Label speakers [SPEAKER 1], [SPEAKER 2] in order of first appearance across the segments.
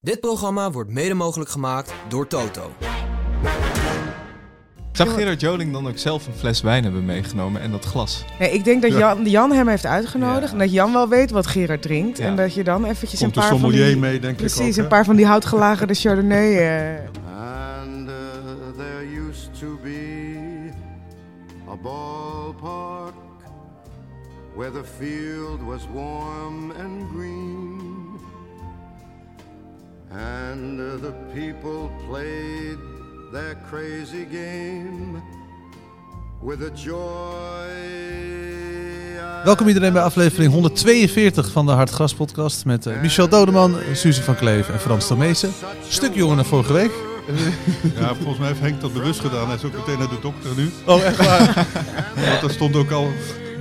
[SPEAKER 1] Dit programma wordt mede mogelijk gemaakt door Toto.
[SPEAKER 2] Zou Gerard Joling dan ook zelf een fles wijn hebben meegenomen en dat glas?
[SPEAKER 3] Nee, ik denk dat Jan, Jan hem heeft uitgenodigd.
[SPEAKER 2] Ja.
[SPEAKER 3] En dat Jan wel weet wat Gerard drinkt.
[SPEAKER 2] Ja.
[SPEAKER 3] En dat je dan eventjes
[SPEAKER 4] Komt
[SPEAKER 3] een
[SPEAKER 4] de
[SPEAKER 3] paar van
[SPEAKER 4] sommelier
[SPEAKER 3] die...
[SPEAKER 4] mee, denk ik ook.
[SPEAKER 3] Precies,
[SPEAKER 4] hè?
[SPEAKER 3] een paar van die houtgelagerde Chardonnay. eh,
[SPEAKER 5] And uh, there used to be a ballpark where the field was warm and green. And uh, the people played their crazy game with a joy. I
[SPEAKER 6] Welkom iedereen bij aflevering 142 van de Hartgras podcast met eh, Michel Dodeman, Suze van Kleef en Frans Tomezen. Stuk jonger dan vorige week.
[SPEAKER 4] Ja, volgens mij heeft Henk dat bewust gedaan. Hij is ook meteen naar de dokter nu.
[SPEAKER 6] Oh, echt waar?
[SPEAKER 4] Want er stond ook al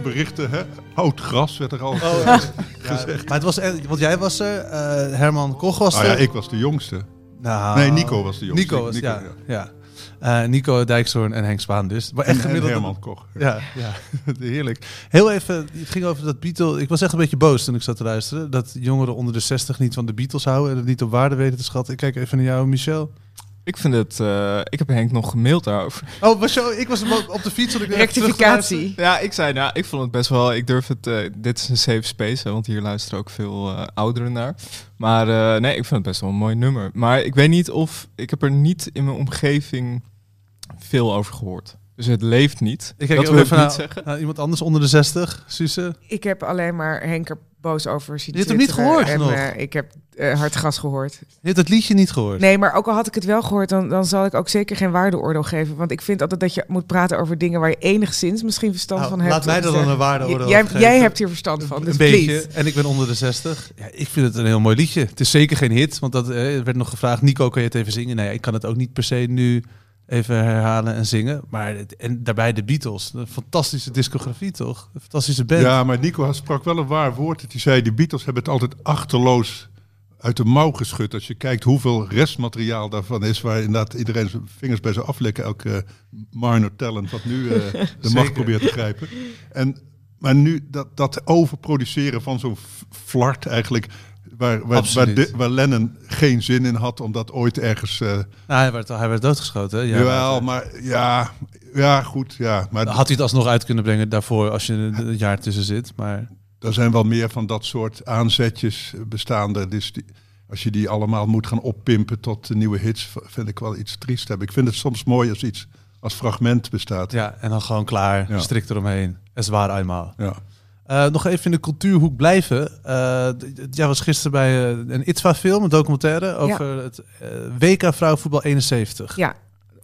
[SPEAKER 4] berichten, hè? Oud gras werd er
[SPEAKER 6] Oh,
[SPEAKER 4] al.
[SPEAKER 6] Maar het was, eh, want jij was er, eh, Herman Koch was er.
[SPEAKER 4] Ah ja, ik was de jongste.
[SPEAKER 6] Nou,
[SPEAKER 4] Nee, Nico was de jongste.
[SPEAKER 6] Nico was,
[SPEAKER 4] Nico,
[SPEAKER 6] ja.
[SPEAKER 4] ja.
[SPEAKER 6] ja. Eh, Nico Dijkshoorn en Henk Spaan dus. Maar echt
[SPEAKER 4] En, en
[SPEAKER 6] gemiddeld.
[SPEAKER 4] Herman Koch.
[SPEAKER 6] Ja, ja, heerlijk. Heel even, het ging over dat Beatles. Ik was echt een beetje boos toen ik zat te luisteren. Dat jongeren onder de 60 niet van de Beatles houden en het niet op waarde weten te schatten. Ik kijk even naar jou, Michel.
[SPEAKER 2] Ik vind het... eh, ik heb Henk nog gemaild daarover.
[SPEAKER 6] Oh, was jou, ik was op de fiets. want ik even
[SPEAKER 3] rectificatie.
[SPEAKER 2] Ja, ik zei, nou, ik vond het best wel... Ik durf het... eh, dit is een safe space, hè, want hier luisteren ook veel eh, ouderen naar. Maar eh, nee, ik vind het best wel een mooi nummer. Maar ik weet niet of... Ik heb er niet in mijn omgeving veel over gehoord. Dus het leeft niet.
[SPEAKER 6] Ik kijk
[SPEAKER 2] dat
[SPEAKER 6] ook
[SPEAKER 2] wil ik
[SPEAKER 6] even
[SPEAKER 2] niet
[SPEAKER 6] naar,
[SPEAKER 2] zeggen.
[SPEAKER 6] naar iemand anders onder de 60, Suze.
[SPEAKER 3] Ik heb alleen maar Henk er boos over zien
[SPEAKER 6] Je hebt hem niet
[SPEAKER 3] twitteren
[SPEAKER 6] gehoord
[SPEAKER 3] en,
[SPEAKER 6] nog?
[SPEAKER 3] eh, ik heb eh hardgas gehoord.
[SPEAKER 6] Je hebt het liedje niet gehoord.
[SPEAKER 3] Nee, maar ook al had ik het wel gehoord, dan, dan zal ik ook zeker geen waardeoordeel geven. Want ik vind altijd dat je moet praten over dingen waar je enigszins misschien verstand
[SPEAKER 6] Nou,
[SPEAKER 3] van hebt.
[SPEAKER 6] laat mij
[SPEAKER 3] Dus,
[SPEAKER 6] er dan
[SPEAKER 3] eh,
[SPEAKER 6] een waardeoordeel
[SPEAKER 3] j- jij,
[SPEAKER 6] over geven.
[SPEAKER 3] jij hebt hier verstand van, dus
[SPEAKER 6] een beetje.
[SPEAKER 3] please.
[SPEAKER 6] En ik ben onder de 60. Ja, ik vind het een heel mooi liedje. Het is zeker geen hit, want dat eh, er werd nog gevraagd. Nico, kan je het even zingen? Nee, ik kan het ook niet per se nu even herhalen en zingen. Maar het- en daarbij de Beatles. Een fantastische discografie, toch? Een fantastische band.
[SPEAKER 4] Ja, maar Nico sprak wel een waar woord. Dat hij zei, de Beatles hebben het altijd achterloos uit de mouw geschud. Als je kijkt hoeveel restmateriaal daarvan is... waar inderdaad iedereen zijn vingers bij zou aflikken. Elke eh, minor talent wat nu eh, de macht
[SPEAKER 6] Zeker.
[SPEAKER 4] probeert te grijpen. En, maar nu dat, dat overproduceren van zo'n f- flart eigenlijk... Waar, waar, waar,
[SPEAKER 6] Absoluut.
[SPEAKER 4] de- waar Lennon geen zin in had om dat ooit ergens... eh
[SPEAKER 6] Nou, hij, werd, hij werd doodgeschoten. hè? Ja, eh,
[SPEAKER 4] jawel, maar ja, ja, goed, ja. Maar
[SPEAKER 6] Had hij het alsnog uit kunnen brengen daarvoor als je een een jaar tussen zit. Maar
[SPEAKER 4] Er zijn wel meer van dat soort aanzetjes eh, bestaande. Dus die, als je die allemaal moet gaan oppimpen tot de nieuwe hits, v- vind ik wel iets triest hebben. Ik vind het soms mooi als iets als fragment bestaat. Ja.
[SPEAKER 6] ja, en dan gewoon klaar.
[SPEAKER 4] Ja.
[SPEAKER 6] Strikt eromheen. Es war einmal. Eh, nog even in de cultuurhoek blijven. Eh, d- d- jij was gisteren bij eh, een ITVA-film, een documentaire, over het eh, WK Vrouwenvoetbal 71.
[SPEAKER 3] Ja,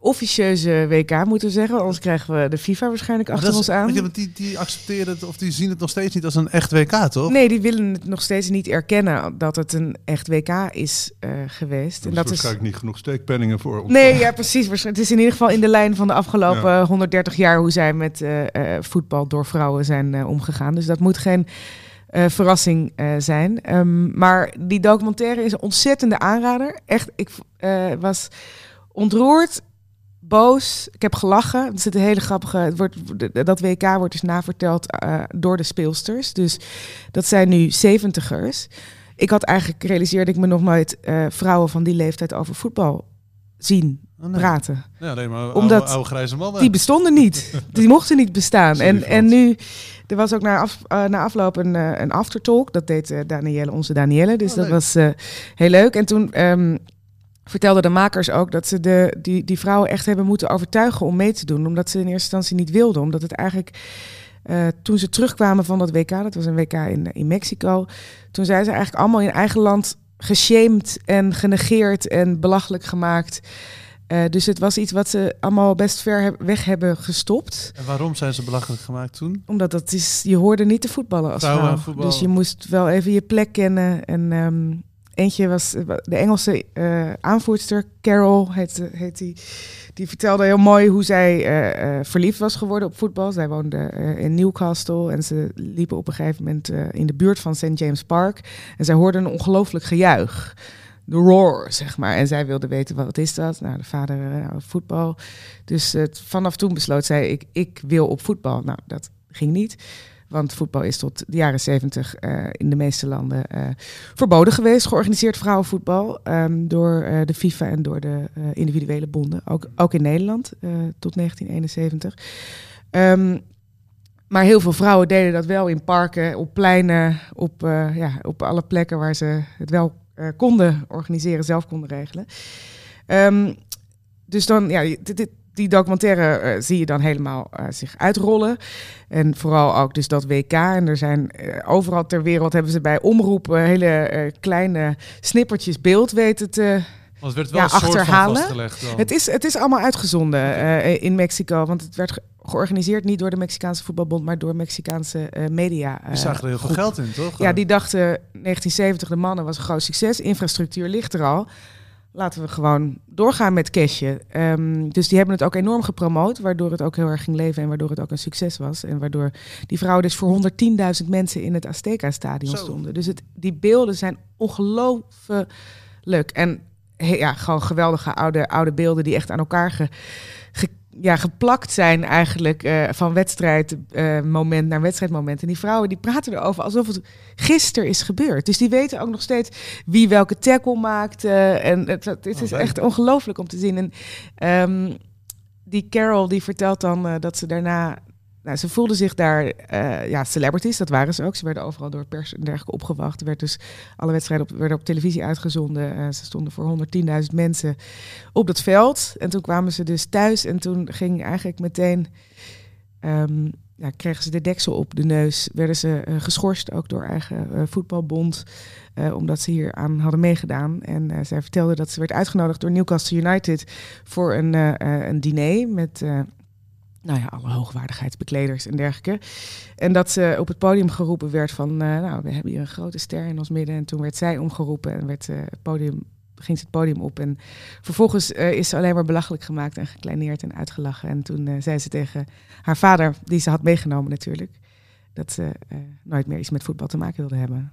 [SPEAKER 3] officieuze WK moeten we zeggen, anders krijgen we de FIFA waarschijnlijk
[SPEAKER 6] Maar
[SPEAKER 3] achter
[SPEAKER 6] dat is-
[SPEAKER 3] ons aan.
[SPEAKER 6] weet je, want die, die accepteren het, of die zien het nog steeds niet als een echt WK, toch?
[SPEAKER 3] Nee, die willen het nog steeds niet erkennen dat het een echt WK is eh, geweest.
[SPEAKER 4] Dat is waarschijnlijk niet genoeg steekpenningen voor ons.
[SPEAKER 3] Nee, ja, precies. Waarsch- Het is in ieder geval in de lijn van de afgelopen 130 jaar hoe zij met eh, eh, voetbal door vrouwen zijn eh, omgegaan. Dus dat moet geen eh, verrassing eh, zijn. Ehm, maar die documentaire is een ontzettende aanrader. Echt, ik eh, was ontroerd, boos. Ik heb gelachen. Er zit een hele grappige. Het wordt, dat WK wordt dus naverteld eh, door de speelsters. Dus dat zijn nu zeventigers. Ik had eigenlijk realiseerde ik me nog nooit eh, vrouwen van die leeftijd over voetbal zien
[SPEAKER 6] Oh, nee.
[SPEAKER 3] praten.
[SPEAKER 6] Ja, nee, maar
[SPEAKER 3] Omdat
[SPEAKER 6] oude, oude grijze mannen.
[SPEAKER 3] Die bestonden niet. Die mochten niet bestaan.
[SPEAKER 4] Sorry,
[SPEAKER 3] En,
[SPEAKER 4] Frans.
[SPEAKER 3] en nu, er was ook na, af, eh, na afloop een, eh, een aftertalk. Dat deed eh, Danielle, onze Danielle. Dus
[SPEAKER 6] Oh,
[SPEAKER 3] dat
[SPEAKER 6] leuk.
[SPEAKER 3] was eh, heel leuk. En toen ehm, vertelden de makers ook dat ze de, die, die vrouwen echt hebben moeten overtuigen om mee te doen. Omdat ze in eerste instantie niet wilden. Omdat het eigenlijk, eh, toen ze terugkwamen van dat WK, dat was een WK in, in Mexico. Toen zijn ze eigenlijk allemaal in eigen land geshamed en genegeerd en belachelijk gemaakt. Eh, dus het was iets wat ze allemaal best ver heb- weg hebben gestopt.
[SPEAKER 6] En waarom zijn ze belachelijk gemaakt toen?
[SPEAKER 3] Omdat dat is, je hoorde niet te voetballen als
[SPEAKER 6] Vrouwen
[SPEAKER 3] vrouw.
[SPEAKER 6] voetballen.
[SPEAKER 3] Dus je moest wel even je plek kennen. En ehm, eentje was eh, de Engelse eh, aanvoerster, Carol heet, heet die. Die vertelde heel mooi hoe zij eh, eh, verliefd was geworden op voetbal. Zij woonde eh, in Newcastle en ze liepen op een gegeven moment eh, in de buurt van St. James Park. En zij hoorde een ongelooflijk gejuich. De roar, zeg maar. En zij wilde weten, wat is dat? Nou, de vader, eh, nou, voetbal. Dus eh, vanaf toen besloot zij, ik, ik wil op voetbal. Nou, dat ging niet. Want voetbal is tot de jaren zeventig eh, in de meeste landen eh, verboden geweest. Georganiseerd vrouwenvoetbal ehm, door eh, de FIFA en door de eh, individuele bonden. Ook, ook in Nederland eh, tot 1971. Ehm, maar heel veel vrouwen deden dat wel in parken, op pleinen, op, eh, ja, op alle plekken waar ze het wel eh, konden organiseren, zelf konden regelen. Ehm, dus dan, ja, dit, dit- die documentaire eh, zie je dan helemaal eh, zich uitrollen. En vooral ook dus dat WK. En er zijn eh, overal ter wereld hebben ze bij omroepen hele eh, kleine snippertjes beeld weten te
[SPEAKER 6] Want het werd wel
[SPEAKER 3] Ja,
[SPEAKER 6] een soort
[SPEAKER 3] achterhalen.
[SPEAKER 6] van vastgelegd dan.
[SPEAKER 3] het is, het is allemaal uitgezonden eh, in Mexico. Want het werd ge- georganiseerd niet door de Mexicaanse voetbalbond, maar door Mexicaanse eh, media. eh,
[SPEAKER 6] Die zagen er heel veel
[SPEAKER 3] groep.
[SPEAKER 6] geld in, toch?
[SPEAKER 3] Ja, die dachten 1970 de mannen was een groot succes. Infrastructuur ligt er al. Laten we gewoon doorgaan met cashje. Ehm, dus die hebben het ook enorm gepromoot, waardoor het ook heel erg ging leven en waardoor het ook een succes was. En waardoor die vrouwen dus voor 110.000 mensen in het Azteca-stadion
[SPEAKER 6] Zo.
[SPEAKER 3] stonden. Dus het, die beelden zijn ongelooflijk. En he- ja, gewoon geweldige oude, oude beelden die echt aan elkaar ge, ge- ja, geplakt zijn eigenlijk. eh, van wedstrijdmoment naar wedstrijdmoment. En die vrouwen die praten erover alsof het gisteren is gebeurd. Dus die weten ook nog steeds wie welke tackle maakt. eh, en het, het
[SPEAKER 6] Oh,
[SPEAKER 3] is
[SPEAKER 6] leuk.
[SPEAKER 3] echt ongelooflijk om te zien. En ehm, die Carol die vertelt dan eh, dat ze daarna... Nou, ze voelden zich daar, eh, ja, celebrities, dat waren ze ook. Ze werden overal door pers en dergelijke opgewacht. Er werd dus alle wedstrijden op, werden op televisie uitgezonden. Eh, ze stonden voor 110.000 mensen op dat veld. En toen kwamen ze dus thuis en toen ging eigenlijk meteen... ehm, ja, kregen ze de deksel op de neus. Werden ze eh, geschorst, ook door eigen eh, voetbalbond. eh, omdat ze hier aan hadden meegedaan. En eh, zij vertelde dat ze werd uitgenodigd door Newcastle United... voor een, eh, eh, een diner met... eh, nou ja, alle hoogwaardigheidsbekleders en dergelijke. En dat ze op het podium geroepen werd van... eh, nou, we hebben hier een grote ster in ons midden. En toen werd zij omgeroepen en werd, eh, het podium, ging ze het podium op. En vervolgens eh, is ze alleen maar belachelijk gemaakt en gekleineerd en uitgelachen. En toen eh, zei ze tegen haar vader, die ze had meegenomen natuurlijk... dat ze eh, nooit meer iets met voetbal te maken wilde hebben.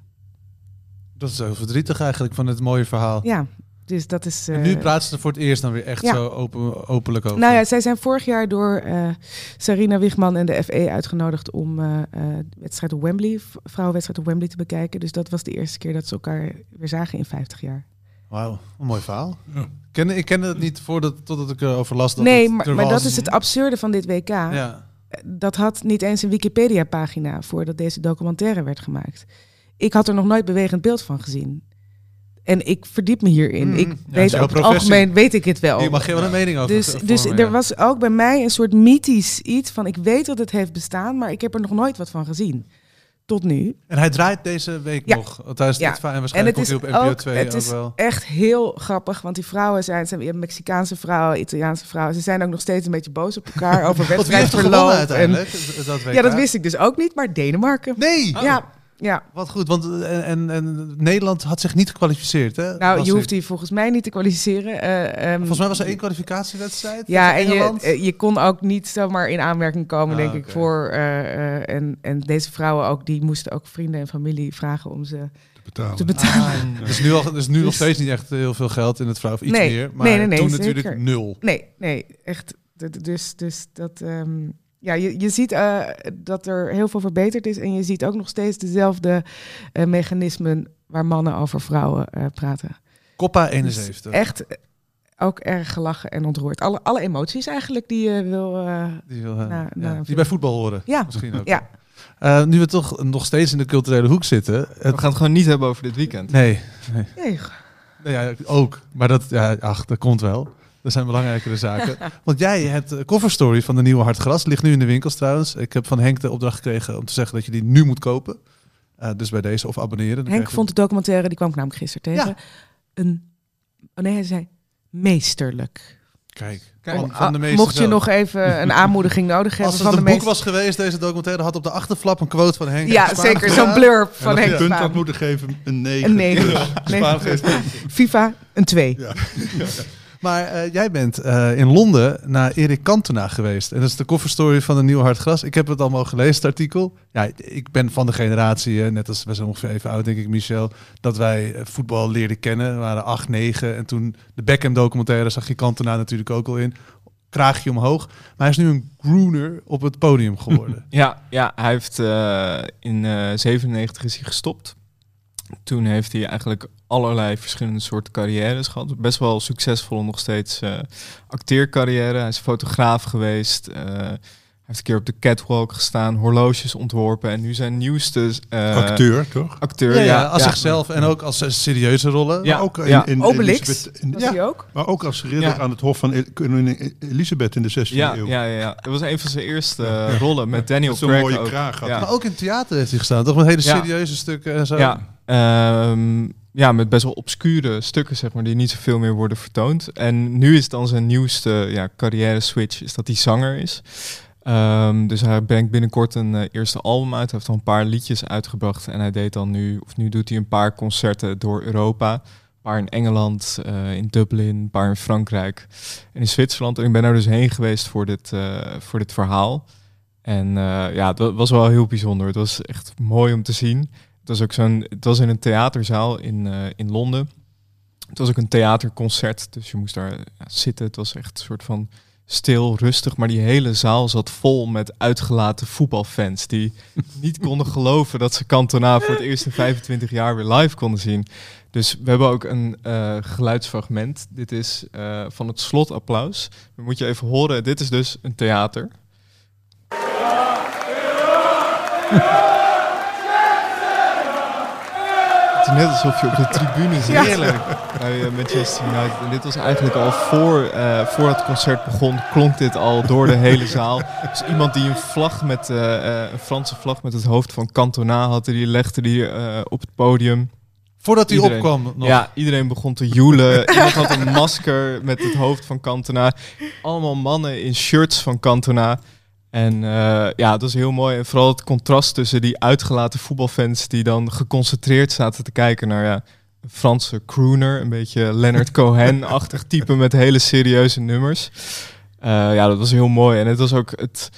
[SPEAKER 6] Dat is heel verdrietig eigenlijk van het mooie verhaal.
[SPEAKER 3] Ja, dus dat is...
[SPEAKER 6] en nu
[SPEAKER 3] eh,
[SPEAKER 6] praten ze er voor het eerst dan weer echt
[SPEAKER 3] ja.
[SPEAKER 6] zo open, openlijk over.
[SPEAKER 3] Nou ja, zij zijn vorig jaar door eh, Sarina Wiegman en de FE uitgenodigd om eh, eh, de wedstrijd op Wembley, v- vrouwenwedstrijd op Wembley te bekijken. Dus dat was de eerste keer dat ze elkaar weer zagen in 50 jaar.
[SPEAKER 6] Wauw, een mooi verhaal.
[SPEAKER 4] Ja.
[SPEAKER 6] Ik kende- ik kende het niet voordat, totdat ik eh, erover las dat
[SPEAKER 3] nee,
[SPEAKER 6] het
[SPEAKER 3] maar,
[SPEAKER 6] er
[SPEAKER 3] maar
[SPEAKER 6] was.
[SPEAKER 3] dat is het absurde van dit WK.
[SPEAKER 6] Ja.
[SPEAKER 3] Dat had niet eens een Wikipedia-pagina voordat deze documentaire werd gemaakt. Ik had er nog nooit bewegend beeld van gezien. En ik verdiep me hierin.
[SPEAKER 6] Mm,
[SPEAKER 3] ik
[SPEAKER 6] ja, dat is
[SPEAKER 3] weet
[SPEAKER 6] jouw
[SPEAKER 3] over het
[SPEAKER 6] professie.
[SPEAKER 3] algemeen weet ik het wel.
[SPEAKER 6] Je mag je wel een mening over
[SPEAKER 3] Dus,
[SPEAKER 6] vormen,
[SPEAKER 3] dus
[SPEAKER 6] ja.
[SPEAKER 3] er was ook bij mij een soort mythisch iets van ik weet dat het heeft bestaan, maar ik heb er nog nooit wat van gezien. Tot nu.
[SPEAKER 6] En hij draait deze week
[SPEAKER 3] Ja.
[SPEAKER 6] nog. Tijdens
[SPEAKER 3] Ja.
[SPEAKER 6] het en
[SPEAKER 3] En
[SPEAKER 6] waarschijnlijk
[SPEAKER 3] het
[SPEAKER 6] komt
[SPEAKER 3] is,
[SPEAKER 6] hij op NPO
[SPEAKER 3] ook,
[SPEAKER 6] 2
[SPEAKER 3] het
[SPEAKER 6] ook
[SPEAKER 3] is
[SPEAKER 6] wel.
[SPEAKER 3] echt heel grappig, want die vrouwen zijn, zijn- je hebt Mexicaanse vrouwen, Italiaanse vrouwen, ze zijn ook nog steeds een beetje boos op elkaar over
[SPEAKER 6] Want wie heeft er gewonnen
[SPEAKER 3] wedstrijdverloop. En,
[SPEAKER 6] uiteindelijk? Dat- dat WK?
[SPEAKER 3] ja, dat wist ik dus ook niet, maar Denemarken.
[SPEAKER 6] Nee!
[SPEAKER 3] Ja, ja.
[SPEAKER 6] Wat goed, want eh, en, en, en Nederland had zich niet gekwalificeerd, hè?
[SPEAKER 3] Nou,
[SPEAKER 6] Las
[SPEAKER 3] je
[SPEAKER 6] ik.
[SPEAKER 3] hoeft die volgens mij niet te kwalificeren. eh, ehm,
[SPEAKER 6] Volgens mij was er één kwalificatiewedstrijd.
[SPEAKER 3] Ja, en
[SPEAKER 6] tegen
[SPEAKER 3] je,
[SPEAKER 6] Engeland.
[SPEAKER 3] eh, je kon ook niet zomaar in aanmerking komen,
[SPEAKER 6] Ah,
[SPEAKER 3] denk ik,
[SPEAKER 6] oké.
[SPEAKER 3] voor... eh, eh, en, en deze vrouwen ook, die moesten ook vrienden en familie vragen om ze
[SPEAKER 6] Oh,
[SPEAKER 4] te betalen.
[SPEAKER 3] te betalen.
[SPEAKER 6] Ah, dus nu, al, dus nu nog
[SPEAKER 3] Dus-
[SPEAKER 6] steeds niet echt eh, heel veel geld in het vrouw. Of iets
[SPEAKER 3] Nee,
[SPEAKER 6] meer. Maar
[SPEAKER 3] nee, nee, nee,
[SPEAKER 6] toen
[SPEAKER 3] zeker.
[SPEAKER 6] natuurlijk nul.
[SPEAKER 3] Nee, nee, echt. D- d- Dus, dus dat... ehm, ja, je, je ziet eh, dat er heel veel verbeterd is. En je ziet ook nog steeds dezelfde eh, mechanismen waar mannen over vrouwen eh, praten.
[SPEAKER 6] Coppa
[SPEAKER 3] Dus
[SPEAKER 6] 71.
[SPEAKER 3] Echt eh, ook erg gelachen en ontroerd. Alle, alle emoties eigenlijk die je wil... eh,
[SPEAKER 6] Die, wil, eh,
[SPEAKER 3] Nou, nou,
[SPEAKER 6] ja, die
[SPEAKER 3] vind-
[SPEAKER 6] bij voetbal horen.
[SPEAKER 3] ja,
[SPEAKER 6] Misschien ook.
[SPEAKER 3] ja.
[SPEAKER 6] Eh, nu we toch nog steeds in de culturele hoek zitten.
[SPEAKER 2] We
[SPEAKER 6] Het,
[SPEAKER 2] gaan het gewoon niet hebben over dit weekend.
[SPEAKER 6] nee,
[SPEAKER 3] Nee,
[SPEAKER 6] nou ja, ook. Maar dat, ja, ach, dat komt wel. Er zijn belangrijkere zaken. Want jij hebt de cover story van de nieuwe Hartgras. Ligt nu in de winkels trouwens. Ik heb van Henk de opdracht gekregen om te zeggen dat je die nu moet kopen. Eh, dus bij deze of abonneren. Dan krijg
[SPEAKER 3] Henk
[SPEAKER 6] je-
[SPEAKER 3] vond de documentaire, die kwam ik namelijk gisteren tegen,
[SPEAKER 6] Ja.
[SPEAKER 3] een... Oh nee, hij zei meesterlijk.
[SPEAKER 6] Kijk,
[SPEAKER 2] Kijk,
[SPEAKER 6] van,
[SPEAKER 3] Om-
[SPEAKER 6] van de
[SPEAKER 3] ah,
[SPEAKER 6] meeste
[SPEAKER 3] mocht je
[SPEAKER 6] zelf.
[SPEAKER 3] nog even een aanmoediging nodig hebben
[SPEAKER 6] Als het
[SPEAKER 3] van
[SPEAKER 6] een
[SPEAKER 3] de
[SPEAKER 6] boek
[SPEAKER 3] meester...
[SPEAKER 6] was geweest, deze documentaire had op de achterflap een quote van Henk.
[SPEAKER 3] Ja,
[SPEAKER 6] Spaan
[SPEAKER 3] zeker.
[SPEAKER 6] gedaan.
[SPEAKER 3] Zo'n blurb
[SPEAKER 4] En
[SPEAKER 3] van
[SPEAKER 4] als je een
[SPEAKER 3] Henk
[SPEAKER 4] punt had
[SPEAKER 3] Spaan.
[SPEAKER 4] moeten geven, een 9.
[SPEAKER 3] Een 9.
[SPEAKER 6] Spaan geeft
[SPEAKER 3] FIFA, een 2.
[SPEAKER 6] Maar eh, jij bent eh, in Londen naar Erik Cantona geweest. En dat is de coverstory van de Nieuw Hard Gras. Ik heb het allemaal gelezen, het artikel. Ja, ik ben van de generatie, eh, net als wij zijn ongeveer even oud, denk ik, Michel. Dat wij eh, voetbal leerden kennen. We waren 8, 9. En toen de Beckham documentaire zag je Cantona natuurlijk ook al in. kraagje omhoog. Maar hij is nu een groener op het podium geworden.
[SPEAKER 2] Ja, ja hij heeft eh, in eh 97 is hij gestopt. Toen heeft hij eigenlijk allerlei verschillende soorten carrières gehad. Best wel succesvol nog steeds eh, acteercarrière. Hij is fotograaf geweest. eh, hij heeft een keer op de catwalk gestaan, horloges ontworpen. En nu zijn nieuwste eh,
[SPEAKER 4] Acteur, toch?
[SPEAKER 2] acteur.
[SPEAKER 6] ja, ja, Eh, als
[SPEAKER 2] ja.
[SPEAKER 6] zichzelf en ook als eh, serieuze rollen.
[SPEAKER 2] Ja,
[SPEAKER 4] Maar ook in,
[SPEAKER 2] ja.
[SPEAKER 4] in- in
[SPEAKER 3] Obelix,
[SPEAKER 4] Elisabeth- in-
[SPEAKER 3] was
[SPEAKER 4] ja,
[SPEAKER 3] hij ook?
[SPEAKER 4] maar ook als ridder
[SPEAKER 2] Ja.
[SPEAKER 4] aan het hof van El- koningin E- Elisabeth in de 16e
[SPEAKER 2] Ja,
[SPEAKER 4] eeuw.
[SPEAKER 2] ja, ja, ja. Dat was een van zijn eerste eh, rollen met Daniel
[SPEAKER 4] Met zo'n
[SPEAKER 2] Craig
[SPEAKER 4] mooie
[SPEAKER 2] ook.
[SPEAKER 4] kraag had
[SPEAKER 2] Ja.
[SPEAKER 4] hij.
[SPEAKER 6] Maar ook in theater heeft hij gestaan, toch? Met hele
[SPEAKER 2] Ja.
[SPEAKER 6] serieuze stukken en zo.
[SPEAKER 2] Ja, ehm, ja, met best wel obscure stukken, zeg maar, die niet zoveel meer worden vertoond. En nu is dan zijn nieuwste ja, carrière switch, is dat hij zanger is. Ehm, dus hij brengt binnenkort een eh, eerste album uit. Hij heeft al een paar liedjes uitgebracht. En hij deed dan nu, of nu doet hij een paar concerten door Europa. Een paar in Engeland, eh, in Dublin, een paar in Frankrijk en in Zwitserland. En ik ben daar dus heen geweest voor dit, eh, voor dit verhaal. En eh, ja, dat was wel heel bijzonder. Het was echt mooi om te zien. Het was ook zo'n, het was in een theaterzaal in, eh, in Londen. Het was ook een theaterconcert, dus je moest daar ja, zitten. Het was echt een soort van stil, rustig, maar die hele zaal zat vol met uitgelaten voetbalfans die niet konden geloven dat ze Cantona voor het eerst in 25 jaar weer live konden zien. Dus we hebben ook een eh, geluidsfragment. Dit is eh, van het slotapplaus. Dan moet je even horen. Dit is dus een theater. Het is net alsof je op de tribune zit.
[SPEAKER 3] Ja.
[SPEAKER 2] Bij eh, Manchester United. En dit was eigenlijk al voor, eh, voor het concert begon, klonk dit al door de hele zaal. Dus iemand die een vlag met eh, eh, een Franse vlag met het hoofd van Cantona had, die legde die eh, op het podium.
[SPEAKER 6] Voordat hij
[SPEAKER 2] Iedereen.
[SPEAKER 6] opkwam nog.
[SPEAKER 2] Ja, iedereen begon te joelen. Iemand had een masker met het hoofd van Cantona. Allemaal mannen in shirts van Cantona. En eh, ja, dat is heel mooi. En vooral het contrast tussen die uitgelaten voetbalfans die dan geconcentreerd zaten te kijken naar ja, een Franse crooner, een beetje Leonard Cohen-achtig type met hele serieuze nummers. Eh, ja, dat was heel mooi. En het was ook het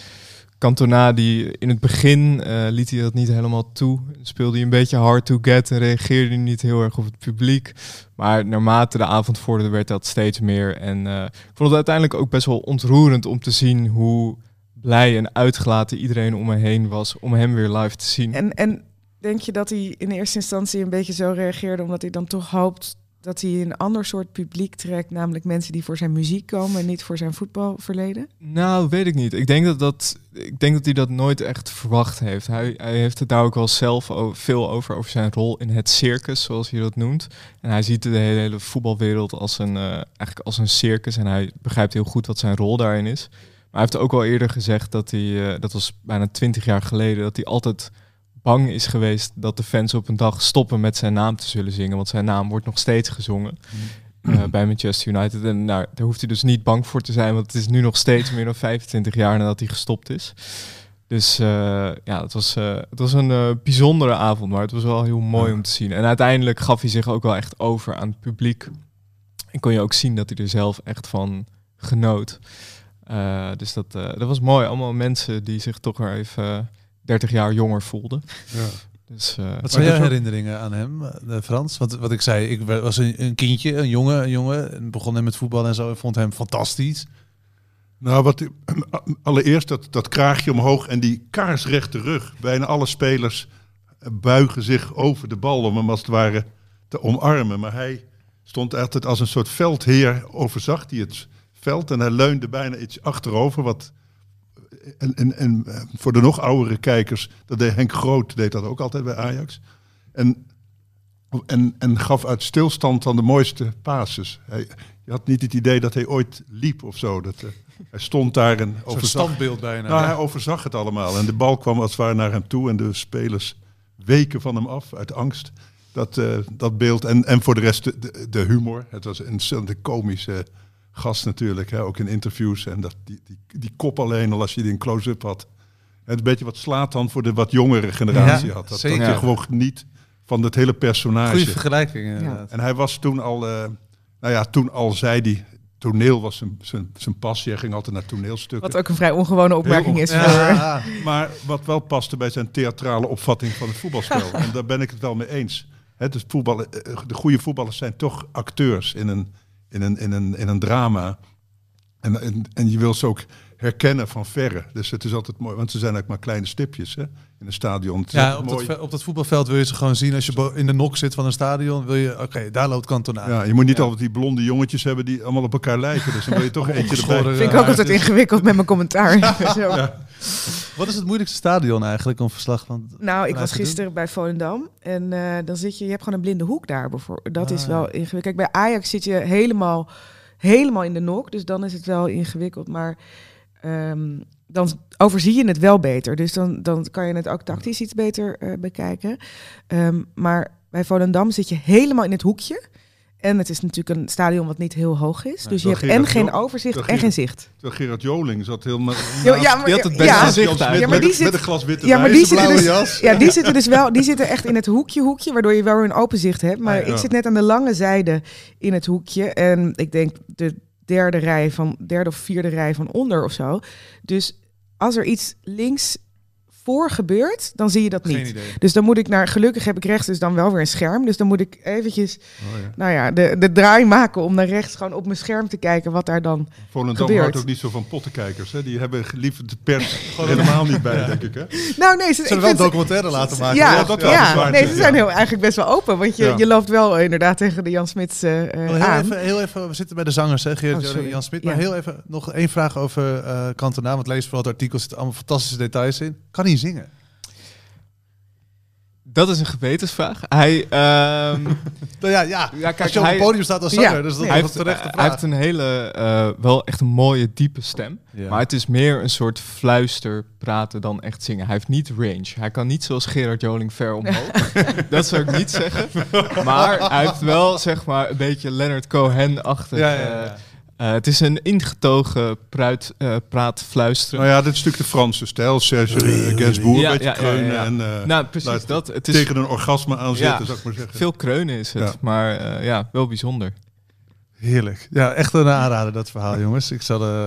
[SPEAKER 2] Cantona die in het begin eh, liet hij dat niet helemaal toe. Speelde hij een beetje hard to get en reageerde hij niet heel erg op het publiek. Maar naarmate de avond vorderde werd dat steeds meer. En eh, ik vond het uiteindelijk ook best wel ontroerend om te zien hoe blij en uitgelaten iedereen om me heen was om hem weer live te zien.
[SPEAKER 3] En, en denk je dat hij in eerste instantie een beetje zo reageerde, omdat hij dan toch hoopt dat hij een ander soort publiek trekt, namelijk mensen die voor zijn muziek komen en niet voor zijn voetbalverleden?
[SPEAKER 2] Nou, weet ik niet. Ik denk dat, dat, ik denk dat hij dat nooit echt verwacht heeft. Hij, hij heeft het daar ook wel zelf o- veel over, over zijn rol in het circus, zoals hij dat noemt. En hij ziet de hele, hele voetbalwereld als een, eh, eigenlijk als een circus en hij begrijpt heel goed wat zijn rol daarin is. Maar hij heeft ook al eerder gezegd dat hij, eh, dat was bijna twintig jaar geleden, dat hij altijd bang is geweest dat de fans op een dag stoppen met zijn naam te zullen zingen. Want zijn naam wordt nog steeds gezongen eh, bij Manchester United. En nou, daar hoeft hij dus niet bang voor te zijn, want het is nu nog steeds meer dan 25 jaar nadat hij gestopt is. Dus eh, ja, het was, eh, het was een eh, bijzondere avond, maar het was wel heel mooi om te zien. En uiteindelijk gaf hij zich ook wel echt over aan het publiek. En kon je ook zien dat hij er zelf echt van genoot. Eh, dus dat, eh, dat was mooi. Allemaal mensen die zich toch weer even eh, 30 jaar jonger voelden.
[SPEAKER 4] Ja.
[SPEAKER 2] Dus, eh,
[SPEAKER 6] Wat zijn
[SPEAKER 4] Maar
[SPEAKER 6] jouw
[SPEAKER 4] dat is
[SPEAKER 6] herinneringen aan hem, eh, Frans? Want wat ik zei, ik was een, een kindje, een jongen, een jongen. En begon hem met voetbal en zo. en vond hem fantastisch.
[SPEAKER 4] Nou, wat, allereerst dat, dat kraagje omhoog en die kaarsrechte rug. Bijna alle spelers buigen zich over de bal om hem als het ware te omarmen. Maar hij stond altijd als een soort veldheer, overzag hij het veld. En hij leunde bijna iets achterover. Wat, en, en, en eh, voor de nog oudere kijkers, dat deed Henk Groot deed dat ook altijd bij Ajax. En, en, en gaf uit stilstand dan de mooiste pases. Hij, je had niet het idee dat hij ooit liep of zo. Dat, eh, hij stond daar en
[SPEAKER 6] Zo'n
[SPEAKER 4] overzag
[SPEAKER 6] standbeeld bijna.
[SPEAKER 4] nou,
[SPEAKER 6] Ja.
[SPEAKER 4] hij overzag het allemaal. En de bal kwam als het ware naar hem toe. En de spelers weken van hem af uit angst. Dat, eh, dat beeld. En, en voor de rest de, de, de humor. Het was een ontzettend komische gast natuurlijk. Hè? Ook in interviews. En dat, die, die, die kop alleen al als je die in close-up had. Het een beetje wat slaat dan voor de wat jongere generatie
[SPEAKER 6] Ja,
[SPEAKER 4] had. Dat, dat
[SPEAKER 6] zeker.
[SPEAKER 4] je gewoon niet van dat hele personage.
[SPEAKER 6] Goede vergelijking inderdaad.
[SPEAKER 4] En hij was toen al, eh, nou ja, toen al zei hij, toneel was zijn, zijn, zijn passie. Hij ging altijd naar toneelstukken.
[SPEAKER 3] Wat ook een vrij ongewone opmerking
[SPEAKER 4] Heel
[SPEAKER 3] is.
[SPEAKER 6] Ja.
[SPEAKER 3] voor-
[SPEAKER 4] Maar wat wel paste bij zijn theatrale opvatting van het voetbalspel. en daar ben ik het wel mee eens. Hè, dus voetballen, eh, de goede voetballers zijn toch acteurs in een, in een, in een, in een drama. En, en, en je wil ze ook herkennen van verre. Dus het is altijd mooi, want ze zijn eigenlijk maar kleine stipjes hè, in een stadion. Het is
[SPEAKER 6] Ja,
[SPEAKER 4] altijd
[SPEAKER 6] op dat,
[SPEAKER 4] mooi.
[SPEAKER 6] ve- op dat voetbalveld wil je ze gewoon zien. Als je bo- in de nok zit van een stadion, wil je... Oké, daar loopt Cantona.
[SPEAKER 4] ja, je moet niet altijd die blonde jongetjes hebben die allemaal op elkaar lijken. Dus dan wil je toch eentje erbij.
[SPEAKER 6] Geschoren,
[SPEAKER 3] Vind ik
[SPEAKER 6] eh,
[SPEAKER 3] ook altijd ingewikkeld met mijn commentaar. Zo.
[SPEAKER 6] Wat is het moeilijkste stadion eigenlijk om verslag van...
[SPEAKER 3] Nou, ik
[SPEAKER 6] Laten
[SPEAKER 3] was
[SPEAKER 6] doen.
[SPEAKER 3] gisteren bij Volendam en eh, dan zit je, je hebt gewoon een blinde hoek daar bijvoorbeeld. Dat is
[SPEAKER 6] Ah.
[SPEAKER 3] wel ingewikkeld. Kijk, bij Ajax zit je helemaal, helemaal in de nok, dus dan is het wel ingewikkeld. Maar ehm, dan overzie je het wel beter, dus dan, dan kan je het ook tactisch iets beter eh, bekijken. Ehm, maar bij Volendam zit je helemaal in het hoekje. En het is natuurlijk een stadion wat niet heel hoog is. Dus je
[SPEAKER 4] dan
[SPEAKER 3] hebt
[SPEAKER 4] ging
[SPEAKER 3] en
[SPEAKER 4] dat
[SPEAKER 3] geen
[SPEAKER 4] wel-
[SPEAKER 3] overzicht
[SPEAKER 4] dan
[SPEAKER 3] en
[SPEAKER 4] ging
[SPEAKER 3] geen
[SPEAKER 4] dat-
[SPEAKER 3] zicht.
[SPEAKER 4] Terwijl Gerard Joling zat helemaal...
[SPEAKER 3] Ja, ja, maar-
[SPEAKER 2] die had het beste
[SPEAKER 3] ja.
[SPEAKER 2] zicht
[SPEAKER 4] Jan
[SPEAKER 2] daar.
[SPEAKER 4] Smit
[SPEAKER 3] Ja, maar
[SPEAKER 4] met,
[SPEAKER 3] die
[SPEAKER 4] een-
[SPEAKER 3] zit-
[SPEAKER 4] met een glas witte
[SPEAKER 3] Ja, maar
[SPEAKER 4] wijn,
[SPEAKER 3] die
[SPEAKER 4] een
[SPEAKER 3] zitten,
[SPEAKER 4] blauwe
[SPEAKER 3] dus,
[SPEAKER 4] jas.
[SPEAKER 3] ja, die zitten dus wel, die zitten echt in het hoekje, hoekje, waardoor je wel weer een open zicht hebt. Maar
[SPEAKER 6] Ah, ja.
[SPEAKER 3] ik zit net aan de lange zijde in het hoekje. En ik denk de derde rij van, derde of vierde rij van onder of zo. Dus als er iets links voor gebeurt, dan zie je dat
[SPEAKER 6] Geen
[SPEAKER 3] niet.
[SPEAKER 6] idee.
[SPEAKER 3] Dus dan moet ik naar, gelukkig heb ik rechts dus dan wel weer een scherm. Dus dan moet ik eventjes,
[SPEAKER 4] Oh, ja.
[SPEAKER 3] nou ja, de, de draai maken om naar rechts gewoon op mijn scherm te kijken wat daar dan...
[SPEAKER 4] Volendam
[SPEAKER 3] Gebeurt.
[SPEAKER 4] houdt ook niet zo van pottenkijkers. Hè? Die hebben liever de pers helemaal niet bij, denk ik. Hè?
[SPEAKER 3] Nou nee, ze,
[SPEAKER 6] Ze
[SPEAKER 3] ik
[SPEAKER 6] wel een
[SPEAKER 3] vind,
[SPEAKER 6] documentaire laten maken.
[SPEAKER 3] Ja,
[SPEAKER 4] Ja,
[SPEAKER 3] ja,
[SPEAKER 4] dat wel bezwaar
[SPEAKER 3] nee, ze
[SPEAKER 4] tegen,
[SPEAKER 3] zijn
[SPEAKER 4] ja.
[SPEAKER 3] heel, eigenlijk best wel open. Want je,
[SPEAKER 4] Ja.
[SPEAKER 3] je loopt wel eh, inderdaad tegen de Jan Smits eh, eh,
[SPEAKER 6] Wel Oh, Heel
[SPEAKER 3] aan.
[SPEAKER 6] even, heel even, we zitten bij de zangers, hè, Geert
[SPEAKER 3] Oh,
[SPEAKER 6] Jan-
[SPEAKER 3] sorry.
[SPEAKER 6] Jan Smit. Maar
[SPEAKER 3] Ja.
[SPEAKER 6] heel even nog één vraag over eh Cantona. Want lees vooral het artikel, zitten allemaal fantastische details in. Kan hij zingen?
[SPEAKER 2] Dat is een gewetensvraag. Hij, ehm,
[SPEAKER 6] Nou ja, ja.
[SPEAKER 2] ja, kijk,
[SPEAKER 6] als je op
[SPEAKER 2] hij,
[SPEAKER 6] het podium staat als zanger,
[SPEAKER 3] Ja.
[SPEAKER 6] dus dat
[SPEAKER 3] Nee.
[SPEAKER 2] hij,
[SPEAKER 6] is een
[SPEAKER 2] heeft,
[SPEAKER 6] terechte
[SPEAKER 2] hij heeft
[SPEAKER 6] vraag.
[SPEAKER 2] een hele, eh, wel echt een mooie, diepe stem. Maar het is meer een soort fluister praten dan echt zingen. Hij heeft niet range. Hij kan niet zoals Gerard Joling ver omhoog. dat zou ik niet zeggen. Maar hij heeft wel zeg maar een beetje Leonard Cohen-achtig.
[SPEAKER 6] Ja, ja, ja.
[SPEAKER 2] eh, eh, het is een ingetogen pruit, eh, praat fluisteren.
[SPEAKER 6] Oh
[SPEAKER 4] Nou ja, dit is natuurlijk de Franse stijl. Serge eh, Gainsbourg,
[SPEAKER 2] Ja,
[SPEAKER 4] een beetje
[SPEAKER 2] ja, ja,
[SPEAKER 4] kreunen
[SPEAKER 2] ja, ja.
[SPEAKER 4] en eh,
[SPEAKER 2] Nou, precies
[SPEAKER 4] luister,
[SPEAKER 2] dat. Het is
[SPEAKER 4] tegen een orgasme aanzetten,
[SPEAKER 2] Ja.
[SPEAKER 4] zou ik maar zeggen.
[SPEAKER 2] veel kreunen is het,
[SPEAKER 4] Ja.
[SPEAKER 2] maar eh, ja, wel bijzonder.
[SPEAKER 6] Heerlijk. Ja, echt een aanrader dat verhaal, jongens. Ik zal... eh,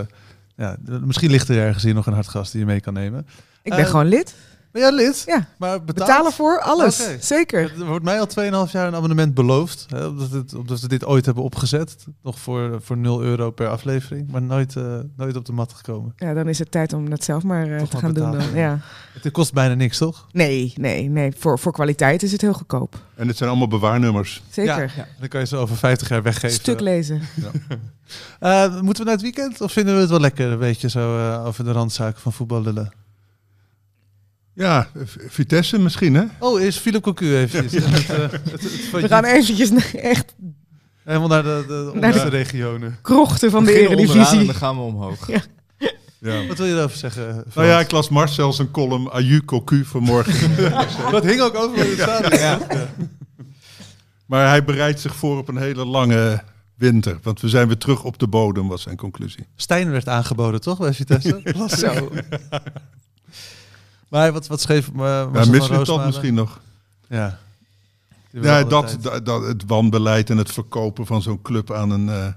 [SPEAKER 6] ja, d- misschien ligt er ergens hier nog een hartgast die je mee kan nemen.
[SPEAKER 3] Ik ben
[SPEAKER 6] Eh,
[SPEAKER 3] gewoon lid.
[SPEAKER 6] Ben jij lid?
[SPEAKER 3] Ja.
[SPEAKER 6] Maar betaald?
[SPEAKER 3] Betalen voor alles.
[SPEAKER 6] Oké.
[SPEAKER 3] Zeker.
[SPEAKER 6] Er wordt mij al 2,5 jaar een abonnement beloofd. Hè, omdat, het, omdat we dit ooit hebben opgezet. Nog voor, eh, voor 0 euro per aflevering. Maar nooit, eh, nooit op de mat gekomen.
[SPEAKER 3] Ja, dan is het tijd om dat zelf maar eh,
[SPEAKER 6] Toch
[SPEAKER 3] te
[SPEAKER 6] maar
[SPEAKER 3] gaan doen.
[SPEAKER 6] betalen.
[SPEAKER 3] Dan. Ja.
[SPEAKER 6] Het kost bijna niks, toch?
[SPEAKER 3] Nee, nee, nee. Voor, voor kwaliteit is het heel goedkoop.
[SPEAKER 4] En het zijn allemaal bewaarnummers.
[SPEAKER 3] Zeker.
[SPEAKER 6] Ja, Dan kan je ze over 50 jaar weggeven.
[SPEAKER 3] Stuk lezen.
[SPEAKER 6] Eh, moeten we naar het weekend? Of vinden we het wel lekker een beetje zo eh, over de randzaken van voetbal lullen?
[SPEAKER 4] Ja, V- Vitesse misschien, hè?
[SPEAKER 6] Oh, eerst Philip Cocu even. Het, eh, het- het
[SPEAKER 3] We
[SPEAKER 6] failliet.
[SPEAKER 3] gaan eventjes naar echt
[SPEAKER 6] Helemaal naar de, de onderste
[SPEAKER 3] Naar de-
[SPEAKER 6] regionen.
[SPEAKER 3] krochten van de
[SPEAKER 2] Beginnen onderaan en dan
[SPEAKER 3] Eredivisie.
[SPEAKER 2] gaan we omhoog.
[SPEAKER 4] Ja.
[SPEAKER 6] Wat wil je daarover zeggen?
[SPEAKER 4] Nou
[SPEAKER 6] Frans?
[SPEAKER 4] ja, ik las Marcel zijn column Aju Cocu vanmorgen.
[SPEAKER 6] dat hing ook over in het stadion.
[SPEAKER 2] Ja.
[SPEAKER 4] maar hij bereidt zich voor op een hele lange winter. Want we zijn weer terug op de bodem, was zijn conclusie.
[SPEAKER 6] Stijn werd aangeboden, toch, bij Vitesse? Las ik.
[SPEAKER 3] Zo.
[SPEAKER 6] Maar wat, wat schreef eh,
[SPEAKER 4] Ja,
[SPEAKER 6] Marcel van
[SPEAKER 4] missen we dat
[SPEAKER 6] Roosmalen?
[SPEAKER 4] misschien nog?
[SPEAKER 6] Ja. Die wil
[SPEAKER 4] Ja,
[SPEAKER 6] alle
[SPEAKER 4] dat,
[SPEAKER 6] tijd.
[SPEAKER 4] dat, dat- het wanbeleid en het verkopen van zo'n club aan een, eh,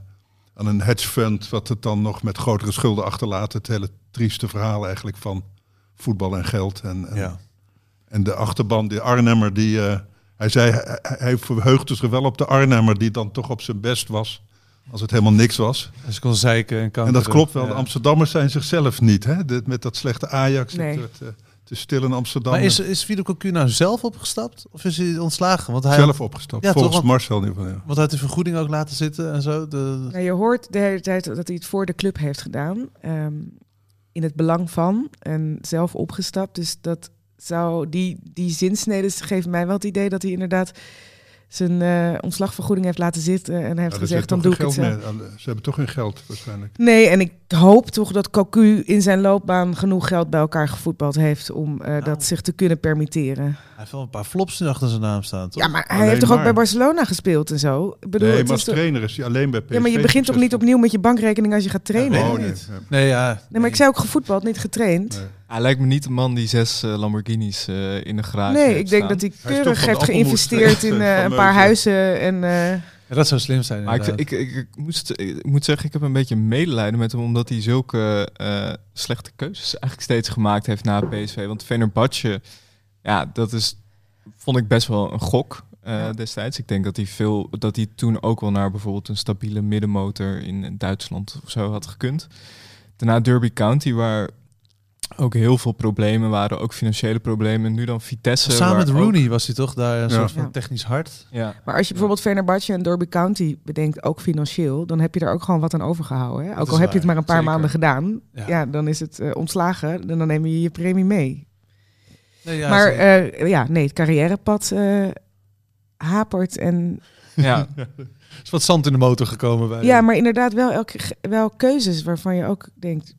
[SPEAKER 4] aan een hedge fund, wat het dan nog met grotere schulden achterlaat. Het hele trieste verhaal eigenlijk van voetbal en geld. En, en,
[SPEAKER 6] Ja.
[SPEAKER 4] en de achterban, die Arnhemmer, die, eh, hij zei, hij, hij verheugde zich wel op de Arnhemmer, die dan toch op zijn best was. Als het helemaal niks was.
[SPEAKER 6] Dus ik kon zeiken en kan.
[SPEAKER 4] En dat klopt wel. De Amsterdammers zijn zichzelf niet. Hè? De- met dat slechte Ajax.
[SPEAKER 3] Nee.
[SPEAKER 4] Het, werd, eh, te stil in Amsterdam. eh,
[SPEAKER 6] Maar is,
[SPEAKER 4] en
[SPEAKER 6] is Philip Cocu nou zelf opgestapt? Of is hij ontslagen? Want hij,
[SPEAKER 4] zelf opgestapt.
[SPEAKER 6] Ja, toch,
[SPEAKER 4] volgens
[SPEAKER 6] want-
[SPEAKER 4] Marcel nu van ja.
[SPEAKER 6] Want hij heeft de vergoeding ook laten zitten en zo. De,
[SPEAKER 3] Nou, je hoort de hele tijd dat hij het voor de club heeft gedaan. ehm, in het belang van en zelf opgestapt. Dus dat zou, die, die zinsneden geven mij wel het idee dat hij inderdaad zijn eh, ontslagvergoeding heeft laten zitten. En hij heeft
[SPEAKER 4] Ja, er zit
[SPEAKER 3] gezegd, dan
[SPEAKER 4] dus toch
[SPEAKER 3] doe ik
[SPEAKER 4] geen
[SPEAKER 3] het zelf.
[SPEAKER 4] geld meer. Ze hebben toch geen geld waarschijnlijk.
[SPEAKER 3] Nee, en ik hoop toch dat Cocu in zijn loopbaan genoeg geld bij elkaar gevoetbald heeft om
[SPEAKER 4] Nou.
[SPEAKER 3] eh, dat zich te kunnen permitteren.
[SPEAKER 6] hij heeft wel een paar flops nu achter zijn naam staan, toch?
[SPEAKER 3] Ja, maar hij
[SPEAKER 4] Alleen
[SPEAKER 3] heeft toch ook
[SPEAKER 4] maar.
[SPEAKER 3] bij Barcelona gespeeld en zo? Ik bedoel, het
[SPEAKER 4] nee, maar
[SPEAKER 3] is
[SPEAKER 4] als
[SPEAKER 3] toch-
[SPEAKER 4] trainer is hij alleen bij PSV.
[SPEAKER 3] ja, maar je begint toch niet
[SPEAKER 4] succesvol?
[SPEAKER 3] opnieuw met je bankrekening als je gaat trainen?
[SPEAKER 6] nee,
[SPEAKER 3] nee,
[SPEAKER 4] Oh,
[SPEAKER 6] nee,
[SPEAKER 4] nee.
[SPEAKER 6] niet. Nee, ja. nee.
[SPEAKER 3] maar ik zei ook gevoetbald, niet getraind.
[SPEAKER 4] Nee.
[SPEAKER 2] Hij lijkt me niet een man die zes eh, Lamborghinis eh, in de garage
[SPEAKER 3] Nee,
[SPEAKER 2] heeft
[SPEAKER 3] ik denk
[SPEAKER 2] staan.
[SPEAKER 3] dat hij
[SPEAKER 4] Hij is toch
[SPEAKER 3] keurig
[SPEAKER 4] van de
[SPEAKER 3] heeft
[SPEAKER 4] appelmoes
[SPEAKER 3] geïnvesteerd in
[SPEAKER 4] van
[SPEAKER 3] eh, een
[SPEAKER 4] Meulen.
[SPEAKER 3] paar huizen. En, eh,
[SPEAKER 6] Ja, dat zou slim zijn.
[SPEAKER 2] Maar ik,
[SPEAKER 6] inderdaad.
[SPEAKER 2] ik, ik, ik moest, ik moet zeggen, ik heb een beetje medelijden met hem, omdat hij zulke eh, slechte keuzes eigenlijk steeds gemaakt heeft na PSV. Want Venerbatje, ja, dat is, vond ik best wel een gok. Eh, eh,
[SPEAKER 3] Ja.
[SPEAKER 2] destijds. Ik denk dat hij veel, dat hij toen ook wel naar bijvoorbeeld een stabiele middenmotor in eh, Duitsland of zo had gekund. Daarna Derby County, waar ook heel veel problemen waren, ook financiële problemen. Nu dan Vitesse.
[SPEAKER 6] Samen
[SPEAKER 2] waar
[SPEAKER 6] met
[SPEAKER 2] ook-
[SPEAKER 6] Rooney was hij toch daar een
[SPEAKER 4] Ja.
[SPEAKER 6] soort van
[SPEAKER 3] Ja.
[SPEAKER 6] technisch hart.
[SPEAKER 2] ja.
[SPEAKER 3] Maar als je bijvoorbeeld Fenerbahce en Derby County bedenkt, ook financieel, dan heb je er ook gewoon wat aan overgehouden. Hè? Ook
[SPEAKER 6] is
[SPEAKER 3] al heb je het
[SPEAKER 6] waar,
[SPEAKER 3] maar een paar
[SPEAKER 6] zeker.
[SPEAKER 3] maanden gedaan,
[SPEAKER 6] Ja.
[SPEAKER 3] ja. dan is het eh, ontslagen en dan neem je je premie mee.
[SPEAKER 6] Nee, ja,
[SPEAKER 3] maar
[SPEAKER 6] ze-
[SPEAKER 3] eh, ja, nee, het carrièrepad eh, hapert en...
[SPEAKER 2] Ja,
[SPEAKER 6] er is wat zand in de motor gekomen bij
[SPEAKER 3] ja,
[SPEAKER 6] hem.
[SPEAKER 3] maar inderdaad wel, elke, wel keuzes waarvan je ook denkt,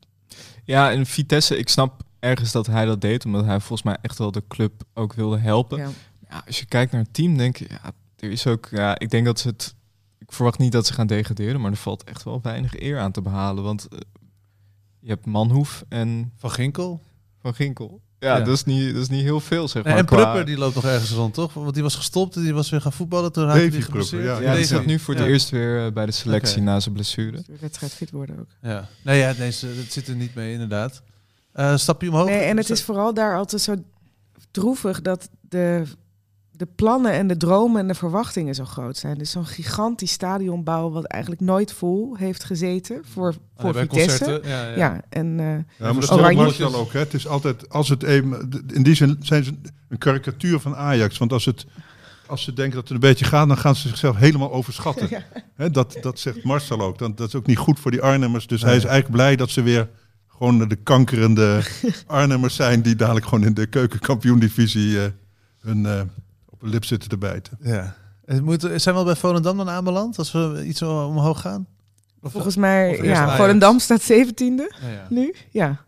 [SPEAKER 2] ja, en Vitesse, ik snap ergens dat hij dat deed, omdat hij volgens mij echt wel de club ook wilde helpen.
[SPEAKER 3] ja.
[SPEAKER 2] Ja, als je kijkt naar het team, denk ik, ja, er is ook, ja, ik denk dat ze het, ik verwacht niet dat ze gaan degraderen, maar er valt echt wel weinig eer aan te behalen, want eh, je hebt Manhoef en
[SPEAKER 6] Van Ginkel.
[SPEAKER 2] Van Ginkel. Ja,
[SPEAKER 6] Ja.
[SPEAKER 2] Dat, is niet, dat is niet heel veel, zeg maar.
[SPEAKER 6] en
[SPEAKER 2] qua-
[SPEAKER 6] Prupper die loopt nog ergens rond, toch? Want die was gestopt en die was weer gaan voetballen. Toen raakte
[SPEAKER 4] Davy
[SPEAKER 6] hij
[SPEAKER 4] Prupper,
[SPEAKER 6] geblesseerd.
[SPEAKER 4] ja.
[SPEAKER 2] Ja, die
[SPEAKER 6] Davy.
[SPEAKER 2] zit nu voor het
[SPEAKER 6] Ja.
[SPEAKER 2] eerst weer eh, bij de selectie
[SPEAKER 6] Oké.
[SPEAKER 2] na zijn blessure.
[SPEAKER 3] de wedstrijd fit worden ook.
[SPEAKER 6] Ja. Nee, ja, nee, ze- dat zit er niet mee, inderdaad. Eh stap je omhoog?
[SPEAKER 3] Nee, en het is vooral daar altijd zo droevig dat de, de plannen en de dromen en de verwachtingen zo groot zijn. Dus zo'n gigantisch stadionbouw wat eigenlijk nooit vol heeft gezeten voor, voor
[SPEAKER 6] Alleen bij
[SPEAKER 3] Vitesse.
[SPEAKER 6] concerten. Ja, ja.
[SPEAKER 3] Ja, en eh,
[SPEAKER 4] Ja, maar
[SPEAKER 6] voor
[SPEAKER 4] dat
[SPEAKER 6] de
[SPEAKER 4] is wel
[SPEAKER 3] Oranje.
[SPEAKER 4] Martial ook. Hè. Het is altijd, als het een, in die zin zijn ze een karikatuur van Ajax. Want als, het, als ze denken dat het een beetje gaat, dan gaan ze zichzelf helemaal overschatten. Hè, dat, dat zegt Marcel ook. Dan, dat is ook niet goed voor die Arnhemmers. Dus hij is eigenlijk blij dat ze weer gewoon de kankerende Arnhemmers zijn... die dadelijk gewoon in de keukenkampioendivisie eh, hun eh, op hun lip zitten te bijten.
[SPEAKER 6] Ja. Het moet, zijn we al bij Volendam dan aanbeland? Als we iets zo omhoog gaan? Of,
[SPEAKER 3] volgens
[SPEAKER 6] of
[SPEAKER 3] mij,
[SPEAKER 6] eerst Ajax.
[SPEAKER 3] ja, Volendam staat 17e
[SPEAKER 6] Ja, ja.
[SPEAKER 3] nu. Ja,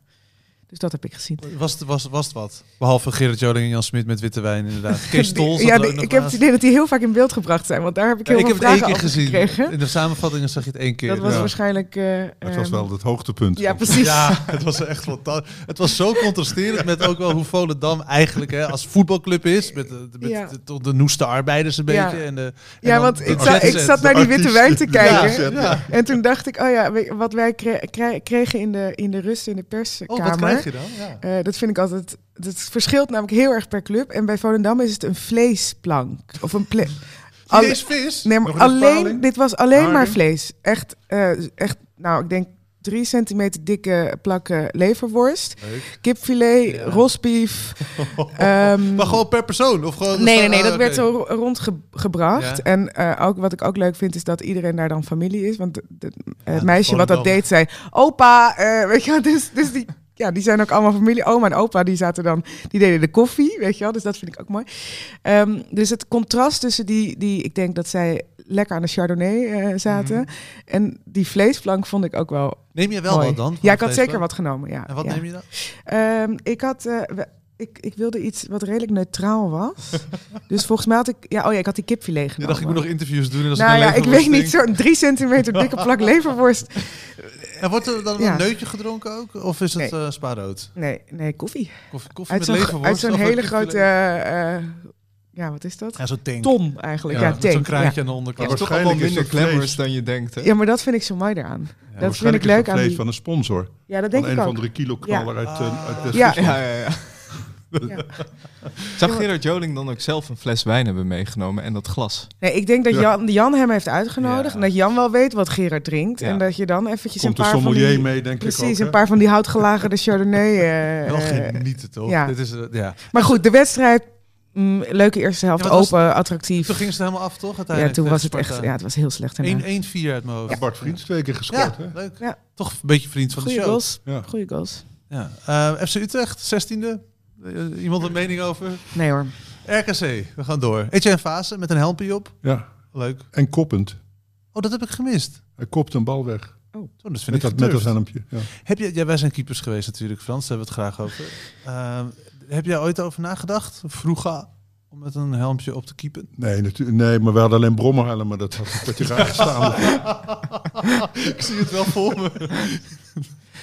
[SPEAKER 3] dus dat heb ik gezien.
[SPEAKER 6] Was, het- was, was het wat? Behalve Gerrit Joling en Jan Smit met witte wijn, inderdaad. Kees Tol zat
[SPEAKER 3] ja,
[SPEAKER 6] er
[SPEAKER 3] die-
[SPEAKER 6] ook nog
[SPEAKER 3] ik heb het
[SPEAKER 6] naast.
[SPEAKER 3] idee dat die heel vaak in beeld gebracht zijn, want daar heb ik
[SPEAKER 6] Ja,
[SPEAKER 3] heel veel
[SPEAKER 6] ik heb het één
[SPEAKER 3] vragen
[SPEAKER 6] keer
[SPEAKER 3] over
[SPEAKER 6] gezien.
[SPEAKER 3] gekregen.
[SPEAKER 6] In de samenvattingen zag je het één keer.
[SPEAKER 3] Dat was
[SPEAKER 6] Ja.
[SPEAKER 3] waarschijnlijk... eh,
[SPEAKER 4] Dat was
[SPEAKER 3] ehm,
[SPEAKER 4] wel het hoogtepunt.
[SPEAKER 3] Ja, precies.
[SPEAKER 6] Ja, het was echt fantastisch. Het was zo contrasterend met ook wel hoe Volendam eigenlijk hè, als voetbalclub is. Met, de- met
[SPEAKER 3] Ja.
[SPEAKER 6] de, toch de noeste arbeiders een
[SPEAKER 3] Ja.
[SPEAKER 6] beetje. En de, en
[SPEAKER 3] Ja,
[SPEAKER 6] dan
[SPEAKER 3] want
[SPEAKER 6] de
[SPEAKER 3] ik, zat- ik
[SPEAKER 6] jetset.
[SPEAKER 3] zat naar die witte wijn te kijken.
[SPEAKER 6] Ja, ja.
[SPEAKER 3] En toen dacht ik, oh ja, we- wat wij kre- kre- kregen in de, in de rust in de perskamer.
[SPEAKER 6] Oh, wat krijg je dan? Ja.
[SPEAKER 3] eh, dat vind ik altijd. Dat verschilt namelijk heel erg per club. En bij Volendam is het een vleesplank. Of een ple- Alle-
[SPEAKER 6] Chinees vis?
[SPEAKER 3] nee, maar
[SPEAKER 4] Nog in de
[SPEAKER 3] alleen,
[SPEAKER 4] spaling?
[SPEAKER 3] dit was alleen maar
[SPEAKER 4] Haring?
[SPEAKER 3] vlees. Echt, eh, echt, nou, ik denk drie centimeter dikke plakken leverworst. Kipfilet,
[SPEAKER 6] Ja.
[SPEAKER 3] rosbief. ehm,
[SPEAKER 6] maar gewoon per persoon? Of gewoon
[SPEAKER 3] Nee, nee, nee, dat
[SPEAKER 6] Ah,
[SPEAKER 3] werd zo
[SPEAKER 6] oké.
[SPEAKER 3] ro- rondgebracht.
[SPEAKER 6] Ja.
[SPEAKER 3] En eh, ook, wat ik ook leuk vind, is dat iedereen daar dan familie is. Want de- de- het
[SPEAKER 6] dat
[SPEAKER 3] meisje wat dat
[SPEAKER 6] Volendam.
[SPEAKER 3] deed, zei... Opa, eh, weet je wel, dus, dus die... Ja, die zijn ook allemaal familie. Oma en opa, die zaten dan... Die deden de koffie, weet je wel. Dus dat vind ik ook mooi. Ehm, dus het contrast tussen die, die... Ik denk dat zij lekker aan de Chardonnay eh, zaten. En die vleesplank vond ik ook wel
[SPEAKER 6] Neem je Mhm. wel
[SPEAKER 3] mooi.
[SPEAKER 6] wat dan?
[SPEAKER 3] Ja,
[SPEAKER 6] van
[SPEAKER 3] ik had
[SPEAKER 6] vlees
[SPEAKER 3] zeker
[SPEAKER 6] wel?
[SPEAKER 3] wat genomen, ja.
[SPEAKER 6] En wat
[SPEAKER 3] ja.
[SPEAKER 6] neem je dan?
[SPEAKER 3] Ehm, ik had. eh, we- ik, ik wilde iets wat redelijk neutraal was. dus volgens mij had ik. Ja, oh ja, ik had die kipfilet
[SPEAKER 6] Je
[SPEAKER 3] genomen.
[SPEAKER 6] dacht, ik moet nog interviews doen. En als
[SPEAKER 3] nou
[SPEAKER 6] ik
[SPEAKER 3] ja,
[SPEAKER 6] een
[SPEAKER 3] ik weet
[SPEAKER 6] leverworst
[SPEAKER 3] niet, zo'n drie centimeter dikke plak leverworst.
[SPEAKER 6] denk- En wordt er dan
[SPEAKER 3] Ja.
[SPEAKER 6] een neutje gedronken ook? Of is het
[SPEAKER 3] Nee.
[SPEAKER 6] eh spaarrood?
[SPEAKER 3] Nee, nee, koffie.
[SPEAKER 6] Koffie, koffie
[SPEAKER 3] Uit
[SPEAKER 6] met
[SPEAKER 3] zo'n,
[SPEAKER 6] leverworst?
[SPEAKER 3] uit zo'n
[SPEAKER 6] of een
[SPEAKER 3] hele
[SPEAKER 6] kipfilet?
[SPEAKER 3] grote. eh, eh, ja, wat is dat?
[SPEAKER 6] Ja, zo'n tank.
[SPEAKER 3] Ton eigenlijk. Ja,
[SPEAKER 6] met zo'n
[SPEAKER 3] tank,
[SPEAKER 6] kraantje
[SPEAKER 3] ja.
[SPEAKER 6] aan de
[SPEAKER 2] Het
[SPEAKER 6] onderkant.
[SPEAKER 2] is
[SPEAKER 4] Ja,
[SPEAKER 2] toch allemaal
[SPEAKER 4] waarschijnlijk is
[SPEAKER 2] minder
[SPEAKER 4] dat
[SPEAKER 2] glamorous
[SPEAKER 4] vlees.
[SPEAKER 2] dan je denkt, hè?
[SPEAKER 3] Ja, maar dat vind ik zo mooi daaraan. dat vind ik
[SPEAKER 4] Waarschijnlijk is
[SPEAKER 3] leuk
[SPEAKER 4] dat
[SPEAKER 3] aan
[SPEAKER 4] vlees
[SPEAKER 3] die...
[SPEAKER 4] van een sponsor.
[SPEAKER 3] Ja, dat denk
[SPEAKER 4] Van
[SPEAKER 3] ik
[SPEAKER 4] een of
[SPEAKER 3] ook.
[SPEAKER 4] andere kilo knaller uit, eh, uit de
[SPEAKER 3] Ja.
[SPEAKER 2] Ja, ja, ja.
[SPEAKER 3] Ja.
[SPEAKER 2] Zou Gerard Joling dan ook zelf een fles wijn hebben meegenomen en dat glas?
[SPEAKER 3] Nee, ik denk dat
[SPEAKER 4] Ja.
[SPEAKER 3] Jan, Jan hem heeft uitgenodigd.
[SPEAKER 6] Ja.
[SPEAKER 3] En dat Jan wel weet wat Gerard drinkt.
[SPEAKER 2] Ja.
[SPEAKER 3] En dat je dan eventjes
[SPEAKER 4] Komt de
[SPEAKER 3] een paar van
[SPEAKER 4] sommelier
[SPEAKER 3] die...
[SPEAKER 4] mee, denk ik ook.
[SPEAKER 3] Precies,
[SPEAKER 4] hè?
[SPEAKER 3] een paar van die houtgelagerde Chardonnay. eh,
[SPEAKER 6] Wel
[SPEAKER 3] eh,
[SPEAKER 6] genieten toch?
[SPEAKER 3] ja.
[SPEAKER 6] Dit is, eh, ja.
[SPEAKER 3] Maar goed, de wedstrijd, mm, leuke eerste helft,
[SPEAKER 6] Ja, want als-
[SPEAKER 3] open, attractief.
[SPEAKER 6] Toen ging ze helemaal af toch?
[SPEAKER 3] ja,
[SPEAKER 6] Uiteindelijk
[SPEAKER 3] toen
[SPEAKER 6] tegen
[SPEAKER 3] was het echt,
[SPEAKER 6] Sparta.
[SPEAKER 3] ja, het was heel slecht. daarna.
[SPEAKER 6] 1-1-4 uit mijn hoofd.
[SPEAKER 4] Ja, Bart Vriends twee keer gescoord.
[SPEAKER 6] Ja,
[SPEAKER 4] hè?
[SPEAKER 6] leuk.
[SPEAKER 3] Ja.
[SPEAKER 6] Toch een beetje vriend van
[SPEAKER 3] Goeie
[SPEAKER 6] de show.
[SPEAKER 3] goals,
[SPEAKER 4] Ja.
[SPEAKER 3] goeie goals.
[SPEAKER 6] Ja. Eh, FC Utrecht, 16e. Eh, iemand een mening over?
[SPEAKER 3] Nee hoor.
[SPEAKER 6] RKC, we gaan door. Etienne Fase met een helmpje op.
[SPEAKER 4] Ja.
[SPEAKER 6] Leuk.
[SPEAKER 4] En koppend.
[SPEAKER 6] Oh, dat heb ik gemist.
[SPEAKER 4] Hij kopt een bal weg.
[SPEAKER 6] Zo, dat vind
[SPEAKER 4] Met
[SPEAKER 6] ik
[SPEAKER 4] dat, met dat
[SPEAKER 6] gedurfd.
[SPEAKER 4] helmpje. Ja.
[SPEAKER 6] Heb je, ja, wij zijn keepers geweest natuurlijk, Frans. Daar hebben we het graag over. Ehm, heb jij ooit over nagedacht? Vroeger om met een helmpje op te keepen?
[SPEAKER 4] Nee, natuurlijk. Nee, maar we hadden alleen brommerhelmen. Maar dat had een kwartier raar gestaan.
[SPEAKER 6] ik zie het wel voor me.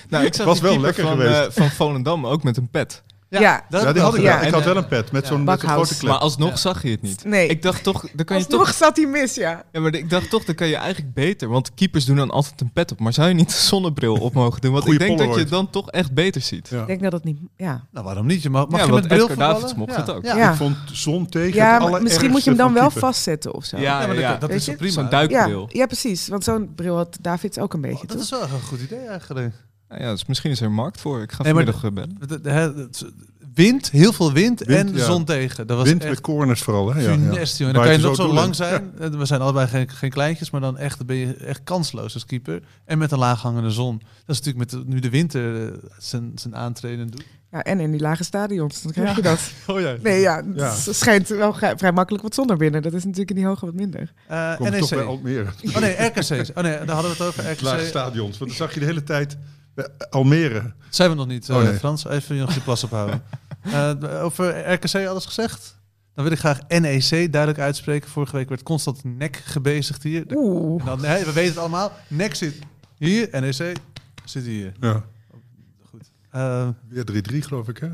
[SPEAKER 2] Nou, ik zag
[SPEAKER 4] Was
[SPEAKER 2] die
[SPEAKER 4] wel
[SPEAKER 2] keeper
[SPEAKER 4] lekker
[SPEAKER 2] van,
[SPEAKER 4] geweest.
[SPEAKER 2] eh, van Volendam ook met een pet.
[SPEAKER 3] Ja,
[SPEAKER 6] Dat
[SPEAKER 4] ja, die had ik,
[SPEAKER 3] Ja.
[SPEAKER 4] wel. ik had wel een pet met
[SPEAKER 6] Ja.
[SPEAKER 4] zo'n met zo'n
[SPEAKER 3] Bakhuis.
[SPEAKER 4] grote klep.
[SPEAKER 2] Maar alsnog zag je het niet.
[SPEAKER 3] Nee.
[SPEAKER 2] Ik dacht toch, dan kan je
[SPEAKER 3] Alsnog
[SPEAKER 2] toch.
[SPEAKER 3] zat hij mis, ja.
[SPEAKER 2] Ja, maar ik dacht toch, dan kan je eigenlijk beter. Want keepers doen dan altijd een pet op. Maar zou je niet de zonnebril op mogen doen? Want
[SPEAKER 4] Goeie
[SPEAKER 2] ik denk dat je
[SPEAKER 4] Polaroid.
[SPEAKER 2] het dan toch echt beter ziet.
[SPEAKER 4] Ja.
[SPEAKER 3] Ik denk dat dat niet... Ja,
[SPEAKER 6] Nou, waarom niet? Je mag, mag
[SPEAKER 2] Ja,
[SPEAKER 6] je
[SPEAKER 2] want
[SPEAKER 6] met bril
[SPEAKER 2] Edgar Davids
[SPEAKER 6] voetballen?
[SPEAKER 2] mocht het ook.
[SPEAKER 6] Ja,
[SPEAKER 3] Ja.
[SPEAKER 4] Ik vond zon tegen
[SPEAKER 3] ja
[SPEAKER 4] het
[SPEAKER 3] maar misschien
[SPEAKER 4] allerergste
[SPEAKER 3] moet je hem dan
[SPEAKER 4] van
[SPEAKER 3] wel
[SPEAKER 4] keeper.
[SPEAKER 3] vastzetten of zo.
[SPEAKER 2] Ja,
[SPEAKER 6] Ja, maar
[SPEAKER 2] ja,
[SPEAKER 6] dat-
[SPEAKER 2] ja.
[SPEAKER 6] dat
[SPEAKER 3] Weet
[SPEAKER 6] is
[SPEAKER 3] je?
[SPEAKER 6] toch prima? Oh,
[SPEAKER 2] Zo'n
[SPEAKER 3] ja,
[SPEAKER 2] duikbril. Ja.
[SPEAKER 3] ja, precies. Want zo'n bril had Davids ook een beetje.
[SPEAKER 6] Dat
[SPEAKER 3] toch?
[SPEAKER 6] is wel een goed idee eigenlijk.
[SPEAKER 2] ja, dus misschien is er een markt voor. Ik ga
[SPEAKER 6] Nee, maar
[SPEAKER 2] vanmiddag eh, bellen.
[SPEAKER 6] Het- het- hè, het- Wind, heel veel wind,
[SPEAKER 4] Wind,
[SPEAKER 6] en
[SPEAKER 4] ja.
[SPEAKER 6] zon tegen. Dat was
[SPEAKER 4] Wind met
[SPEAKER 6] echt
[SPEAKER 4] corners vooral. Hè? Ja, ja.
[SPEAKER 6] funest, joh. En dan
[SPEAKER 4] Waar
[SPEAKER 6] kan je
[SPEAKER 4] het
[SPEAKER 6] nog
[SPEAKER 4] zo
[SPEAKER 6] zo
[SPEAKER 4] doelen.
[SPEAKER 6] lang zijn. Eh, We zijn allebei geen, geen kleintjes, maar dan echt, dan ben je echt kansloos als keeper. En met een laaghangende zon. Dat is natuurlijk met de- nu de winter eh, zijn, zijn aantreden doet.
[SPEAKER 3] Ja, en in die lage stadions, dan krijg je dat.
[SPEAKER 6] Oh ja.
[SPEAKER 3] Nee, ja, het
[SPEAKER 4] Ja.
[SPEAKER 3] schijnt wel ge- vrij makkelijk wat zonder binnen. Dat is natuurlijk in die hoge wat minder.
[SPEAKER 6] eh,
[SPEAKER 4] Komt toch bij
[SPEAKER 6] NEC.
[SPEAKER 4] Almere.
[SPEAKER 6] E Oh nee, RKC. Oh nee, daar hadden we het over.
[SPEAKER 4] Lage
[SPEAKER 6] RKC.
[SPEAKER 4] stadions. Want dan zag je de hele tijd eh, Almere.
[SPEAKER 6] Zijn we nog niet, eh,
[SPEAKER 4] Oh, nee.
[SPEAKER 6] Frans? Even nog je plas ophouden. Eh, over RKC alles gezegd? Dan wil ik graag NEC duidelijk uitspreken. Vorige week werd constant nek gebezigd hier. De-
[SPEAKER 3] Oeh.
[SPEAKER 6] en dan, hè, we weten het allemaal. Nek zit hier, NEC zit hier.
[SPEAKER 4] Ja.
[SPEAKER 6] Eh,
[SPEAKER 4] Weer 3-3 geloof ik hè.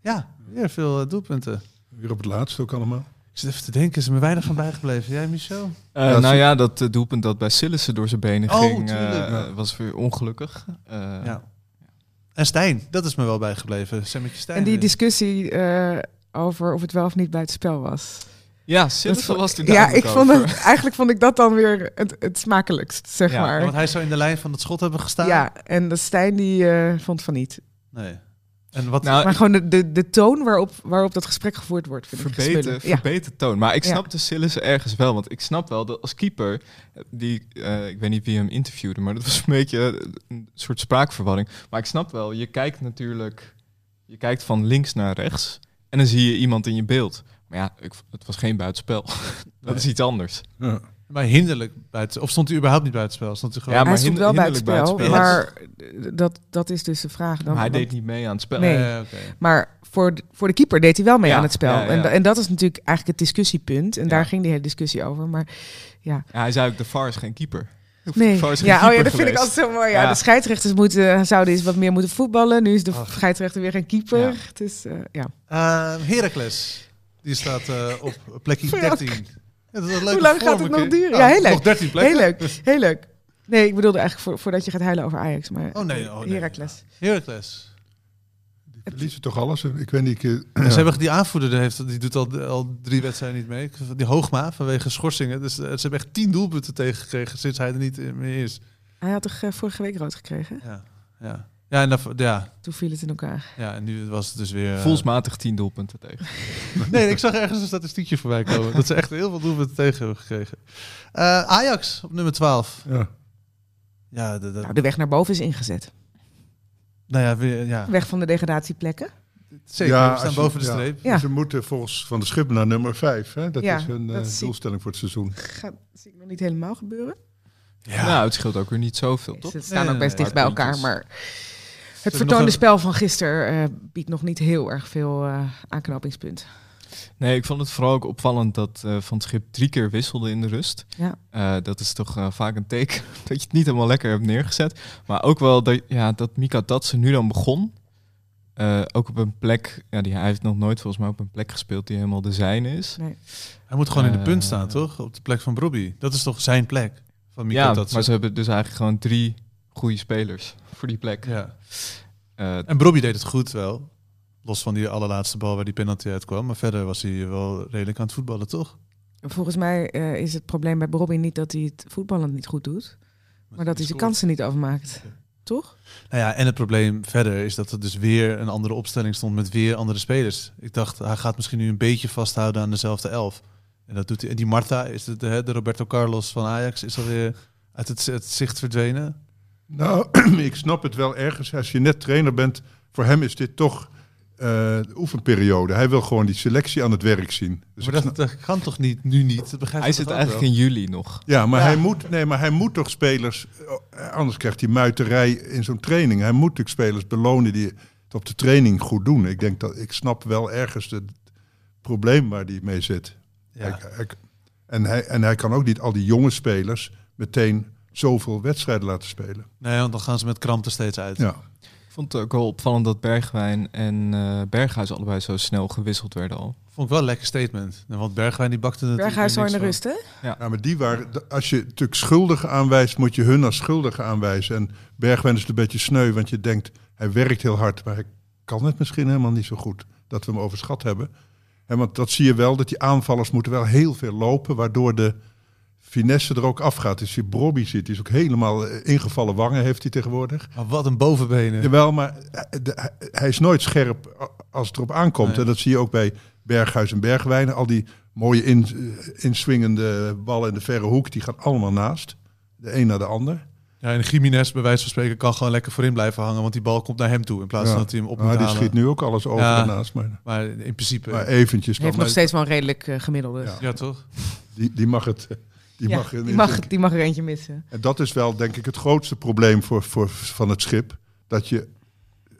[SPEAKER 6] ja, weer veel eh, doelpunten.
[SPEAKER 4] Weer op het laatst ook allemaal.
[SPEAKER 6] Ik zit even te denken, is er me weinig van bijgebleven. Jij, Michel?
[SPEAKER 2] Eh,
[SPEAKER 4] Ja,
[SPEAKER 2] nou
[SPEAKER 4] zo-
[SPEAKER 2] ja, dat eh, doelpunt dat bij Sillissen door zijn benen
[SPEAKER 6] Oh,
[SPEAKER 2] ging,
[SPEAKER 6] tuurlijk.
[SPEAKER 2] eh,
[SPEAKER 6] Ja.
[SPEAKER 2] was weer ongelukkig. Eh,
[SPEAKER 6] Ja. En Stijn, dat is me wel bijgebleven. Semmetje Stijn.
[SPEAKER 3] En die
[SPEAKER 6] weer.
[SPEAKER 3] discussie eh, over of het wel of niet bij het spel was.
[SPEAKER 2] ja,
[SPEAKER 3] Dat
[SPEAKER 2] Sillissen
[SPEAKER 3] vond-
[SPEAKER 2] was er
[SPEAKER 3] ja,
[SPEAKER 2] duidelijk
[SPEAKER 3] ik vond
[SPEAKER 2] over.
[SPEAKER 3] het, eigenlijk vond ik dat dan weer het, het smakelijkst, zeg
[SPEAKER 2] Ja,
[SPEAKER 6] Ja, want
[SPEAKER 3] maar.
[SPEAKER 6] hij zou in de lijn van het schot hebben gestaan.
[SPEAKER 3] Ja, en de Stijn die eh, vond van niet.
[SPEAKER 6] Nee. En wat,
[SPEAKER 2] Nou,
[SPEAKER 3] Maar gewoon de, de, de toon waarop, waarop dat gesprek gevoerd wordt, vind ik
[SPEAKER 2] Verbeter,
[SPEAKER 3] spullen. Ja.
[SPEAKER 2] verbeter toon. Maar ik
[SPEAKER 3] Ja.
[SPEAKER 2] snap de Sillissen ergens wel. Want ik snap wel dat als keeper, eh, die, eh, ik weet niet wie hem interviewde, maar dat was een beetje eh, een soort spraakverwarring. Maar ik snap wel, je kijkt natuurlijk, je kijkt van links naar rechts en dan zie je iemand in je beeld. Maar ja, ik, het was geen buitenspel. Dat is iets anders.
[SPEAKER 4] Ja.
[SPEAKER 6] Maar hinderlijk buiten. Of stond u überhaupt niet buitenspel? Stond u gewoon.
[SPEAKER 2] Ja,
[SPEAKER 3] Hij
[SPEAKER 2] maar
[SPEAKER 3] stond
[SPEAKER 2] hinder-
[SPEAKER 3] wel bij het spel,
[SPEAKER 2] hinderlijk bij het
[SPEAKER 3] maar eh, dat, dat is dus de vraag. Dan,
[SPEAKER 2] Maar hij
[SPEAKER 3] Want-
[SPEAKER 2] deed niet mee aan het spel.
[SPEAKER 3] Nee.
[SPEAKER 6] Eh, oké.
[SPEAKER 3] Maar voor de, voor de keeper deed hij wel mee
[SPEAKER 2] Ja,
[SPEAKER 3] aan het spel.
[SPEAKER 2] ja, ja.
[SPEAKER 3] En, da- en dat is natuurlijk eigenlijk het discussiepunt. En
[SPEAKER 2] Ja.
[SPEAKER 3] daar ging die hele discussie over. Maar
[SPEAKER 2] Ja, hij zei ook, de VAR is geen keeper.
[SPEAKER 3] nee,
[SPEAKER 2] VAR is geen
[SPEAKER 3] ja, oh ja,
[SPEAKER 2] keeper
[SPEAKER 3] dat vind ik
[SPEAKER 2] geweest.
[SPEAKER 3] altijd zo mooi. Ja,
[SPEAKER 2] Ja.
[SPEAKER 3] De scheidsrechters moeten, zouden eens wat meer moeten voetballen. Nu is de
[SPEAKER 6] Ach.
[SPEAKER 3] scheidsrechter weer geen keeper.
[SPEAKER 2] Ja.
[SPEAKER 3] Het is, eh, ja.
[SPEAKER 6] Eh, Heracles. Die staat eh, op plekje
[SPEAKER 3] Frank.
[SPEAKER 6] 13. Ja, dat is een leuke
[SPEAKER 3] Hoe lang gaat
[SPEAKER 6] vorm,
[SPEAKER 3] het
[SPEAKER 6] hè?
[SPEAKER 3] nog duren? Ja, heel
[SPEAKER 6] Nog
[SPEAKER 3] leuk.
[SPEAKER 6] 13 plekken.
[SPEAKER 3] Heel leuk. Heel leuk. Nee, ik bedoelde eigenlijk voor, voordat je gaat huilen over Ajax. Maar
[SPEAKER 6] Oh, nee, oh, nee.
[SPEAKER 3] Heracles.
[SPEAKER 6] Heracles.
[SPEAKER 4] Die verliezen toch alles. Ik weet niet. Ik, eh,
[SPEAKER 6] En Ze
[SPEAKER 4] ja.
[SPEAKER 6] hebben die aanvoerder, die, heeft, die doet al, al drie wedstrijden niet mee. Die Hoogma, vanwege schorsingen. Dus eh, ze hebben echt 10 doelpunten tegengekregen sinds hij er niet eh, meer is.
[SPEAKER 3] Hij had toch eh, vorige week rood gekregen?
[SPEAKER 6] Ja, ja. ja, en, daarvoor- ja,
[SPEAKER 3] Toen viel het in elkaar.
[SPEAKER 6] ja en nu was het dus weer... eh,
[SPEAKER 2] Voelsmatig tien doelpunten tegen.
[SPEAKER 6] Nee, ik zag ergens een statistiekje voorbij komen. dat ze echt heel veel doelpunten tegen hebben gekregen. Eh, Ajax op nummer 12.
[SPEAKER 4] Ja.
[SPEAKER 6] Ja, dat, dat-
[SPEAKER 3] Nou, de weg naar boven is ingezet.
[SPEAKER 6] nou ja, weer, ja.
[SPEAKER 3] Weg van de degradatieplekken.
[SPEAKER 6] Zeker,
[SPEAKER 4] Ja,
[SPEAKER 6] we staan
[SPEAKER 4] als je-
[SPEAKER 6] boven de
[SPEAKER 4] ja.
[SPEAKER 6] streep.
[SPEAKER 3] Ja.
[SPEAKER 4] Ze moeten volgens Van de Schip naar nummer 5. Dat
[SPEAKER 3] Ja,
[SPEAKER 4] is hun eh,
[SPEAKER 3] dat zie ik.
[SPEAKER 4] doelstelling voor het seizoen.
[SPEAKER 3] Gaat, zie ik nog niet helemaal gebeuren.
[SPEAKER 2] Nou, het scheelt ook weer niet zoveel,
[SPEAKER 3] Nee,
[SPEAKER 2] toch?
[SPEAKER 3] Ze staan
[SPEAKER 6] Nee,
[SPEAKER 3] ook
[SPEAKER 6] nee,
[SPEAKER 3] best
[SPEAKER 6] nee,
[SPEAKER 3] dicht bij
[SPEAKER 2] maar
[SPEAKER 3] elkaar,
[SPEAKER 2] puntjes.
[SPEAKER 3] maar het
[SPEAKER 6] hebben
[SPEAKER 3] vertoonde
[SPEAKER 6] nog een-
[SPEAKER 3] spel van gisteren eh, biedt nog niet heel erg veel eh, aanknopingspunt.
[SPEAKER 2] Nee, ik vond het vooral ook opvallend dat eh, Van het Schip drie keer wisselde in de rust.
[SPEAKER 3] Ja.
[SPEAKER 2] Eh, dat is toch eh, vaak een teken dat je het niet helemaal lekker hebt neergezet. Maar ook wel dat, ja, dat Mika Datsen nu dan begon. Eh, ook op een plek, ja, die, hij heeft nog nooit volgens mij op een plek gespeeld die helemaal de zijne is.
[SPEAKER 6] Hij moet gewoon in de punt
[SPEAKER 2] Eh,
[SPEAKER 6] staan, toch? Op de plek van Bobby. Dat is toch zijn plek? Van Mika
[SPEAKER 2] ja,
[SPEAKER 6] Tatsen.
[SPEAKER 2] maar ze hebben dus eigenlijk gewoon drie goede spelers voor die plek.
[SPEAKER 6] ja.
[SPEAKER 2] Eh,
[SPEAKER 6] En Bobby deed het goed wel. Los van die allerlaatste bal waar die penalty uitkwam. Maar verder was hij wel redelijk aan het voetballen, toch?
[SPEAKER 3] Volgens mij eh, is het probleem bij Robin niet dat hij het voetballen niet goed doet, maar dat hij zijn kansen niet afmaakt. Toch?
[SPEAKER 6] Nou ja, en het probleem verder is dat er dus weer een andere opstelling stond met weer andere spelers. Ik dacht, hij gaat misschien nu een beetje vasthouden aan dezelfde elf. En dat doet hij. En die Marta, is de, de, de Roberto Carlos van Ajax, is alweer uit het, het zicht verdwenen.
[SPEAKER 4] Nou, ik snap het wel ergens. Als je net trainer bent, voor hem is dit toch eh, de oefenperiode. Hij wil gewoon die selectie aan het werk zien. Dus
[SPEAKER 6] maar
[SPEAKER 4] ik
[SPEAKER 6] dat,
[SPEAKER 4] snap-
[SPEAKER 6] dat kan toch niet, nu niet? Dat begrijp
[SPEAKER 2] hij
[SPEAKER 6] ik
[SPEAKER 2] zit
[SPEAKER 6] toch ook
[SPEAKER 2] eigenlijk
[SPEAKER 6] wel?
[SPEAKER 2] in juli nog.
[SPEAKER 4] ja, maar,
[SPEAKER 6] Ja.
[SPEAKER 4] Hij moet, nee, maar hij moet toch spelers... eh, Anders krijgt hij muiterij in zo'n training. Hij moet natuurlijk spelers belonen die het op de training goed doen. Ik, denk dat, ik snap wel ergens het probleem waar hij mee zit.
[SPEAKER 6] Ja.
[SPEAKER 4] Hij- hij- en, hij, en hij kan ook niet al die jonge spelers meteen zoveel wedstrijden laten spelen.
[SPEAKER 6] Nee, want dan gaan ze met krampen steeds uit.
[SPEAKER 4] Ja.
[SPEAKER 2] Ik vond het ook wel opvallend dat Bergwijn en eh, Berghuis allebei zo snel gewisseld werden al.
[SPEAKER 6] Vond ik wel een lekker statement. Nou, Want Bergwijn die bakte natuurlijk
[SPEAKER 3] Berghuis
[SPEAKER 6] niks
[SPEAKER 3] hoor in de
[SPEAKER 6] van.
[SPEAKER 3] rust, hè?
[SPEAKER 4] Ja, maar die waren, d- als je natuurlijk schuldigen aanwijst, moet je hun als schuldigen aanwijzen. En Bergwijn is het een beetje sneu, want je denkt, hij werkt heel hard, maar hij kan het misschien helemaal niet zo goed. Dat we hem overschat hebben. En want dat zie je wel, dat die aanvallers moeten wel heel veel lopen, waardoor de finesse er ook afgaat. Dus je Brobby zit, die is ook helemaal eh, ingevallen wangen heeft hij tegenwoordig.
[SPEAKER 6] Maar wat een bovenbenen.
[SPEAKER 4] Jawel, maar eh, de- hij- hij is nooit scherp a- als het erop aankomt.
[SPEAKER 6] Nee.
[SPEAKER 4] En dat zie je ook bij Berghuis en Bergwijnen. Al die mooie in, eh, inswingende ballen in de verre hoek, die gaan allemaal naast. De een naar de ander.
[SPEAKER 6] Ja, en Jiménez, bij wijze van spreken, kan gewoon lekker voorin blijven hangen. Want die bal komt naar hem toe. In plaats
[SPEAKER 4] Ja.
[SPEAKER 6] van dat hij hem op moet
[SPEAKER 4] maar die
[SPEAKER 6] halen.
[SPEAKER 4] schiet nu ook alles over
[SPEAKER 6] Ja.
[SPEAKER 4] en naast. Maar,
[SPEAKER 6] Maar in principe...
[SPEAKER 4] maar eventjes nog.
[SPEAKER 3] Heeft nog
[SPEAKER 4] maar
[SPEAKER 3] steeds wel een redelijk eh, gemiddelde.
[SPEAKER 4] Ja.
[SPEAKER 6] ja, toch?
[SPEAKER 4] Die, die mag het. eh, Die
[SPEAKER 3] Ja,
[SPEAKER 4] mag, er
[SPEAKER 3] die,
[SPEAKER 4] niet
[SPEAKER 3] mag,
[SPEAKER 4] in.
[SPEAKER 3] die mag er eentje missen.
[SPEAKER 4] En dat is wel, denk ik, het grootste probleem voor, voor, van het schip. Dat je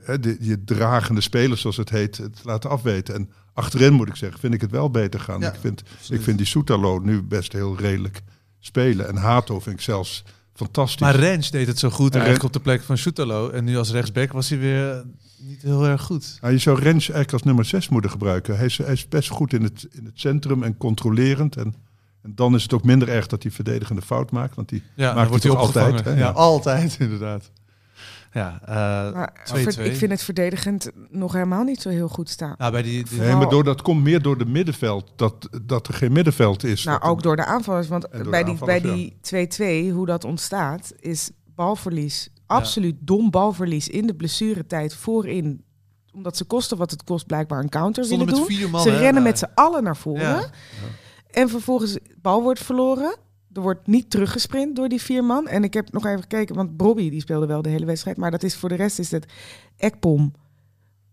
[SPEAKER 4] hè, de, je dragende spelers, zoals het heet, het laten afweten. En achterin, moet ik zeggen, vind ik het wel beter gaan.
[SPEAKER 6] Ja,
[SPEAKER 4] ik, vind,
[SPEAKER 6] absoluut.
[SPEAKER 4] ik vind die Soetalo nu best heel redelijk spelen. En Hato vind ik zelfs fantastisch.
[SPEAKER 6] Maar Rens deed het zo goed
[SPEAKER 4] Ja,
[SPEAKER 6] eigenlijk
[SPEAKER 4] Ren-
[SPEAKER 6] op de plek van Schutalo. En nu als rechtsback was hij weer eh, niet heel erg goed.
[SPEAKER 4] Nou, je zou Rens eigenlijk als nummer 6 moeten gebruiken. Hij is, hij is best goed in het, in het centrum en controlerend. En, en dan is het ook minder erg dat hij verdedigende fout maakt. Want die
[SPEAKER 6] Ja,
[SPEAKER 4] hij
[SPEAKER 6] dan wordt hij
[SPEAKER 4] toch altijd,
[SPEAKER 6] opgevangen.
[SPEAKER 4] hè?
[SPEAKER 6] ja.
[SPEAKER 4] Ja.
[SPEAKER 6] altijd inderdaad. Ja, eh,
[SPEAKER 3] Maar
[SPEAKER 6] 2-2.
[SPEAKER 3] ik vind het verdedigend nog helemaal niet zo heel goed staan.
[SPEAKER 6] nou, bij die, die-
[SPEAKER 4] Nee, maar door, dat komt meer door de middenveld. Dat, dat er geen middenveld is.
[SPEAKER 3] Nou,
[SPEAKER 4] Dat-
[SPEAKER 3] ook door de aanvallers. Want
[SPEAKER 4] En door
[SPEAKER 3] bij,
[SPEAKER 4] de
[SPEAKER 3] die,
[SPEAKER 4] aanvallers,
[SPEAKER 3] bij die 2-2, hoe dat ontstaat, is balverlies. Absoluut dom balverlies in de blessuretijd voorin. Omdat ze kosten wat het kost blijkbaar een counter
[SPEAKER 6] stonden
[SPEAKER 3] willen
[SPEAKER 6] met
[SPEAKER 3] doen.
[SPEAKER 6] vier man.
[SPEAKER 3] ze
[SPEAKER 6] hè?
[SPEAKER 3] rennen met
[SPEAKER 6] Ja.
[SPEAKER 3] z'n allen naar voren.
[SPEAKER 6] Ja.
[SPEAKER 3] En vervolgens, bal wordt verloren. Er wordt niet teruggesprint door die vier man. En ik heb nog even gekeken, want Bobby die speelde wel de hele wedstrijd. Maar dat is voor de rest is het Ekpom,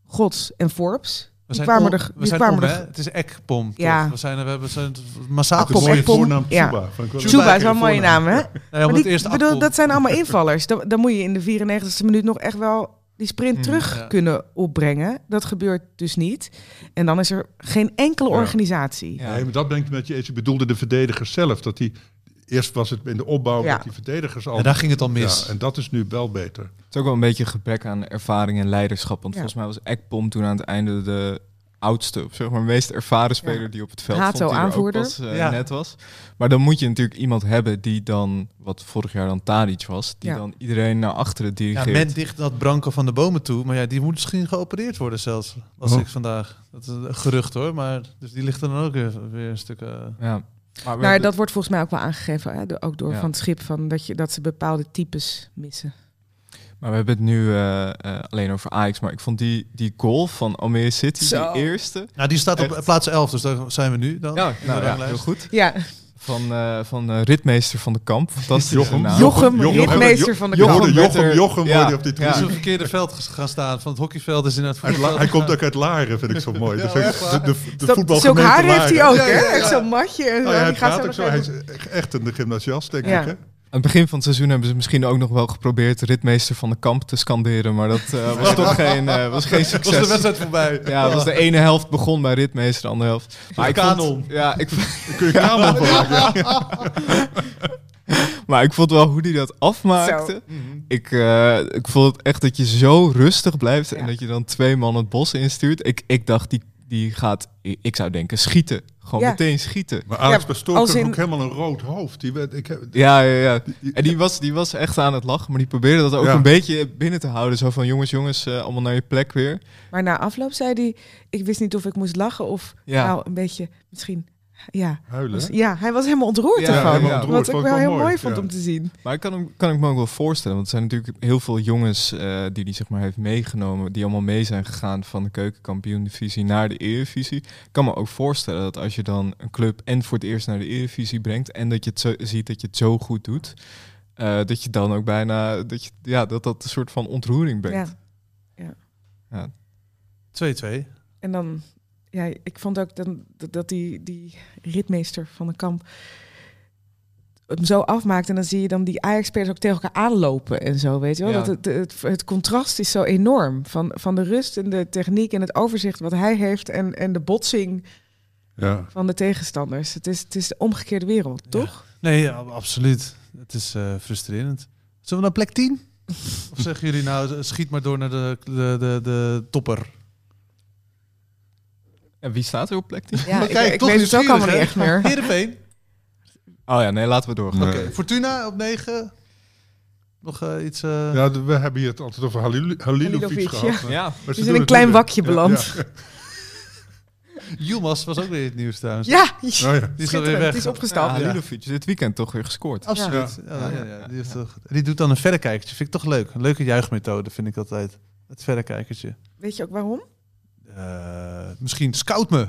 [SPEAKER 3] Gods en Forbes.
[SPEAKER 6] We
[SPEAKER 3] Die
[SPEAKER 6] zijn
[SPEAKER 3] kwamen
[SPEAKER 6] om-
[SPEAKER 3] er-
[SPEAKER 6] we
[SPEAKER 3] die
[SPEAKER 6] zijn
[SPEAKER 3] kwamen
[SPEAKER 6] om,
[SPEAKER 3] er-
[SPEAKER 6] hè? Het is ekpom. toch?
[SPEAKER 3] Ja.
[SPEAKER 6] We zijn er- we hebben we zijn massaal
[SPEAKER 4] Het is een mooie
[SPEAKER 3] Ekpom,
[SPEAKER 4] voornaam
[SPEAKER 3] ja.
[SPEAKER 4] Tsuba. Vond ik wel-
[SPEAKER 6] Tsuba
[SPEAKER 3] Chuba is wel een mooie naam, hè?
[SPEAKER 6] Nee, om
[SPEAKER 3] Maar
[SPEAKER 6] het
[SPEAKER 3] die-
[SPEAKER 6] eerst
[SPEAKER 3] bedoel,
[SPEAKER 6] Akpom.
[SPEAKER 3] dat zijn allemaal invallers. Dan, dan moet je in de 94e minuut nog echt wel die sprint
[SPEAKER 2] Mm,
[SPEAKER 3] terug
[SPEAKER 6] ja.
[SPEAKER 3] kunnen opbrengen. Dat gebeurt dus niet. En dan is er geen enkele
[SPEAKER 4] Ja.
[SPEAKER 3] organisatie.
[SPEAKER 2] Ja.
[SPEAKER 4] Nee, maar dat brengt met je eens. Ik bedoelde de verdedigers zelf. Dat die, eerst was het in de opbouw
[SPEAKER 3] Ja.
[SPEAKER 4] dat die verdedigers al...
[SPEAKER 6] Oh. En daar ging het al mis.
[SPEAKER 4] Ja, en dat is nu wel beter.
[SPEAKER 2] Het is ook wel een beetje een gebrek aan ervaring en leiderschap. Want
[SPEAKER 3] Ja.
[SPEAKER 2] volgens mij was Ekpom toen aan het einde de oudste, of zeg maar, meest ervaren speler
[SPEAKER 3] Ja.
[SPEAKER 2] die op het veld
[SPEAKER 3] Hato,
[SPEAKER 2] stond. Die er ook
[SPEAKER 3] aanvoerder.
[SPEAKER 2] pas, eh,
[SPEAKER 6] Ja.
[SPEAKER 2] net was. Maar dan moet je natuurlijk iemand hebben die dan, wat vorig jaar dan Tadic was, die
[SPEAKER 3] Ja.
[SPEAKER 2] dan iedereen naar achteren
[SPEAKER 6] Ja,
[SPEAKER 2] dirigeert.
[SPEAKER 6] men dicht dat Branco van de bomen toe. Maar ja, die moet misschien geopereerd worden zelfs. Als
[SPEAKER 2] Oh.
[SPEAKER 6] ik vandaag. Dat is een gerucht hoor. Maar dus die ligt er dan ook weer, weer een stuk. eh,
[SPEAKER 2] Ja. Maar we
[SPEAKER 3] Nou,
[SPEAKER 2] hebben-
[SPEAKER 3] dat wordt volgens mij ook wel aangegeven, hè? de- ook door
[SPEAKER 2] Ja.
[SPEAKER 3] van het schip, van dat, je, dat ze bepaalde types missen.
[SPEAKER 2] Maar we hebben het nu eh, eh, alleen over Ajax. Maar ik vond die, die goal van Almere City,
[SPEAKER 3] Zo.
[SPEAKER 2] die eerste.
[SPEAKER 6] Nou, die staat op
[SPEAKER 2] Echt?
[SPEAKER 6] plaats 11, dus daar zijn we nu dan.
[SPEAKER 2] Ja,
[SPEAKER 6] in de
[SPEAKER 2] nou ja,
[SPEAKER 6] ranglijst.
[SPEAKER 2] heel goed.
[SPEAKER 3] Ja,
[SPEAKER 2] Van, eh, van eh, ritmeester van de kamp. Fantastische
[SPEAKER 4] Jochem.
[SPEAKER 2] naam.
[SPEAKER 3] Jochem,
[SPEAKER 4] Jochem-
[SPEAKER 3] ritmeester van de
[SPEAKER 4] Jochem-
[SPEAKER 3] kamp.
[SPEAKER 2] werd er-
[SPEAKER 4] Jochem hoorde je op die
[SPEAKER 6] Die is
[SPEAKER 2] ja.
[SPEAKER 6] op het verkeerde veld ges- gaan staan. Van het hockeyveld is in het
[SPEAKER 4] Hij, la- hij komt ook uit Laren, vind ik zo mooi. Dat vind ik- de de, de,
[SPEAKER 3] Dat-
[SPEAKER 4] voetbalgemeente
[SPEAKER 3] Zulk haar heeft hij
[SPEAKER 4] Laren.
[SPEAKER 3] ook,
[SPEAKER 4] Ja, ja,
[SPEAKER 3] hè?
[SPEAKER 4] ja.
[SPEAKER 3] Echt zo'n matje. En zo.
[SPEAKER 4] Nou ja, hij
[SPEAKER 3] die gaat
[SPEAKER 4] praat
[SPEAKER 3] zo
[SPEAKER 4] ook
[SPEAKER 3] nog
[SPEAKER 4] zo. Hij
[SPEAKER 3] even-
[SPEAKER 4] is e- echt een gymnasiast, denk
[SPEAKER 3] Ja.
[SPEAKER 4] ik. Hè?
[SPEAKER 2] Aan het begin van het seizoen hebben ze misschien ook nog wel geprobeerd ritmeester van de kamp te scanderen, maar dat eh, was toch geen, eh, was geen
[SPEAKER 6] Was de
[SPEAKER 2] succes.
[SPEAKER 6] wedstrijd voorbij.
[SPEAKER 2] Ja, was de ene helft begon bij ritmeester, de andere helft. Maar ik
[SPEAKER 6] Kanon.
[SPEAKER 2] vond, ja, ik, vond-
[SPEAKER 4] Dan kun je kamer van maken.
[SPEAKER 2] maar ik vond wel hoe die dat afmaakte.
[SPEAKER 3] Mhm.
[SPEAKER 2] Ik, eh, ik vond het echt dat je zo rustig blijft en
[SPEAKER 3] Ja.
[SPEAKER 2] dat je dan twee man het bos instuurt. Ik, ik dacht, die, die gaat, ik ik zou denken, schieten. Gewoon
[SPEAKER 3] Ja.
[SPEAKER 2] meteen schieten.
[SPEAKER 4] Maar Alex
[SPEAKER 3] Ja,
[SPEAKER 4] Pastoor
[SPEAKER 3] als
[SPEAKER 4] kreeg
[SPEAKER 3] in-
[SPEAKER 4] ook helemaal een rood hoofd. Die werd, ik, heb-
[SPEAKER 2] Ja, ja, ja. En die was, die was echt aan het lachen, maar die probeerde dat ook
[SPEAKER 4] Ja.
[SPEAKER 2] een beetje binnen te houden. Zo van, jongens, jongens, eh, allemaal naar je plek weer.
[SPEAKER 3] Maar na afloop zei hij, ik wist niet of ik moest lachen of
[SPEAKER 2] Ja.
[SPEAKER 3] nou een beetje misschien... Ja,
[SPEAKER 4] huilen.
[SPEAKER 3] was-
[SPEAKER 4] hè?
[SPEAKER 3] ja, hij was helemaal ontroerd
[SPEAKER 2] Ja,
[SPEAKER 3] ervan.
[SPEAKER 2] helemaal
[SPEAKER 4] ontroerd.
[SPEAKER 3] Wat
[SPEAKER 4] Vond
[SPEAKER 3] ik
[SPEAKER 4] ik
[SPEAKER 3] wel
[SPEAKER 4] wel
[SPEAKER 3] heel mooi
[SPEAKER 4] mooi,
[SPEAKER 3] vond
[SPEAKER 4] ja.
[SPEAKER 3] om te zien.
[SPEAKER 2] Maar ik kan, hem- kan ik me ook wel voorstellen, want er zijn natuurlijk heel veel jongens eh, die hij zeg maar, heeft meegenomen, die allemaal mee zijn gegaan van de keukenkampioen-divisie naar de Eredivisie. Ik kan me ook voorstellen dat als je dan een club en voor het eerst naar de Eredivisie brengt en dat je het zo, ziet dat je het zo goed doet, eh, dat je dan ook bijna, dat, je, ja, dat dat een soort van ontroering
[SPEAKER 3] Ja.
[SPEAKER 2] brengt.
[SPEAKER 6] 2-2.
[SPEAKER 3] En dan, ja, ik vond ook dan, dat, dat die, die ritmeester van de kamp hem zo afmaakt. En dan zie je dan die Ajax-spelers ook tegen elkaar aanlopen en zo, weet je wel.
[SPEAKER 2] Ja.
[SPEAKER 3] Dat het, het, het contrast is zo enorm. Van, van de rust en de techniek en het overzicht wat hij heeft en, en de botsing
[SPEAKER 4] Ja.
[SPEAKER 3] van de tegenstanders. Het is, het is de omgekeerde wereld,
[SPEAKER 6] Ja.
[SPEAKER 3] toch?
[SPEAKER 6] Nee, ja, absoluut. Het is eh, frustrerend. Zullen we naar plek 10? Of zeggen jullie nou, schiet maar door naar de, de, de, de topper?
[SPEAKER 2] En wie staat er op plek 10?
[SPEAKER 3] Ja,
[SPEAKER 6] Maar
[SPEAKER 3] ik,
[SPEAKER 6] kijk,
[SPEAKER 3] ik
[SPEAKER 6] toch
[SPEAKER 3] weet het ook
[SPEAKER 6] nieuwsgierig,
[SPEAKER 3] allemaal niet
[SPEAKER 6] hè?
[SPEAKER 3] echt meer.
[SPEAKER 6] Heerenveen.
[SPEAKER 2] Oh ja, nee, laten we doorgaan.
[SPEAKER 4] Nee.
[SPEAKER 6] Oké, Fortuna op 9. Nog eh, iets... eh,
[SPEAKER 4] Ja, de- we hebben hier het altijd over Halil- Halilovic
[SPEAKER 3] Halilovic,
[SPEAKER 4] gehad.
[SPEAKER 2] Ja. Ja.
[SPEAKER 4] Maar ze
[SPEAKER 3] We zijn
[SPEAKER 4] doen
[SPEAKER 3] in een
[SPEAKER 4] het
[SPEAKER 3] klein
[SPEAKER 4] niet meer.
[SPEAKER 3] wakje
[SPEAKER 4] Ja,
[SPEAKER 3] beland.
[SPEAKER 4] ja.
[SPEAKER 6] Yilmaz was ook weer in het nieuws trouwens.
[SPEAKER 3] Ja,
[SPEAKER 6] Die
[SPEAKER 4] Nou ja.
[SPEAKER 6] is alweer
[SPEAKER 3] schitterend.
[SPEAKER 6] weg.
[SPEAKER 3] Het is opgestapt.
[SPEAKER 6] Ja.
[SPEAKER 2] Halilovic, dit weekend toch weer gescoord.
[SPEAKER 6] Absoluut. Ja. Ja, ja, die, heeft toch- die doet dan een verrekijkertje. Vind ik toch leuk. Een leuke juichmethode vind ik altijd. Het verrekijkertje.
[SPEAKER 3] Weet je ook waarom?
[SPEAKER 6] Eh, misschien scout me.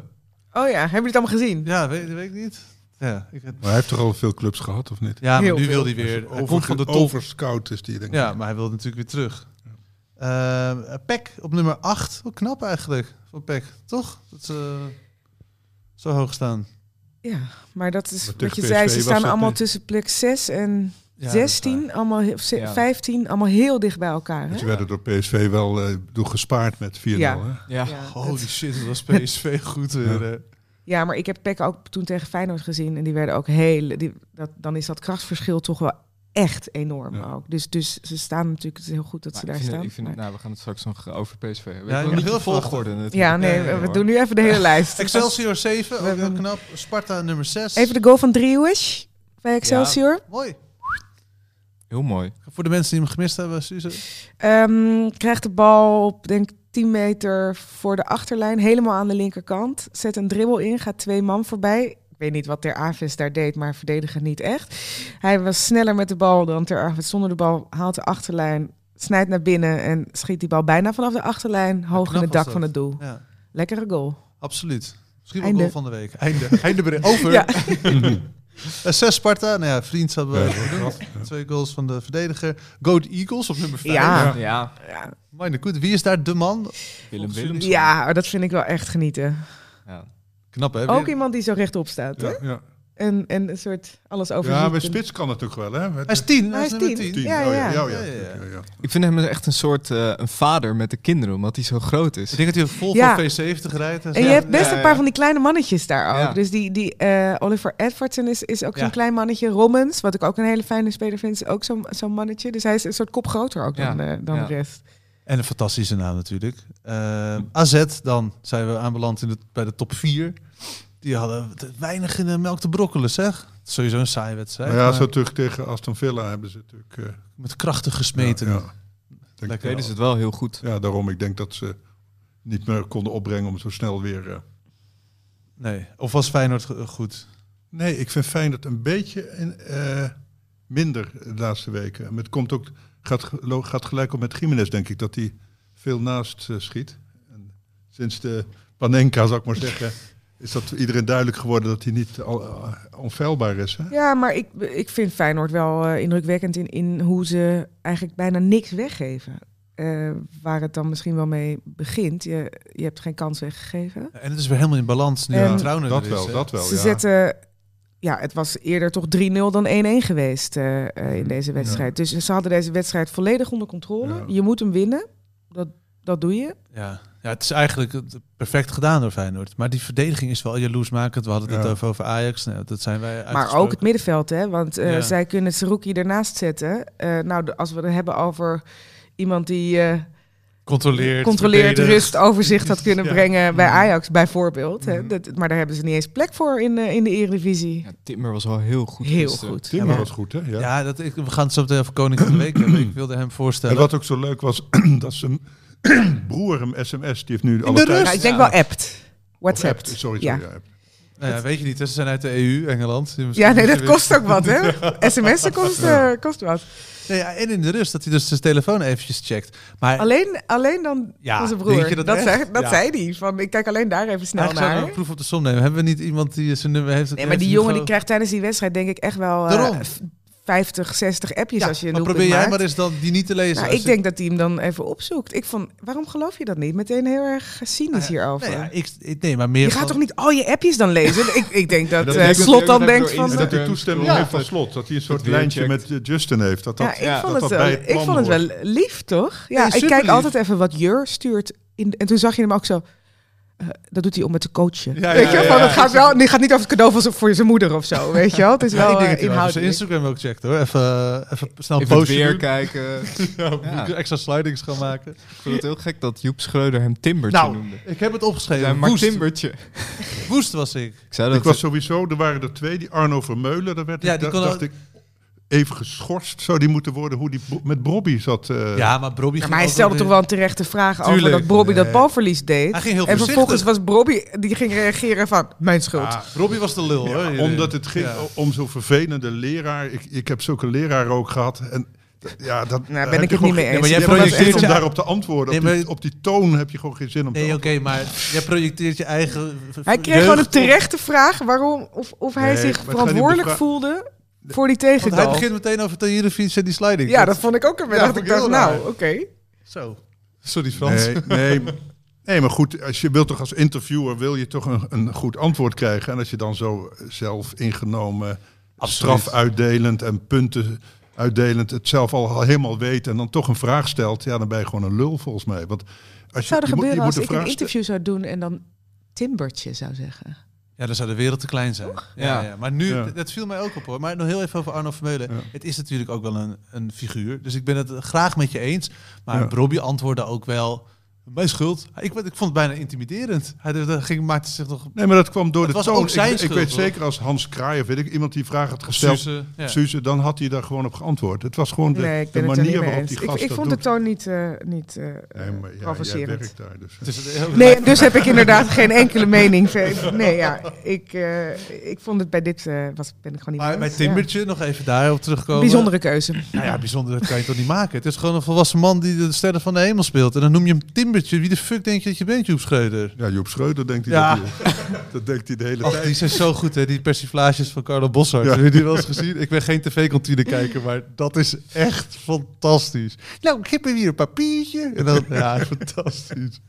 [SPEAKER 3] Oh ja, hebben jullie het allemaal gezien?
[SPEAKER 6] Ja, weet, weet ik niet. Ja, ik,
[SPEAKER 4] Maar hij heeft toch al veel clubs gehad, of niet?
[SPEAKER 6] ja maar
[SPEAKER 3] Heel
[SPEAKER 6] nu
[SPEAKER 3] veel.
[SPEAKER 6] wil hij weer. Hij komt
[SPEAKER 4] Over,
[SPEAKER 6] van de top.
[SPEAKER 4] overscout is die, denk ik.
[SPEAKER 6] Ja, maar hij wil natuurlijk weer terug. Eh Peck op nummer 8. Hoe knap eigenlijk van Peck, toch? Dat ze eh, zo hoog staan.
[SPEAKER 3] Ja, maar dat is
[SPEAKER 4] Maar
[SPEAKER 3] wat
[SPEAKER 4] tegen
[SPEAKER 3] je zei.
[SPEAKER 4] PSV
[SPEAKER 3] Ze
[SPEAKER 4] was
[SPEAKER 3] staan
[SPEAKER 4] dat
[SPEAKER 3] allemaal
[SPEAKER 4] niet.
[SPEAKER 3] tussen plek 6 en
[SPEAKER 6] Ja,
[SPEAKER 3] 16, allemaal, he- of ze-
[SPEAKER 2] Ja.
[SPEAKER 3] 15, allemaal heel dicht bij elkaar. Hè?
[SPEAKER 4] Ze werden door PSV wel eh, door gespaard met 4-0.
[SPEAKER 3] Ja.
[SPEAKER 4] hè?
[SPEAKER 2] Ja.
[SPEAKER 3] Ja,
[SPEAKER 6] Holy
[SPEAKER 3] dat-
[SPEAKER 6] shit, dat was PSV goed weer. hè.
[SPEAKER 3] ja, maar ik heb Peck ook toen tegen Feyenoord gezien en die werden ook heel. Die, dat, dan is dat krachtverschil toch wel echt enorm
[SPEAKER 4] Ja.
[SPEAKER 3] ook. Dus, dus ze staan natuurlijk, het is heel goed dat
[SPEAKER 2] Maar
[SPEAKER 3] ze
[SPEAKER 2] ik
[SPEAKER 3] daar
[SPEAKER 2] vind het-
[SPEAKER 3] staan.
[SPEAKER 2] ik vind het-
[SPEAKER 3] maar-
[SPEAKER 2] nou, we gaan het straks nog over PSV hebben.
[SPEAKER 6] Ja,
[SPEAKER 2] ik
[SPEAKER 6] je
[SPEAKER 2] wil
[SPEAKER 6] moet
[SPEAKER 2] niet
[SPEAKER 6] heel
[SPEAKER 2] heel veel
[SPEAKER 6] veel
[SPEAKER 2] worden
[SPEAKER 3] ja, nee,
[SPEAKER 6] Ja, ja, ja,
[SPEAKER 3] we
[SPEAKER 6] hoor.
[SPEAKER 3] doen nu even de hele lijst.
[SPEAKER 6] Excelsior 7,
[SPEAKER 3] We
[SPEAKER 6] ook heel
[SPEAKER 3] hebben-
[SPEAKER 6] knap. Sparta nummer 6.
[SPEAKER 3] Even de goal van Driewisch bij Excelsior.
[SPEAKER 6] Mooi.
[SPEAKER 2] Heel mooi.
[SPEAKER 6] Voor de mensen die hem gemist hebben, Suze.
[SPEAKER 3] Ehm, krijgt de bal op, denk ik, 10 meter voor de achterlijn, helemaal aan de linkerkant. Zet een dribbel in, gaat twee man voorbij. Ik weet niet wat Ter Aves daar deed, maar verdedigen niet echt. Hij was sneller met de bal dan Ter Aves zonder de bal. Haalt de achterlijn, snijdt naar binnen en schiet die bal bijna vanaf de achterlijn hoog in
[SPEAKER 6] knap
[SPEAKER 3] het
[SPEAKER 6] was
[SPEAKER 3] dak
[SPEAKER 6] dat.
[SPEAKER 3] van het doel.
[SPEAKER 6] Ja,
[SPEAKER 3] Lekkere goal.
[SPEAKER 6] absoluut. Misschien wel
[SPEAKER 3] Einde.
[SPEAKER 6] goal van de week. Einde. Einde bericht. Over.
[SPEAKER 3] Ja.
[SPEAKER 6] Eh, zes Sparta. Nou ja, vriend hebben we.
[SPEAKER 4] Ja, dat-
[SPEAKER 6] Twee goals van de verdediger. Go the Eagles op nummer 5.
[SPEAKER 3] Ja.
[SPEAKER 2] Ja,
[SPEAKER 3] Ja,
[SPEAKER 6] Mijn goed. Wie is daar de man?
[SPEAKER 2] Willem Willems.
[SPEAKER 6] Volgens
[SPEAKER 3] ja, dat vind ik wel echt genieten.
[SPEAKER 2] Ja.
[SPEAKER 6] Knap hè?
[SPEAKER 3] Ook iemand die zo rechtop staat. hè?
[SPEAKER 4] Ja, ja.
[SPEAKER 3] En, en een soort alles over.
[SPEAKER 4] ja, bij Spits kan het ook wel, hè? Met-
[SPEAKER 6] Hij is tien.
[SPEAKER 3] Hij is
[SPEAKER 6] nummer
[SPEAKER 3] tien.
[SPEAKER 4] tien.
[SPEAKER 3] Ja,
[SPEAKER 4] oh,
[SPEAKER 3] ja.
[SPEAKER 4] ja. Ja, ja.
[SPEAKER 6] Oh, Ja, ja, ja.
[SPEAKER 4] Ja, ja.
[SPEAKER 2] Ik vind hem echt een soort eh, een vader met de kinderen, omdat hij zo groot is.
[SPEAKER 6] Ik denk dat hij vol
[SPEAKER 3] Ja.
[SPEAKER 6] van V70 rijdt.
[SPEAKER 3] En je hebt best
[SPEAKER 2] ja,
[SPEAKER 3] een paar
[SPEAKER 2] ja.
[SPEAKER 3] van die kleine mannetjes daar ook.
[SPEAKER 2] Ja.
[SPEAKER 3] Dus die, die eh, Oliver Edwardson is, is ook
[SPEAKER 6] Ja.
[SPEAKER 3] zo'n klein mannetje. Rommens, wat ik ook een hele fijne speler vind, is ook zo'n zo'n mannetje. Dus hij is een soort kop groter ook
[SPEAKER 2] Ja.
[SPEAKER 3] dan, eh, dan
[SPEAKER 2] Ja.
[SPEAKER 3] de rest.
[SPEAKER 6] En een fantastische naam natuurlijk. Eh, AZ, dan zijn we aanbeland in de, bij de top 4. Die hadden te weinig in de melk te brokkelen, zeg. Sowieso een saaie wedstrijd.
[SPEAKER 4] Maar ja,
[SPEAKER 6] maar
[SPEAKER 4] zo terug tegen Aston Villa hebben ze natuurlijk... eh,
[SPEAKER 6] Met krachtig gesmeten.
[SPEAKER 4] ja, ja. Denk-
[SPEAKER 2] Deden
[SPEAKER 6] Lekker.
[SPEAKER 2] ze dus het wel heel goed.
[SPEAKER 4] Ja, daarom. Ik denk dat ze niet meer konden opbrengen om zo snel weer... eh,
[SPEAKER 6] Nee. Of was Feyenoord ge- goed?
[SPEAKER 4] Nee, ik vind Feyenoord een beetje in, eh, minder de laatste weken. Maar het komt ook, gaat, ge- lo- gaat gelijk op met Jiménez, denk ik, dat hij veel naast eh, schiet. En sinds de Panenka, zou ik maar zeggen, is dat iedereen duidelijk geworden dat hij niet al, eh, onfeilbaar is. Hè?
[SPEAKER 3] Ja, maar ik, ik vind Feyenoord wel eh, indrukwekkend in, in hoe ze eigenlijk bijna niks weggeven. Eh, waar het dan misschien wel mee begint. Je, je hebt geen kans weggegeven.
[SPEAKER 6] En het is weer helemaal in balans nu.
[SPEAKER 3] Ja,
[SPEAKER 6] Ja, dus, trouwen
[SPEAKER 4] dat wel, dat wel.
[SPEAKER 3] Ze
[SPEAKER 4] ja.
[SPEAKER 3] zetten... Ja, het was eerder toch 3-0 dan 1-1 geweest eh, eh, in deze wedstrijd. Dus ze hadden deze wedstrijd volledig onder controle.
[SPEAKER 4] Ja.
[SPEAKER 3] Je moet hem winnen. Dat, dat doe je.
[SPEAKER 6] Ja. ja, het is eigenlijk het- perfect gedaan door Feyenoord. Maar die verdediging is wel jaloersmakend. We hadden het
[SPEAKER 4] Ja.
[SPEAKER 6] net over, over Ajax. Nou, dat zijn wij
[SPEAKER 3] Maar ook het middenveld, hè? Want eh,
[SPEAKER 6] Ja.
[SPEAKER 3] zij kunnen Seruki ernaast zetten. Eh, nou, de- als we het hebben over iemand die eh,
[SPEAKER 6] controleert,
[SPEAKER 3] controleert,
[SPEAKER 6] verdedigt.
[SPEAKER 3] rust, overzicht had kunnen
[SPEAKER 6] Ja.
[SPEAKER 3] brengen bij Ajax, bijvoorbeeld.
[SPEAKER 6] Mhm.
[SPEAKER 3] Hè? Dat, maar daar hebben ze niet eens plek voor in, eh, in de Eredivisie.
[SPEAKER 2] Ja, Timmer was wel heel goed. dus,
[SPEAKER 3] Heel
[SPEAKER 2] gisteren.
[SPEAKER 3] goed.
[SPEAKER 4] Timmer
[SPEAKER 3] Ja.
[SPEAKER 4] was goed, hè? Ja.
[SPEAKER 6] Ja, dat, ik, we gaan het zo meteen over Koning van de Week hebben. Ik wilde hem
[SPEAKER 4] En
[SPEAKER 6] voorstellen.
[SPEAKER 4] wat ook zo leuk was, dat zijn broer hem sms, die heeft nu alle
[SPEAKER 6] de
[SPEAKER 4] tijd-
[SPEAKER 6] rust?
[SPEAKER 3] Ja, ik denk
[SPEAKER 6] Ja.
[SPEAKER 3] wel appt.
[SPEAKER 4] Of
[SPEAKER 3] WhatsApp.
[SPEAKER 4] appt, Sorry,
[SPEAKER 3] Ja.
[SPEAKER 4] sorry. Ja. appt.
[SPEAKER 6] Nou ja, weet je niet, hè, ze zijn uit de EU, Engeland. Dus
[SPEAKER 3] Ja, nee, dat kost ook wat, hè? SMS'en kost, eh, kost wat.
[SPEAKER 6] Nee, ja, en in de rust, dat hij dus zijn telefoon eventjes checkt. Maar
[SPEAKER 3] Alleen, alleen dan
[SPEAKER 6] Ja,
[SPEAKER 3] van zijn broer.
[SPEAKER 6] denk je dat
[SPEAKER 3] dat
[SPEAKER 6] echt?
[SPEAKER 3] zei, dat
[SPEAKER 6] Ja.
[SPEAKER 3] zei hij. Van, ik kijk alleen daar even snel
[SPEAKER 6] eigenlijk zouden we
[SPEAKER 3] naar.
[SPEAKER 6] een proef op de som nemen. Hebben we niet iemand die zijn nummer heeft?
[SPEAKER 3] nou Nee, maar die
[SPEAKER 6] heeft
[SPEAKER 3] jongen die
[SPEAKER 6] gewoon-
[SPEAKER 3] krijgt tijdens die wedstrijd denk ik echt wel eh,
[SPEAKER 6] Daarom.
[SPEAKER 3] v- 50, 60 appjes
[SPEAKER 6] Ja,
[SPEAKER 3] als je een
[SPEAKER 6] maar
[SPEAKER 3] doelpunt
[SPEAKER 6] probeer jij
[SPEAKER 3] maakt.
[SPEAKER 6] maar eens dan die niet te lezen.
[SPEAKER 3] Nou,
[SPEAKER 6] Als
[SPEAKER 3] ik
[SPEAKER 6] je-
[SPEAKER 3] denk dat hij hem dan even opzoekt. Ik vond, waarom geloof je dat niet? Meteen heel erg cynisch
[SPEAKER 6] Ah, ja.
[SPEAKER 3] hierover.
[SPEAKER 6] Nee, ja, ik, ik- nee, maar meer
[SPEAKER 3] je gaat
[SPEAKER 6] van-
[SPEAKER 3] toch niet al je appjes dan lezen? ik, ik denk dat,
[SPEAKER 2] Dat
[SPEAKER 3] eh,
[SPEAKER 2] betekent
[SPEAKER 3] Slot
[SPEAKER 2] dat
[SPEAKER 3] dan
[SPEAKER 2] hij
[SPEAKER 3] denkt
[SPEAKER 2] door
[SPEAKER 3] van...
[SPEAKER 4] En
[SPEAKER 2] Instagram-
[SPEAKER 3] eh,
[SPEAKER 4] dat hij toestemming
[SPEAKER 2] Ja.
[SPEAKER 4] heeft van slot. Dat hij een soort
[SPEAKER 2] weer
[SPEAKER 4] lijntje
[SPEAKER 2] checkt.
[SPEAKER 4] met eh, Justin heeft. Dat dat,
[SPEAKER 3] ja, ik
[SPEAKER 2] ja,
[SPEAKER 3] vond,
[SPEAKER 4] dat
[SPEAKER 3] het,
[SPEAKER 4] dat bij
[SPEAKER 3] wel,
[SPEAKER 4] het
[SPEAKER 3] ik
[SPEAKER 4] plan
[SPEAKER 3] vond het wel
[SPEAKER 4] hoort.
[SPEAKER 3] lief, toch? Ja,
[SPEAKER 6] Nee,
[SPEAKER 3] ik kijk
[SPEAKER 6] superlief.
[SPEAKER 3] altijd even wat Jur stuurt. In, en toen zag je hem ook zo... eh, dat doet hij om het te coachen.
[SPEAKER 4] Ja,
[SPEAKER 3] weet
[SPEAKER 4] ja,
[SPEAKER 3] je,
[SPEAKER 4] ja,
[SPEAKER 3] van,
[SPEAKER 4] ja.
[SPEAKER 3] het, gaat wel, het gaat niet over het cadeau voor, voor zijn moeder of zo, weet je wel. Het is
[SPEAKER 6] Ja,
[SPEAKER 3] wel
[SPEAKER 6] ik denk
[SPEAKER 3] eh,
[SPEAKER 6] dat je wel even zijn
[SPEAKER 3] inhoudelijk.
[SPEAKER 6] Instagram ook checkt hoor. Even, eh, even snel
[SPEAKER 2] Even het
[SPEAKER 6] posten.
[SPEAKER 2] weer
[SPEAKER 6] doen.
[SPEAKER 2] kijken. ik
[SPEAKER 6] Ja, Extra slidings gaan maken.
[SPEAKER 2] vond het heel gek dat Joep Schreuder hem Timbertje
[SPEAKER 6] Nou,
[SPEAKER 2] noemde.
[SPEAKER 6] ik heb het
[SPEAKER 2] Ja,
[SPEAKER 6] opgeschreven.
[SPEAKER 2] maar
[SPEAKER 6] Woest,
[SPEAKER 2] Timbertje.
[SPEAKER 6] woest was ik.
[SPEAKER 2] Ik zou
[SPEAKER 4] Ik
[SPEAKER 2] dat
[SPEAKER 4] was sowieso, er waren er twee, die Arno Vermeulen, daar werd
[SPEAKER 6] Ja,
[SPEAKER 4] ik,
[SPEAKER 6] die
[SPEAKER 4] da-
[SPEAKER 6] kon
[SPEAKER 4] dacht
[SPEAKER 6] ook-
[SPEAKER 4] ik, even geschorst zou die moeten worden, hoe die bro- met Bobby zat. eh,
[SPEAKER 6] Ja, maar Bobby.
[SPEAKER 3] Ja,
[SPEAKER 6] ging
[SPEAKER 3] maar hij
[SPEAKER 6] ook
[SPEAKER 3] stelde
[SPEAKER 6] wel
[SPEAKER 3] toch
[SPEAKER 6] weer-
[SPEAKER 3] wel een terechte vraag over
[SPEAKER 6] Tuurlijk.
[SPEAKER 3] dat Bobby dat
[SPEAKER 6] Nee.
[SPEAKER 3] balverlies deed.
[SPEAKER 6] Hij ging heel
[SPEAKER 3] en vervolgens
[SPEAKER 6] voorzichtig.
[SPEAKER 3] was Bobby, die ging reageren van, mijn schuld. Nou,
[SPEAKER 4] Ah,
[SPEAKER 6] Robbie was de lul,
[SPEAKER 4] Ja,
[SPEAKER 6] hoor.
[SPEAKER 4] omdat het ging
[SPEAKER 6] Ja.
[SPEAKER 4] om zo'n vervelende leraar. Ik, ik heb zulke leraren ook gehad. En d- ja, dat, daar
[SPEAKER 3] nou, ben
[SPEAKER 4] heb je
[SPEAKER 3] ik het
[SPEAKER 4] gewoon
[SPEAKER 3] niet mee
[SPEAKER 4] geen-
[SPEAKER 3] eens.
[SPEAKER 6] maar jij
[SPEAKER 3] Dit
[SPEAKER 4] Je
[SPEAKER 3] was
[SPEAKER 4] hebt geen zin
[SPEAKER 3] echt
[SPEAKER 4] om
[SPEAKER 6] projecteert-
[SPEAKER 3] een-
[SPEAKER 4] daarop te antwoorden. Op,
[SPEAKER 6] Nee,
[SPEAKER 4] die,
[SPEAKER 6] maar-
[SPEAKER 4] op die toon heb je gewoon geen zin om te
[SPEAKER 6] Nee, oké,
[SPEAKER 4] antwoorden.
[SPEAKER 6] maar jij projecteert je eigen.
[SPEAKER 3] Hij kreeg gewoon een terechte vraag waarom, of, of hij
[SPEAKER 4] Nee, maar
[SPEAKER 3] zich
[SPEAKER 4] het gaat
[SPEAKER 3] verantwoordelijk
[SPEAKER 4] niet
[SPEAKER 3] voelde voor die
[SPEAKER 6] Want hij
[SPEAKER 3] tegengoal.
[SPEAKER 6] begint meteen over Tahirovic en die sliding.
[SPEAKER 3] Ja, dat vond ik ook een
[SPEAKER 6] Ja,
[SPEAKER 3] beetje. dat
[SPEAKER 6] vond
[SPEAKER 3] ik
[SPEAKER 6] ik
[SPEAKER 3] dacht,
[SPEAKER 6] heel
[SPEAKER 3] nou,
[SPEAKER 6] raar.
[SPEAKER 3] oké.
[SPEAKER 6] Zo. Sorry Frans.
[SPEAKER 4] Nee, nee, nee, maar goed, als je wilt toch als interviewer wil je toch een, een goed antwoord krijgen. En als je dan zo zelf ingenomen,
[SPEAKER 6] Absoluut.
[SPEAKER 4] straf uitdelend en punten uitdelend, het zelf al, al helemaal weet en dan toch een vraag stelt, ja, dan ben je gewoon een lul volgens mij. Want als
[SPEAKER 3] Wat zou er
[SPEAKER 4] je, je moet- je
[SPEAKER 3] gebeuren
[SPEAKER 4] moet
[SPEAKER 3] als
[SPEAKER 4] een
[SPEAKER 3] ik
[SPEAKER 4] vraag
[SPEAKER 3] een
[SPEAKER 4] stellen-
[SPEAKER 3] interview zou doen en dan Timbertje zou zeggen?
[SPEAKER 6] Ja, dan zou de wereld te klein zijn. Ja,
[SPEAKER 2] Ja.
[SPEAKER 6] ja. Maar nu,
[SPEAKER 4] Ja.
[SPEAKER 6] d- dat viel mij ook op hoor. Maar nog heel even over Arno Vermeulen.
[SPEAKER 4] Ja.
[SPEAKER 6] Het is natuurlijk ook wel een, een figuur. Dus ik ben het graag met je eens. Maar
[SPEAKER 4] Ja.
[SPEAKER 6] Robbie antwoordde ook wel... Mijn schuld. Ik, ben- ik vond het bijna intimiderend. Hij d- d- ging, maakte zich nog...
[SPEAKER 4] Nee, maar dat kwam door
[SPEAKER 6] Het
[SPEAKER 4] de
[SPEAKER 6] was
[SPEAKER 4] toon.
[SPEAKER 6] ook zijn
[SPEAKER 4] ik, ik
[SPEAKER 6] schuld,
[SPEAKER 4] weet
[SPEAKER 6] hoor.
[SPEAKER 4] zeker als Hans Kraai of weet ik, iemand die vraag had gesteld, Suze,
[SPEAKER 6] Suze, ja.
[SPEAKER 4] dan had hij daar gewoon op geantwoord. Het was gewoon de,
[SPEAKER 3] nee, ik
[SPEAKER 4] de
[SPEAKER 3] ben het er niet
[SPEAKER 4] manier
[SPEAKER 3] mee
[SPEAKER 4] waarop
[SPEAKER 3] eens.
[SPEAKER 4] die
[SPEAKER 3] Ik,
[SPEAKER 4] gast
[SPEAKER 3] ik
[SPEAKER 4] dat
[SPEAKER 3] vond de
[SPEAKER 4] doet.
[SPEAKER 3] toon niet, eh niet eh,
[SPEAKER 4] Nee, maar ja, jij
[SPEAKER 3] provocerend.
[SPEAKER 4] werkt daar dus.
[SPEAKER 6] Het is een heel-
[SPEAKER 3] Nee, dus heb ik inderdaad geen enkele mening. ver- Nee, ja, ik, eh, ik vond het bij dit, eh, was, ben ik gewoon niet
[SPEAKER 6] Maar
[SPEAKER 3] mee
[SPEAKER 6] bij
[SPEAKER 3] eens, ja.
[SPEAKER 6] Timbertje, eh. nog even daarop terugkomen.
[SPEAKER 3] Bijzondere keuze.
[SPEAKER 6] Nou ja, bijzonder, dat kan je toch niet maken? Het is gewoon een volwassen man die de sterren van de hemel speelt. En dan noem je hem Timbertje. Wie de fuck denk je dat je bent, Joep Schreuder?
[SPEAKER 4] Ja, Joep Schreuder denkt hij
[SPEAKER 6] Ja.
[SPEAKER 4] dat, hij- dat denkt hij de hele
[SPEAKER 6] Ach,
[SPEAKER 4] tijd.
[SPEAKER 6] die zijn zo goed, hè? Die persiflages van Carlo Bossart.
[SPEAKER 4] Ja.
[SPEAKER 6] Heb je die wel eens gezien? Ik ben geen tv-kantine kijker, maar dat is echt fantastisch. Nou, ik heb hier een papiertje. En dan, ja, fantastisch.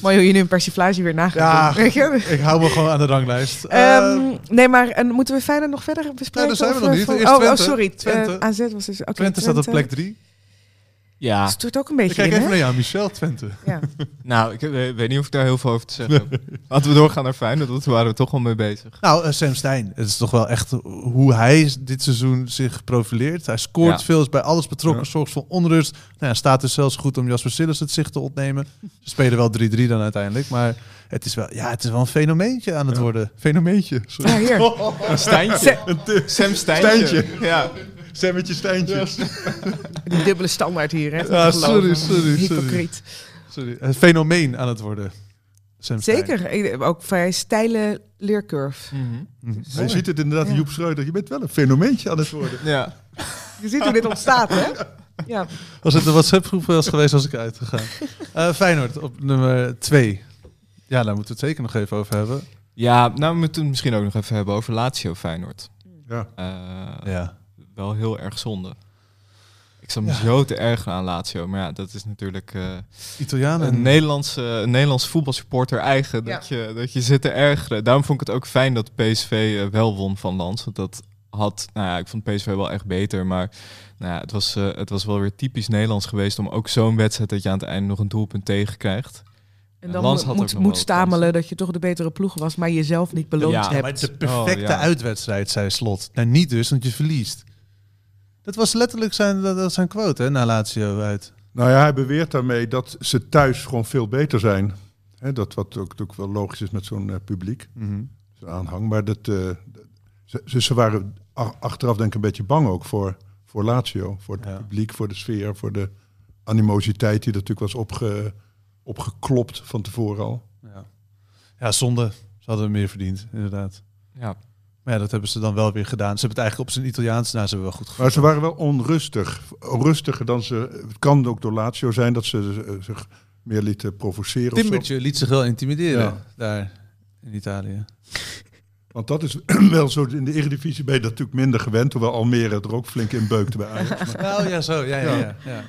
[SPEAKER 3] Mooi hoe je nu een persiflage weer nagaat.
[SPEAKER 6] Ja.
[SPEAKER 3] doen, weet je?
[SPEAKER 6] Ik hou me gewoon aan de ranglijst. Eh, Nou,
[SPEAKER 3] Ehm, nee, maar en moeten we Feyenoord nog verder bespreken?
[SPEAKER 6] zijn we
[SPEAKER 3] Of,
[SPEAKER 6] nog
[SPEAKER 3] eh,
[SPEAKER 6] niet.
[SPEAKER 3] vol-
[SPEAKER 6] Eerst
[SPEAKER 3] oh,
[SPEAKER 6] Twente.
[SPEAKER 3] oh, sorry. Eh,
[SPEAKER 6] Twente.
[SPEAKER 3] AZ was dus... oké,
[SPEAKER 6] Twente staat op plek 3.
[SPEAKER 2] Ja.
[SPEAKER 3] Stuurt ook een
[SPEAKER 6] Ik
[SPEAKER 3] beetje
[SPEAKER 6] kijk
[SPEAKER 3] in,
[SPEAKER 6] even
[SPEAKER 3] hè?
[SPEAKER 6] naar jou, Michel Twente.
[SPEAKER 3] Ja.
[SPEAKER 2] Nou, ik eh, weet niet of ik daar heel veel over te zeggen heb. Laten we doorgaan naar Feyenoord, want daar waren we toch al mee bezig.
[SPEAKER 6] Nou, eh, Sam Stein. Het is toch wel echt hoe hij s- dit seizoen zich profileert. Hij scoort
[SPEAKER 2] Ja.
[SPEAKER 6] veel, is bij alles betrokken, zorgt voor onrust. Nou, ja, staat dus zelfs goed om Jasper Sillis het zicht te ontnemen. Ze spelen wel 3-3 dan uiteindelijk. Maar het is wel, ja, het is wel een fenomeentje aan het worden. Fenomeentje. Sorry.
[SPEAKER 3] Ja, hier.
[SPEAKER 2] Een Stijntje. Sam Stijntje.
[SPEAKER 4] Stijntje.
[SPEAKER 2] Ja.
[SPEAKER 4] Semmetje Stijntje.
[SPEAKER 3] Die dubbele standaard hier, hè?
[SPEAKER 6] Ja, sorry, sorry, sorry.
[SPEAKER 3] Hypocriet.
[SPEAKER 6] sorry. Een fenomeen aan het worden. Sam Stein.
[SPEAKER 3] Zeker. Ik- Ook vrij steile leercurve.
[SPEAKER 6] Mhm.
[SPEAKER 4] Hij ziet het inderdaad,
[SPEAKER 3] Ja.
[SPEAKER 4] Joep Schreuder. Je bent wel een fenomeentje aan het worden.
[SPEAKER 2] Ja.
[SPEAKER 3] Je ziet hoe dit ontstaat, hè? Ja.
[SPEAKER 6] Als het een WhatsApp-groep was geweest, was ik uitgegaan. Eh, Feyenoord op nummer 2. Ja, daar moeten we het zeker nog even over hebben.
[SPEAKER 2] ja, nou we moeten het misschien ook nog even hebben over Lazio Feyenoord.
[SPEAKER 4] Ja.
[SPEAKER 2] Eh,
[SPEAKER 6] Ja.
[SPEAKER 2] Wel heel erg zonde. Ik zat me zo te ergeren aan Lazio, maar ja, dat is natuurlijk eh,
[SPEAKER 6] Italianen.
[SPEAKER 2] een, Nederlandse, een Nederlands voetbalsupporter eigen, dat, je, dat je zit te ergeren. Daarom vond ik het ook fijn dat PSV eh, wel won van Lans, want dat had, nou ja, ik vond PSV wel echt beter, maar nou ja, het, was, eh, het was wel weer typisch Nederlands geweest om ook zo'n wedstrijd dat je aan het einde nog een doelpunt tegenkrijgt.
[SPEAKER 3] En dan
[SPEAKER 2] Lans had ook nog
[SPEAKER 3] moet,
[SPEAKER 2] wel
[SPEAKER 3] moet
[SPEAKER 2] wat
[SPEAKER 3] stamelen dat je toch de betere ploeg was, maar jezelf niet beloond
[SPEAKER 2] Ja,
[SPEAKER 6] Ja,
[SPEAKER 3] hebt.
[SPEAKER 6] maar het is de perfecte
[SPEAKER 2] Oh, ja.
[SPEAKER 6] uitwedstrijd, zei Slot. Nou, niet dus, want je verliest. Dat was letterlijk zijn, dat was zijn quote, hè, na Lazio uit.
[SPEAKER 4] Nou ja, hij beweert daarmee dat ze thuis gewoon veel beter zijn. Hè, dat wat ook, ook wel logisch is met zo'n eh, publiek, zo'n aanhang. Maar dat, eh, ze, ze- ze waren a- achteraf denk ik een beetje bang ook voor, voor Lazio. Voor het
[SPEAKER 6] Ja.
[SPEAKER 4] publiek, voor de sfeer, voor de animositeit die er natuurlijk was opge, opgeklopt van tevoren al.
[SPEAKER 6] Ja. ja, zonde. Ze hadden meer verdiend, inderdaad.
[SPEAKER 2] Ja,
[SPEAKER 6] Maar ja, dat hebben ze dan wel weer gedaan. Ze hebben het eigenlijk op zijn Italiaans, nou, ze hebben wel goed
[SPEAKER 4] Maar
[SPEAKER 6] gevoeld.
[SPEAKER 4] ze waren wel onrustig. Rustiger dan ze... Het kan ook door Lazio zijn dat ze eh, zich meer lieten provoceren. of zo.
[SPEAKER 6] Timbertje liet zich wel intimideren,
[SPEAKER 4] Ja.
[SPEAKER 6] daar in Italië.
[SPEAKER 4] Want dat is wel zo, in de Eredivisie ben je dat natuurlijk minder gewend, hoewel Almere het er ook flink in beukte bij Ajax. Maar,
[SPEAKER 6] Nou ja, zo, ja, ja, ja. ja.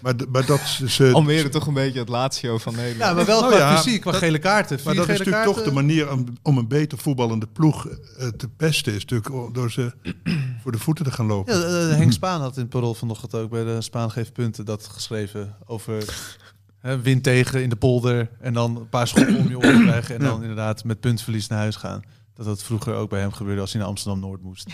[SPEAKER 4] maar, d- maar dat ze- ze...
[SPEAKER 2] Almere toch een beetje het Lazio van Nederland.
[SPEAKER 6] Ja, maar wel
[SPEAKER 4] Nou
[SPEAKER 6] qua
[SPEAKER 4] ja,
[SPEAKER 6] fysiek, qua gele kaarten.
[SPEAKER 4] maar
[SPEAKER 6] Vier
[SPEAKER 4] dat is
[SPEAKER 6] gele
[SPEAKER 4] natuurlijk toch de
[SPEAKER 6] kaarten.
[SPEAKER 4] manier om, om een beter voetballende ploeg eh, te pesten, is natuurlijk o- door ze voor de voeten te gaan lopen.
[SPEAKER 6] Ja, eh, Henk Spaan had in het parool vanochtend ook bij de Spaan geeft punten dat geschreven over hè, wind tegen in de polder en dan een paar schoppen om je oren krijgen en dan inderdaad met puntverlies naar huis gaan. Dat dat vroeger ook bij hem gebeurde als hij naar Amsterdam-Noord moest.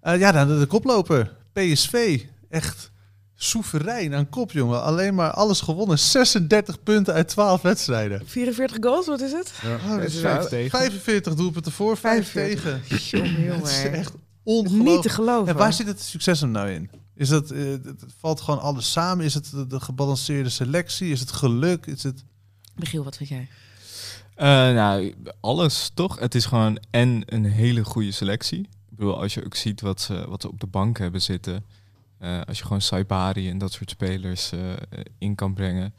[SPEAKER 6] Eh, ja, dan de, de koploper. PSV. Echt soeverein aan kop, jongen. Alleen maar alles gewonnen. 36 punten uit 12 wedstrijden.
[SPEAKER 3] 44 goals, wat is het?
[SPEAKER 6] Oh, dat is
[SPEAKER 3] Vijf
[SPEAKER 6] wel-
[SPEAKER 2] tegen.
[SPEAKER 6] 45 doelpunten voor, 5 tegen.
[SPEAKER 3] 45. Jongen,
[SPEAKER 6] Het is
[SPEAKER 3] jongen.
[SPEAKER 6] echt
[SPEAKER 3] Niet te
[SPEAKER 6] ongelooflijk.
[SPEAKER 3] geloven.
[SPEAKER 6] En waar zit het succes hem nou in? Is dat, eh, het- het valt gewoon alles samen? Is het de, de gebalanceerde selectie? Is het geluk? Is het...
[SPEAKER 3] Michiel, wat vind jij?
[SPEAKER 2] Eh, nou, alles toch? Het is gewoon en een hele goede selectie. Ik bedoel, als je ook ziet wat ze, wat ze op de bank hebben zitten. eh, als je gewoon Saibari en dat soort spelers eh, eh, in kan brengen.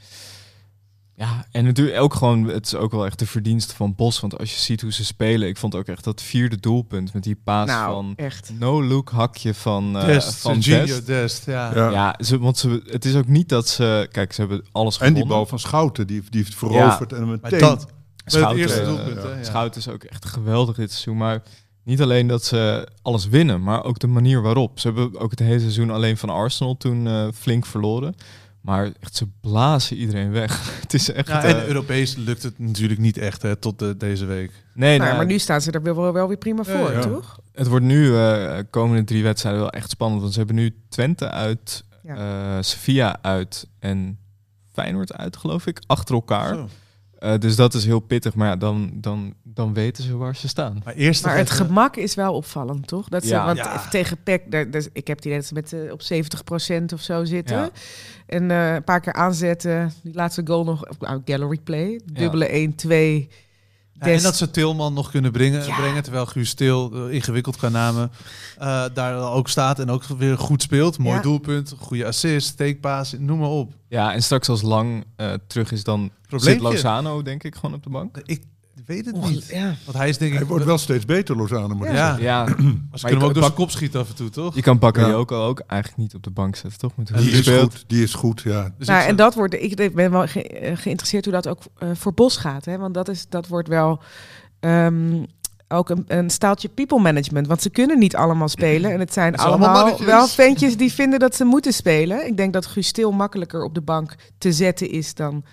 [SPEAKER 2] Ja, en natuurlijk ook gewoon, het is ook wel echt de verdienste van Bos. Want als je ziet hoe ze spelen, ik vond ook echt dat vierde doelpunt met die paas
[SPEAKER 3] nou,
[SPEAKER 2] van
[SPEAKER 3] echt.
[SPEAKER 2] no-look hakje van, eh
[SPEAKER 6] Dest,
[SPEAKER 2] van
[SPEAKER 6] Sergio
[SPEAKER 2] Dest.
[SPEAKER 6] Dest, ja.
[SPEAKER 4] Ja.
[SPEAKER 2] Ja, ze, want ze, het is ook niet dat ze, kijk, ze hebben alles
[SPEAKER 4] En
[SPEAKER 2] gewonnen.
[SPEAKER 4] die bal van Schouten, die, die heeft veroverd en
[SPEAKER 6] Maar
[SPEAKER 4] meteen...
[SPEAKER 6] dat, het
[SPEAKER 2] Schouten,
[SPEAKER 6] eerste
[SPEAKER 2] eh,
[SPEAKER 6] doelpunt,
[SPEAKER 4] ja.
[SPEAKER 6] hè, ja.
[SPEAKER 2] Schout is ook echt geweldig dit seizoen. Maar niet alleen dat ze alles winnen, maar ook de manier waarop. Ze hebben ook het hele seizoen alleen van Arsenal toen eh, flink verloren. Maar echt, ze blazen iedereen weg. het is echt...
[SPEAKER 6] Ja,
[SPEAKER 2] eh,
[SPEAKER 6] en Europees lukt het natuurlijk niet echt hè, tot eh, deze week.
[SPEAKER 2] nee,
[SPEAKER 3] Nou,
[SPEAKER 2] nou,
[SPEAKER 3] maar nu staan ze er wel, wel weer prima voor,
[SPEAKER 4] ja.
[SPEAKER 3] toch?
[SPEAKER 2] Het wordt nu, eh komende drie wedstrijden, wel echt spannend. Want ze hebben nu Twente uit,
[SPEAKER 3] Ja.
[SPEAKER 2] eh, Sevilla uit en Feyenoord uit, geloof ik. Achter elkaar.
[SPEAKER 6] Zo.
[SPEAKER 2] Eh, dus dat is heel pittig. Maar ja, dan, dan, dan weten ze waar ze staan.
[SPEAKER 6] Maar eh, eerst
[SPEAKER 3] Maar
[SPEAKER 6] nog
[SPEAKER 3] het
[SPEAKER 6] even-
[SPEAKER 3] gemak is wel opvallend, toch? Dat ze,
[SPEAKER 2] Ja.
[SPEAKER 3] Want
[SPEAKER 6] Ja.
[SPEAKER 3] tegen PEC, daar, daar- ik heb die net met eh, op 70% of zo zitten.
[SPEAKER 2] Ja.
[SPEAKER 3] En eh, een paar keer aanzetten. Die laatste goal nog, of, nou, gallery play. Dubbele 1, 2.
[SPEAKER 6] Ja, en dat ze Tilman nog kunnen brengen,
[SPEAKER 3] Ja.
[SPEAKER 6] brengen terwijl Guus Til, eh, ingewikkeld qua namen, eh, daar ook staat en ook weer goed speelt. Mooi
[SPEAKER 3] Ja.
[SPEAKER 6] doelpunt, goede assist, takepaas, noem maar op.
[SPEAKER 2] Ja, en straks als Lang eh, terug is, dan zit
[SPEAKER 6] Probleempje.
[SPEAKER 2] Lozano denk ik gewoon op de bank.
[SPEAKER 6] Ik weet het
[SPEAKER 3] Onge-
[SPEAKER 6] niet.
[SPEAKER 3] ja.
[SPEAKER 6] Want hij is denk ik...
[SPEAKER 4] Hij wordt wel steeds beter, Lozano. moet ik
[SPEAKER 6] Ja,
[SPEAKER 4] zeggen.
[SPEAKER 2] Ja,
[SPEAKER 6] maar ze
[SPEAKER 2] Maar
[SPEAKER 6] kunnen hem
[SPEAKER 2] je
[SPEAKER 6] ook dus
[SPEAKER 2] kan-
[SPEAKER 6] door zijn kop schieten af en toe, toch?
[SPEAKER 2] je kan Bakayoko ook eigenlijk niet op de bank zetten, toch? Met hoe
[SPEAKER 6] Die
[SPEAKER 2] hij
[SPEAKER 4] Die is
[SPEAKER 2] speelt.
[SPEAKER 4] goed, die is goed, ja.
[SPEAKER 6] Dus
[SPEAKER 3] nou,
[SPEAKER 6] ik
[SPEAKER 3] en
[SPEAKER 6] zou-
[SPEAKER 3] dat wordt, ik ik ben wel ge- eh, geïnteresseerd hoe dat ook eh, voor Bos gaat. Hè? Want dat, is, dat wordt wel ehm, ook een, een staaltje people management. Want ze kunnen niet allemaal spelen. En het zijn,
[SPEAKER 6] zijn allemaal
[SPEAKER 3] allemaal,
[SPEAKER 6] mannetjes.
[SPEAKER 3] wel ventjes die vinden dat ze moeten spelen. Ik denk dat Guus Til makkelijker op de bank te zetten is dan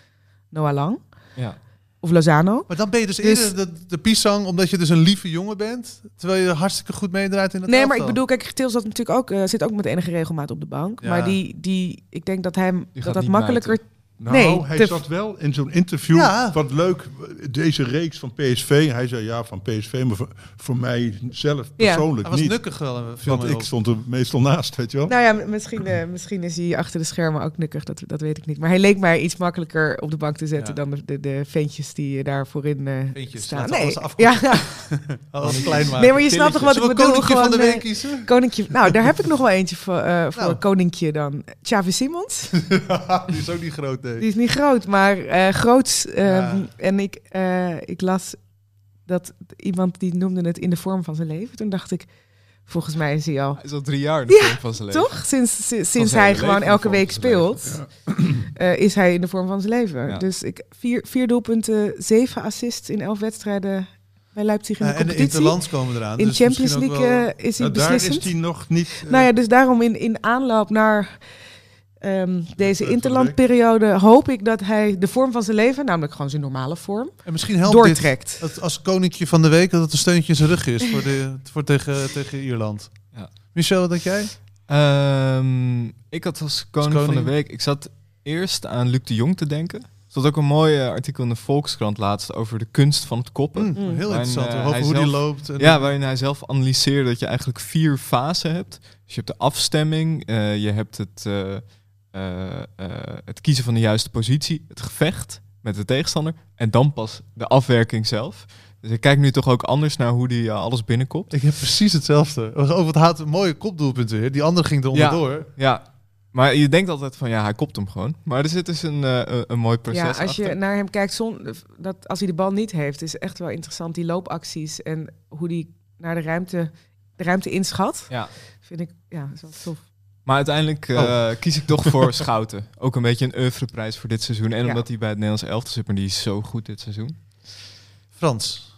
[SPEAKER 3] Noah Lang
[SPEAKER 2] Ja.
[SPEAKER 3] of Lozano.
[SPEAKER 6] Maar dan ben je dus,
[SPEAKER 3] Dus-
[SPEAKER 6] eerder de, de pisang, omdat je dus een lieve jongen bent, terwijl je hartstikke goed meedraait in het
[SPEAKER 3] Nee, maar ik
[SPEAKER 6] elftal.
[SPEAKER 3] bedoel, kijk, Til zat natuurlijk ook, eh, zit ook met enige regelmaat op de bank.
[SPEAKER 6] Ja.
[SPEAKER 3] Maar die, die, ik denk dat hij hem-
[SPEAKER 2] gaat
[SPEAKER 3] dat, dat
[SPEAKER 2] niet
[SPEAKER 3] makkelijker...
[SPEAKER 4] Nou,
[SPEAKER 3] Nee,
[SPEAKER 4] hij
[SPEAKER 3] te-
[SPEAKER 4] zat wel in zo'n interview.
[SPEAKER 6] Ja.
[SPEAKER 4] Wat leuk, deze reeks van PSV. Hij zei ja, van PSV, maar voor, voor mij zelf persoonlijk
[SPEAKER 6] Hij was
[SPEAKER 4] niet.
[SPEAKER 6] nukkig wel, viel
[SPEAKER 4] want
[SPEAKER 6] mij
[SPEAKER 4] ik
[SPEAKER 6] op.
[SPEAKER 4] stond er meestal naast, weet je wel.
[SPEAKER 3] Nou ja, misschien, eh, misschien is hij achter de schermen ook nukkig, dat, dat weet ik niet. Maar hij leek mij iets makkelijker op de bank te zetten
[SPEAKER 6] Ja.
[SPEAKER 3] dan de, de, de ventjes die eh, daar voorin eh,
[SPEAKER 6] Ventjes,
[SPEAKER 3] staan.
[SPEAKER 6] laten we alles
[SPEAKER 3] ja,
[SPEAKER 6] afkorten. Alles oh, klein maken.
[SPEAKER 3] nee, maar je snapt toch wat ik
[SPEAKER 6] Zullen we
[SPEAKER 3] bedoel?
[SPEAKER 6] koninkje van de
[SPEAKER 3] Gewoon,
[SPEAKER 6] week
[SPEAKER 3] eh,
[SPEAKER 6] kiezen?
[SPEAKER 3] Koninkje, nou daar heb ik nog wel eentje voor, eh, voor
[SPEAKER 6] Nou.
[SPEAKER 3] koninkje dan. Xavi Simons,
[SPEAKER 6] die is ook niet groot, nee.
[SPEAKER 3] die is niet groot, maar eh groots. ehm,
[SPEAKER 6] Ja.
[SPEAKER 3] En ik, eh, ik las dat iemand die noemde het in de vorm van zijn leven. Toen dacht ik, volgens mij is hij al
[SPEAKER 2] Hij is al drie jaar in de vorm van zijn leven.
[SPEAKER 3] Toch? Sinds, sinds,
[SPEAKER 2] Van
[SPEAKER 3] sinds
[SPEAKER 2] zijn
[SPEAKER 3] hij
[SPEAKER 2] hele
[SPEAKER 3] gewoon
[SPEAKER 2] leven,
[SPEAKER 3] elke week
[SPEAKER 2] volgens zijn leven.
[SPEAKER 3] speelt, eh, is hij in de vorm van zijn leven.
[SPEAKER 2] Ja.
[SPEAKER 3] Dus ik, vier, vier doelpunten, zeven assists in elf wedstrijden bij Leipzig in de
[SPEAKER 6] Ja, Eh, en de
[SPEAKER 3] competitie. In,
[SPEAKER 6] Interlands komen eraan. dus
[SPEAKER 3] Champions
[SPEAKER 6] misschien ook
[SPEAKER 3] League
[SPEAKER 6] wel-
[SPEAKER 3] eh, is hij
[SPEAKER 4] Nou, daar
[SPEAKER 3] beslissend.
[SPEAKER 4] is hij nog niet. eh,
[SPEAKER 3] Nou ja, dus daarom in, in aanloop naar ehm, deze
[SPEAKER 4] week.
[SPEAKER 3] interlandperiode hoop ik dat hij de vorm van zijn leven, namelijk gewoon zijn normale vorm,
[SPEAKER 6] en misschien helpt dit
[SPEAKER 3] doortrekt.
[SPEAKER 6] dat als koninkje van de week dat het een steuntje in zijn rug is voor, de, voor tegen, tegen Ierland.
[SPEAKER 2] Ja.
[SPEAKER 6] Michel, wat denk jij?
[SPEAKER 2] Ehm, ik had als koning,
[SPEAKER 6] koning.
[SPEAKER 2] van de week, ik zat eerst aan Luc de Jong te denken. Er zat ook een mooi eh, artikel in de Volkskrant laatst over de kunst van het koppen.
[SPEAKER 6] Hm, Heel interessant.
[SPEAKER 2] eh,
[SPEAKER 6] hoor, over
[SPEAKER 2] hij
[SPEAKER 6] hoe die
[SPEAKER 2] zelf-
[SPEAKER 6] loopt. En
[SPEAKER 2] Ja, waarin hij zelf analyseerde dat je eigenlijk vier fasen hebt. Dus je hebt de afstemming, eh, je hebt het, eh, eh, eh, het kiezen van de juiste positie, het gevecht met de tegenstander en dan pas de afwerking zelf. Dus ik kijk nu toch ook anders naar hoe die eh, alles binnenkomt.
[SPEAKER 6] Ik heb precies hetzelfde. Ook wat haat een mooie kopdoelpunt weer. Die andere ging er onderdoor.
[SPEAKER 2] Ja, maar je denkt altijd van ja, hij kopt hem gewoon. Maar er zit dus een, eh, een- een mooi proces
[SPEAKER 3] Ja, als je
[SPEAKER 2] achter.
[SPEAKER 3] naar hem kijkt, zon, dat, als hij de bal niet heeft, is echt wel interessant die loopacties en hoe hij naar de ruimte, de ruimte inschat.
[SPEAKER 2] Ja.
[SPEAKER 3] Vind ik, ja, is wel tof.
[SPEAKER 2] Maar uiteindelijk eh, kies ik toch voor Schouten. Ook een beetje een oeuvreprijs voor dit seizoen. En
[SPEAKER 3] Ja.
[SPEAKER 2] omdat hij bij het Nederlands elftal zit, maar die is zo goed dit seizoen.
[SPEAKER 6] Frans.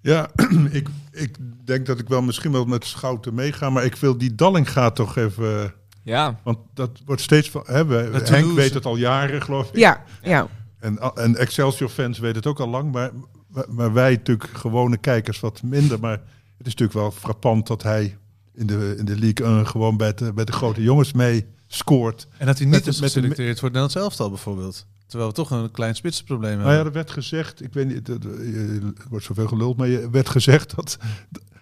[SPEAKER 4] Ja, ik, ik denk dat ik wel misschien wel met Schouten meega. Maar ik wil die Dalling gaat toch even.
[SPEAKER 2] Ja,
[SPEAKER 4] Want dat wordt steeds van. Hè, we-
[SPEAKER 6] Dat
[SPEAKER 4] Henk
[SPEAKER 6] to-do's.
[SPEAKER 4] weet het al jaren, geloof ik.
[SPEAKER 3] Ja, ja.
[SPEAKER 4] En, a- en Excelsior-fans weten het ook al lang, maar, maar- maar wij natuurlijk gewone kijkers wat minder. Maar het is natuurlijk wel frappant dat hij in de, in de League 1 gewoon bij de, bij de grote jongens mee scoort.
[SPEAKER 6] En dat hij
[SPEAKER 4] Met
[SPEAKER 6] niet
[SPEAKER 4] de-
[SPEAKER 6] is
[SPEAKER 4] met de-
[SPEAKER 6] geselecteerd wordt naar hetzelfde al bijvoorbeeld. Terwijl we toch een klein spitsenprobleem
[SPEAKER 4] Nou ja,
[SPEAKER 6] hebben.
[SPEAKER 4] er werd gezegd, ik weet niet, dat- eh, je- er wordt zoveel geluld, maar je werd gezegd dat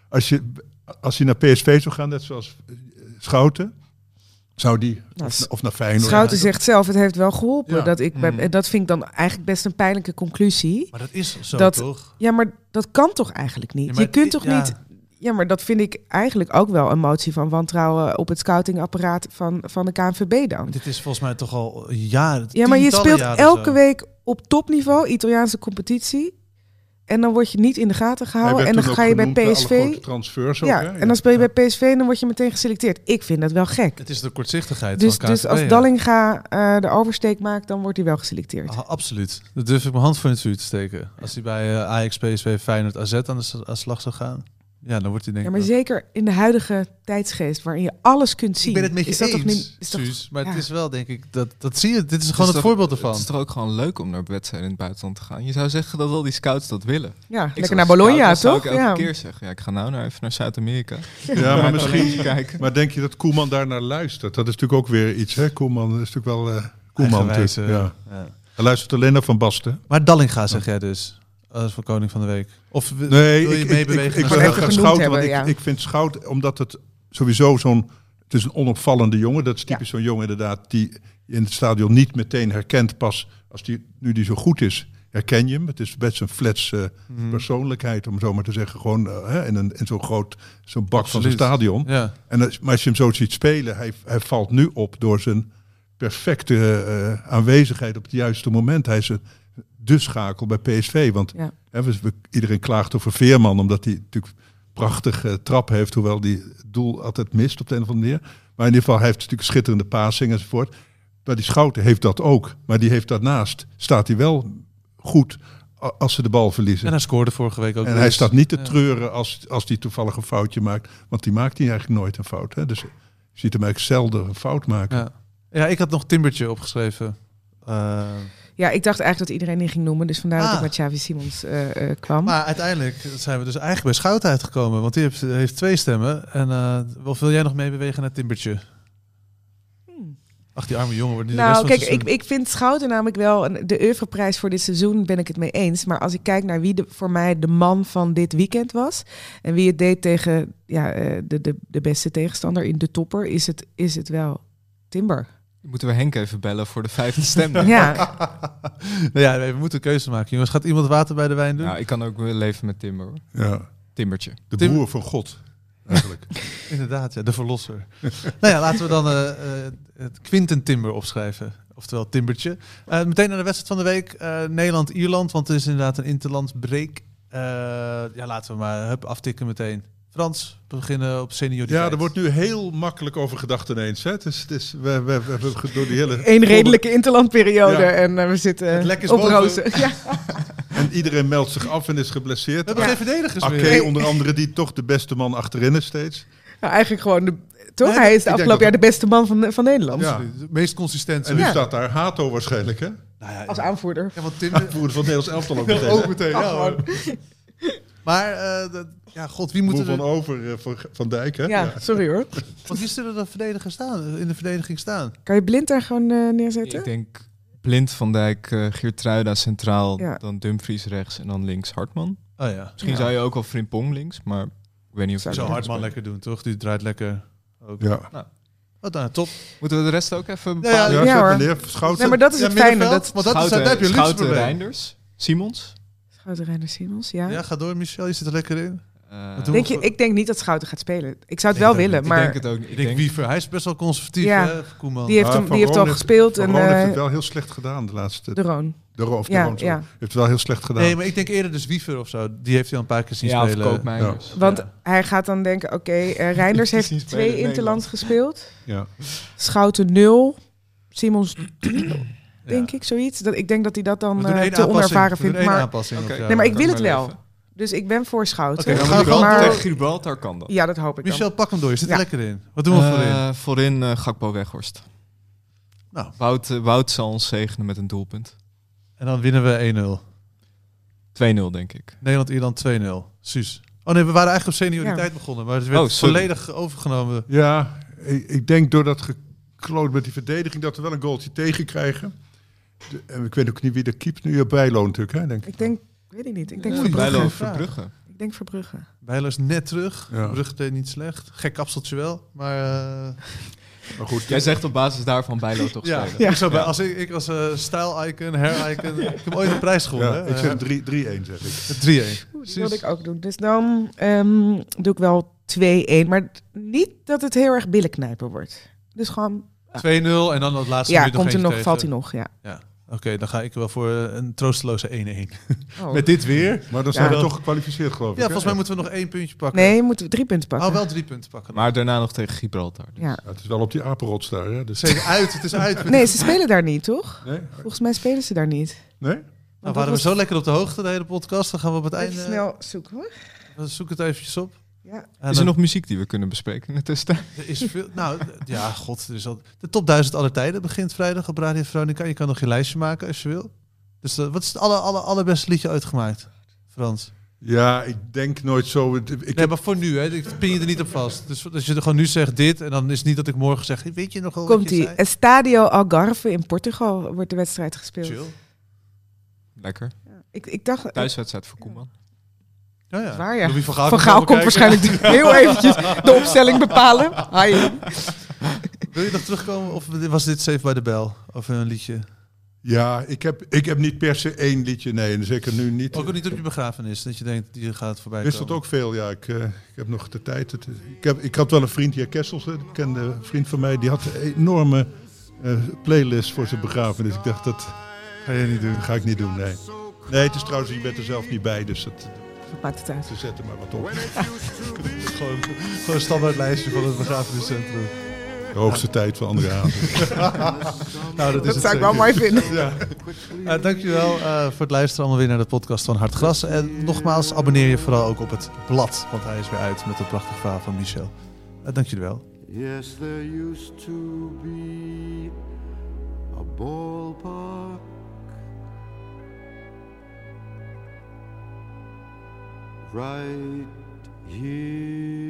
[SPEAKER 4] als je, als je naar PSV zou gaan, net zoals eh, Schouten, zou die,
[SPEAKER 3] Nou,
[SPEAKER 4] of, of naar Feyenoord.
[SPEAKER 3] Schouten zegt zelf, het heeft wel geholpen.
[SPEAKER 4] Ja.
[SPEAKER 3] Dat, ik bij-
[SPEAKER 2] Mm.
[SPEAKER 3] en dat vind ik dan eigenlijk best een pijnlijke conclusie.
[SPEAKER 6] Maar dat is zo
[SPEAKER 3] Dat-
[SPEAKER 6] toch?
[SPEAKER 3] Ja, maar dat kan toch eigenlijk niet?
[SPEAKER 6] Ja, maar
[SPEAKER 3] je kunt
[SPEAKER 6] dit-
[SPEAKER 3] toch
[SPEAKER 6] ja.
[SPEAKER 3] niet... Ja, maar dat vind ik eigenlijk ook wel een motie van wantrouwen op het scoutingapparaat van, van de KNVB dan.
[SPEAKER 6] Dit is volgens mij toch al jaren.
[SPEAKER 3] Ja, maar je
[SPEAKER 6] tientallen
[SPEAKER 3] speelt
[SPEAKER 6] jaren
[SPEAKER 3] elke
[SPEAKER 6] zo.
[SPEAKER 3] week op topniveau Italiaanse competitie. En dan word je niet in de gaten
[SPEAKER 4] Hij
[SPEAKER 3] gehouden.
[SPEAKER 4] werd
[SPEAKER 3] En dan
[SPEAKER 4] toen
[SPEAKER 3] ga
[SPEAKER 4] ook
[SPEAKER 3] je bij
[SPEAKER 4] genoemd Nou, alle
[SPEAKER 3] PSV.
[SPEAKER 4] grote transfers ook,
[SPEAKER 3] Ja,
[SPEAKER 4] hè?
[SPEAKER 3] en dan speel je bij PSV en dan word je meteen geselecteerd. Ik vind dat wel gek.
[SPEAKER 6] Het is de kortzichtigheid
[SPEAKER 3] Dus,
[SPEAKER 6] van
[SPEAKER 3] dus
[SPEAKER 6] KNVB,
[SPEAKER 3] als
[SPEAKER 6] ja.
[SPEAKER 3] Dallinga eh, de oversteek maakt, dan wordt hij wel geselecteerd.
[SPEAKER 6] Ah, absoluut. Daar durf ik mijn hand voor in het vuur te steken. Als hij bij eh, Ajax, PSV, Feyenoord, AZ aan de, s- aan de slag zou gaan. Ja, dan wordt hij denk
[SPEAKER 3] Ja,
[SPEAKER 6] ik...
[SPEAKER 3] maar
[SPEAKER 6] wel-
[SPEAKER 3] zeker in de huidige tijdsgeest waarin je alles kunt zien.
[SPEAKER 6] ik ben het met je
[SPEAKER 3] is dat
[SPEAKER 6] eens,
[SPEAKER 3] toch niet? Is dat,
[SPEAKER 6] Suus, Maar
[SPEAKER 3] ja.
[SPEAKER 6] het is wel, denk ik, dat, dat zie je. Dit is gewoon het,
[SPEAKER 2] toch-
[SPEAKER 6] voorbeeld ervan.
[SPEAKER 2] Het is toch ook gewoon leuk om naar wedstrijden in het buitenland te gaan. Je zou zeggen dat al die scouts dat willen.
[SPEAKER 3] ja,
[SPEAKER 2] Ik
[SPEAKER 3] lekker
[SPEAKER 2] zou
[SPEAKER 3] naar
[SPEAKER 2] als
[SPEAKER 3] Bologna,
[SPEAKER 2] scout, dat
[SPEAKER 3] toch?
[SPEAKER 2] Zou ik elke
[SPEAKER 3] Ja.
[SPEAKER 2] keer zeggen. Ja, ik ga nou naar even naar Zuid-Amerika.
[SPEAKER 4] Ja, maar misschien,
[SPEAKER 2] kijken.
[SPEAKER 4] Maar denk je dat Koeman daar naar luistert? Dat is natuurlijk ook weer iets, hè? Koeman is natuurlijk wel. eh Koeman,
[SPEAKER 6] Eigenwijs,
[SPEAKER 4] natuurlijk. Ja.
[SPEAKER 6] eh, ja.
[SPEAKER 4] Hij luistert alleen naar Van Basten.
[SPEAKER 6] Maar Dallinga zeg jij dus. Als voor koning van de week. Of w-
[SPEAKER 4] Nee,
[SPEAKER 6] wil je
[SPEAKER 4] ik, ik, ik,
[SPEAKER 6] meebewegen?
[SPEAKER 4] ik
[SPEAKER 6] naar
[SPEAKER 4] wil
[SPEAKER 3] Even
[SPEAKER 4] heel
[SPEAKER 6] Dallinga?
[SPEAKER 4] graag
[SPEAKER 3] genoemd
[SPEAKER 4] Schouten. Want
[SPEAKER 3] hebben,
[SPEAKER 4] ik,
[SPEAKER 3] ja.
[SPEAKER 4] ik vind Schouten, omdat het sowieso zo'n. Het is een onopvallende jongen. Dat is typisch zo'n jongen inderdaad die je in het stadion niet meteen herkent. Pas als die, nu die zo goed is, herken je hem. Het is best een flats eh,
[SPEAKER 6] Mhm.
[SPEAKER 4] persoonlijkheid, om zo maar te zeggen. Gewoon eh, hè, in, een- in zo'n groot, zo'n bak van zo'n
[SPEAKER 6] Absoluut.
[SPEAKER 4] stadion.
[SPEAKER 6] Ja.
[SPEAKER 4] En als, maar als je hem zo ziet spelen, hij, hij valt nu op door zijn perfecte eh, aanwezigheid op het juiste moment. Hij is een, de schakel bij PSV. Want
[SPEAKER 3] Ja.
[SPEAKER 4] hè, we- we- iedereen klaagt over Veerman, omdat hij natuurlijk prachtig eh, trap heeft, hoewel die het doel altijd mist op de een of andere manier. Maar in ieder geval, hij heeft natuurlijk schitterende passing enzovoort. Maar die Schouten heeft dat ook. Maar die heeft daarnaast, staat hij wel goed a- als ze de bal verliezen.
[SPEAKER 6] En hij scoorde vorige week ook.
[SPEAKER 4] En
[SPEAKER 6] weer
[SPEAKER 4] hij
[SPEAKER 6] eens.
[SPEAKER 4] staat niet te
[SPEAKER 6] Ja.
[SPEAKER 4] treuren als, als die toevallig een foutje maakt. Want die maakt hij eigenlijk nooit een fout. Hè? Dus je ziet hem eigenlijk zelden een fout maken.
[SPEAKER 6] Ja. ja, ik had nog Timbertje opgeschreven. Eh,
[SPEAKER 3] ja, ik dacht eigenlijk dat iedereen die ging noemen. Dus vandaar dat
[SPEAKER 6] Ah.
[SPEAKER 3] ik met Xavi Simons eh, eh, kwam.
[SPEAKER 6] maar uiteindelijk zijn we dus eigenlijk bij Schout uitgekomen. Want die heeft, heeft twee stemmen. En eh, of wil jij nog meebewegen naar Timbertje?
[SPEAKER 3] Hmm.
[SPEAKER 6] Ach, die arme jongen wordt nu Dus de
[SPEAKER 3] Nou,
[SPEAKER 6] rest
[SPEAKER 3] kijk,
[SPEAKER 6] van het
[SPEAKER 3] ik, ik vind Schouten namelijk wel een- de oeuvreprijs voor dit seizoen ben ik het mee eens. Maar als ik kijk naar wie de, voor mij de man van dit weekend was en wie het deed tegen ja, eh, de, de, de beste tegenstander in de topper, is het, is het wel Timber.
[SPEAKER 2] Moeten we Henk even bellen voor de vijfde stem? denk ik.
[SPEAKER 3] Ja,
[SPEAKER 6] seizoen. Nou ja, we moeten een keuze maken, jongens. Gaat iemand water bij de wijn doen?
[SPEAKER 2] Nou, ik kan ook wel leven met Timber. hoor.
[SPEAKER 4] Ja.
[SPEAKER 2] Timbertje.
[SPEAKER 4] De
[SPEAKER 6] Tim-
[SPEAKER 4] broer van God, eigenlijk.
[SPEAKER 6] Inderdaad, ja, de verlosser. nou ja, laten we dan eh, eh, het Quinten Timber opschrijven. Oftewel Timbertje. Eh, meteen naar de wedstrijd van de week. eh, Nederland-Ierland, want het is inderdaad een interlandbreek. Eh, ja, laten we maar hup, aftikken meteen. Frans, we beginnen op senioriteit.
[SPEAKER 4] ja, er wordt nu heel makkelijk over gedacht ineens. Hè? Het is, het is, we, we, we hebben ge- door die hele...
[SPEAKER 3] één redelijke interlandperiode
[SPEAKER 4] Ja.
[SPEAKER 3] en eh, we zitten
[SPEAKER 6] Het lek is
[SPEAKER 3] op
[SPEAKER 6] boven.
[SPEAKER 3] rozen. Ja.
[SPEAKER 4] En iedereen meldt zich af en is
[SPEAKER 6] We
[SPEAKER 4] geblesseerd.
[SPEAKER 6] hebben geen verdedigers
[SPEAKER 4] Oké,
[SPEAKER 6] meer.
[SPEAKER 4] onder andere, die toch de beste man achterin is steeds.
[SPEAKER 3] Nou, eigenlijk gewoon, de, toch?
[SPEAKER 6] Nee,
[SPEAKER 3] Hij is de
[SPEAKER 4] denk
[SPEAKER 3] afgelopen jaar
[SPEAKER 4] dat-
[SPEAKER 3] de beste man van, van Nederland.
[SPEAKER 4] Ja.
[SPEAKER 6] Absoluut. De meest consistent.
[SPEAKER 4] En nu
[SPEAKER 3] Ja.
[SPEAKER 4] staat daar Hato waarschijnlijk, hè?
[SPEAKER 6] Nou ja,
[SPEAKER 3] Als aanvoerder.
[SPEAKER 6] ja, want Timber,
[SPEAKER 4] Voerder van het Nederlands elftal ook meteen. hè?
[SPEAKER 6] meteen.
[SPEAKER 3] Ach,
[SPEAKER 6] ja, hoor.
[SPEAKER 3] gewoon.
[SPEAKER 6] maar, eh, dat- ja, god, wie
[SPEAKER 4] Broer
[SPEAKER 6] moeten
[SPEAKER 4] van
[SPEAKER 6] er...
[SPEAKER 4] Over, eh, van, van Dijk, hè?
[SPEAKER 3] Ja, sorry hoor.
[SPEAKER 6] Want wie zullen er verdedigers staan, in de verdediging staan?
[SPEAKER 3] Kan je blind daar gewoon eh, neerzetten?
[SPEAKER 2] Ik denk Blind, Van Dijk, eh Geertruida centraal,
[SPEAKER 3] Ja.
[SPEAKER 2] dan Dumfries rechts en dan links Hartman.
[SPEAKER 6] Oh ja.
[SPEAKER 2] Misschien
[SPEAKER 3] Ja.
[SPEAKER 2] zou je ook wel Frimpong links, maar ik weet niet of...
[SPEAKER 3] Zou
[SPEAKER 2] die
[SPEAKER 6] Zo
[SPEAKER 3] Ja.
[SPEAKER 2] links
[SPEAKER 6] hard man
[SPEAKER 2] speelt.
[SPEAKER 6] lekker doen, toch? Die draait lekker. Ook.
[SPEAKER 4] Ja.
[SPEAKER 6] Wat nou, top.
[SPEAKER 2] Moeten we de rest ook even
[SPEAKER 6] Ja, ja,
[SPEAKER 2] bepalen?
[SPEAKER 4] Ja,
[SPEAKER 3] Ja,
[SPEAKER 4] zet
[SPEAKER 3] hoor.
[SPEAKER 4] maar neer. Schouten.
[SPEAKER 3] Nee, maar dat is
[SPEAKER 6] Ja,
[SPEAKER 3] het fijne.
[SPEAKER 6] middenveld,
[SPEAKER 3] Dat...
[SPEAKER 6] want dat is,
[SPEAKER 2] Schouten,
[SPEAKER 6] daar heb je een luxe
[SPEAKER 2] Schouten,
[SPEAKER 6] probleem.
[SPEAKER 2] Reinders, Simons.
[SPEAKER 3] Schouten Reiner Simons, ja.
[SPEAKER 6] Ja, ga door Michel, je zit er lekker in.
[SPEAKER 2] Eh,
[SPEAKER 6] Wat doen we?
[SPEAKER 3] Denk je, ik denk niet dat Schouten gaat spelen. Ik zou het
[SPEAKER 6] Nee,
[SPEAKER 3] wel
[SPEAKER 6] dat
[SPEAKER 3] willen,
[SPEAKER 6] niet.
[SPEAKER 2] ik
[SPEAKER 3] maar
[SPEAKER 2] denk het ook niet.
[SPEAKER 6] Ik denk Wiever, hij is best wel conservatief,
[SPEAKER 3] Ja.
[SPEAKER 6] hè, Koeman.
[SPEAKER 3] die heeft,
[SPEAKER 4] Ah,
[SPEAKER 3] hem,
[SPEAKER 4] Van
[SPEAKER 3] die heeft al
[SPEAKER 4] Roon heeft-
[SPEAKER 3] gespeeld.
[SPEAKER 4] Van
[SPEAKER 3] En,
[SPEAKER 4] Roon heeft
[SPEAKER 3] eh,
[SPEAKER 4] het wel heel slecht gedaan de laatste.
[SPEAKER 3] de Roon.
[SPEAKER 4] De Ro- of de
[SPEAKER 3] Ja,
[SPEAKER 4] Roon, sorry.
[SPEAKER 3] ja.
[SPEAKER 4] Heeft het wel heel slecht gedaan.
[SPEAKER 6] Nee, maar ik denk eerder dus Wiever of zo. Die heeft hij al een paar keer zien
[SPEAKER 2] ja, of
[SPEAKER 6] spelen.
[SPEAKER 2] Koopmeiners.
[SPEAKER 3] Want
[SPEAKER 6] Ja.
[SPEAKER 3] hij gaat dan denken, oké, eh, Reinders
[SPEAKER 2] Die
[SPEAKER 3] heeft
[SPEAKER 2] zien
[SPEAKER 3] twee
[SPEAKER 2] spelen in Nederland.
[SPEAKER 3] interlands gespeeld.
[SPEAKER 4] ja.
[SPEAKER 3] Schouten nul. Simons,
[SPEAKER 6] Ja.
[SPEAKER 3] denk ik, zoiets. Dat, ik denk dat hij dat
[SPEAKER 6] We
[SPEAKER 3] dan
[SPEAKER 6] doen
[SPEAKER 3] eh,
[SPEAKER 6] één
[SPEAKER 3] te
[SPEAKER 6] aanpassing.
[SPEAKER 3] onervaren
[SPEAKER 6] We doen
[SPEAKER 3] vindt.
[SPEAKER 6] één
[SPEAKER 3] Maar
[SPEAKER 6] aanpassing op
[SPEAKER 2] Oké.
[SPEAKER 6] jou.
[SPEAKER 3] Nee, maar ik
[SPEAKER 2] kan
[SPEAKER 3] wil het
[SPEAKER 2] maar
[SPEAKER 3] wel.
[SPEAKER 2] leven.
[SPEAKER 3] Dus ik ben voor Schouten.
[SPEAKER 6] Oké,
[SPEAKER 2] dan
[SPEAKER 6] dan
[SPEAKER 2] moet ik wel
[SPEAKER 6] maar-
[SPEAKER 2] tegen Gibraltar kan dat.
[SPEAKER 3] Ja, dat hoop ik dan.
[SPEAKER 6] Michel, pak hem door. Je zit
[SPEAKER 3] Ja.
[SPEAKER 6] er lekker in. Wat doen we
[SPEAKER 2] Eh,
[SPEAKER 6] voorin?
[SPEAKER 2] voorin eh, Gakpo Weghorst.
[SPEAKER 6] Nou.
[SPEAKER 2] Wout, eh, Wout zal ons zegenen met een doelpunt. 2-0
[SPEAKER 6] En dan winnen we 1-0.
[SPEAKER 2] denk ik.
[SPEAKER 6] Nederland-Ierland 2-0. Suus. Oh nee, we waren eigenlijk op senioriteit begonnen. Maar het werd
[SPEAKER 2] Oh, sorry.
[SPEAKER 6] volledig overgenomen.
[SPEAKER 4] Ja, ik, ik denk door dat gekloot met die verdediging dat we wel een goaltje tegen krijgen. De- en ik weet ook niet wie de keept nu. Ja, Bijlo natuurlijk, hè, denk ik.
[SPEAKER 3] Ik denk, weet ik niet. Ik
[SPEAKER 2] Oei,
[SPEAKER 3] denk Verbrugge.
[SPEAKER 2] Bijlo
[SPEAKER 6] Geen vraag.
[SPEAKER 2] Verbrugge.
[SPEAKER 3] Ik denk Verbrugge.
[SPEAKER 6] Bijlo is net terug.
[SPEAKER 4] Ja.
[SPEAKER 6] Brugge deed niet slecht. Gek kapseltje wel. Maar eh,
[SPEAKER 4] Maar goed,
[SPEAKER 2] Jij zegt op basis daarvan Bijlo toch
[SPEAKER 6] ja,
[SPEAKER 2] spelen.
[SPEAKER 6] Ik, zou bij, als ik, ik was eh style-icon, hair-icon. ik heb ooit een prijs gewonnen.
[SPEAKER 4] ja,
[SPEAKER 6] hè?
[SPEAKER 4] ik zeg 3-1, zeg
[SPEAKER 3] Oeh,
[SPEAKER 6] Eh, 3-1.
[SPEAKER 4] ik.
[SPEAKER 3] die
[SPEAKER 6] Precies.
[SPEAKER 3] wilde ik ook doen. Dus dan ehm, doe ik wel 2-1. Maar niet dat het heel erg billenknijpen wordt. Dus gewoon,
[SPEAKER 6] 2-0 en dan dat laatste
[SPEAKER 3] ja,
[SPEAKER 6] minuut
[SPEAKER 3] komt er
[SPEAKER 6] eentje
[SPEAKER 3] nog,
[SPEAKER 6] tegen.
[SPEAKER 3] valt hij nog. Ja.
[SPEAKER 6] Oké, dan ga ik wel voor eh, een troosteloze 1-1.
[SPEAKER 3] Oh.
[SPEAKER 6] Met dit weer?
[SPEAKER 4] Maar dan zijn
[SPEAKER 3] Ja.
[SPEAKER 4] we toch gekwalificeerd, geloof ik.
[SPEAKER 6] Ja,
[SPEAKER 4] hè?
[SPEAKER 6] volgens mij moeten we nog één puntje pakken.
[SPEAKER 3] Nee, moeten we drie punten pakken.
[SPEAKER 6] Oh, wel drie punten pakken.
[SPEAKER 2] Maar daarna nog tegen Gibraltar.
[SPEAKER 3] ja.
[SPEAKER 4] Ja, het is wel op die apenrots daar, hè? Dus,
[SPEAKER 6] Zeker uit, het is uit.
[SPEAKER 3] Nee, ze spelen daar niet, toch?
[SPEAKER 4] nee?
[SPEAKER 3] Volgens mij spelen ze daar niet.
[SPEAKER 4] Nee?
[SPEAKER 6] Nou,
[SPEAKER 3] Want
[SPEAKER 6] waren we
[SPEAKER 3] dat
[SPEAKER 6] zo lekker op de hoogte de hele podcast. Dan gaan we op het
[SPEAKER 3] was-
[SPEAKER 6] einde.
[SPEAKER 3] Even snel zoeken hoor.
[SPEAKER 6] We zoeken het eventjes op.
[SPEAKER 3] Ja.
[SPEAKER 6] En
[SPEAKER 2] Is er
[SPEAKER 6] dan-
[SPEAKER 2] nog muziek die we kunnen bespreken in de tussentijd?
[SPEAKER 6] er is veel, nou, d- ja, god. Er is al, de top 1000 aller tijden begint vrijdag op Radio Veronica. Je kan nog je lijstje maken als je wil. Dus eh, wat is het aller, aller, allerbeste liedje uitgemaakt, Frans?
[SPEAKER 4] Ja, ik denk nooit zo. Ik
[SPEAKER 6] Nee, maar voor nu, hè. Ik pin je er niet op vast. Dus als je er gewoon nu zegt dit, en dan is het niet dat ik morgen zeg... hey, Weet je nog wel wat
[SPEAKER 3] Komt
[SPEAKER 6] je
[SPEAKER 3] ie.
[SPEAKER 6] zei?
[SPEAKER 3] Estadio Algarve in Portugal wordt de wedstrijd gespeeld.
[SPEAKER 6] Chill.
[SPEAKER 2] Lekker.
[SPEAKER 3] Ja. Ik, ik dacht,
[SPEAKER 2] Thuiswedstrijd voor Koeman.
[SPEAKER 6] Ja,
[SPEAKER 3] Dat
[SPEAKER 6] ja.
[SPEAKER 3] is waar, ja.
[SPEAKER 6] Louis Gaal,
[SPEAKER 3] Van
[SPEAKER 6] komt
[SPEAKER 3] Gaal
[SPEAKER 6] komen
[SPEAKER 3] komt
[SPEAKER 6] kijken.
[SPEAKER 3] waarschijnlijk heel eventjes de opstelling bepalen. Hi.
[SPEAKER 6] Wil je nog terugkomen? Of was dit Safe by the Bell? Of een liedje?
[SPEAKER 4] Ja, ik heb, ik heb niet per se één liedje, nee. En zeker nu niet.
[SPEAKER 6] Ook niet op je begrafenis, dat je denkt, die gaat voorbij
[SPEAKER 4] Er is dat ook veel, ja. Ik, eh, ik heb nog de tijd. Het- ik, heb, ik had wel een vriend hier, Kessels, hè, een bekende vriend van mij. Die had een enorme eh, playlist voor zijn begrafenis. Ik dacht, dat ga je niet doen. ga ik niet doen, nee. Nee, het is trouwens, je bent er zelf niet bij, dus dat,
[SPEAKER 3] Wat maakt het uit?
[SPEAKER 4] ze zetten maar wat op.
[SPEAKER 6] Gewoon, gewoon een standaard lijstje van het begrafeniscentrum.
[SPEAKER 4] De hoogste tijd van andere avond.
[SPEAKER 6] Nou, dat is
[SPEAKER 3] Dat
[SPEAKER 6] het
[SPEAKER 3] zou ik wel
[SPEAKER 6] zeker.
[SPEAKER 3] mooi vinden.
[SPEAKER 6] Eh, dankjewel eh, voor het luisteren allemaal weer naar de podcast van Hartgras. En nogmaals, abonneer je vooral ook op het blad, want hij is weer uit met een prachtig verhaal van Michel. Eh, dank jullie wel.
[SPEAKER 5] Yes, there used to be a ballpark right here.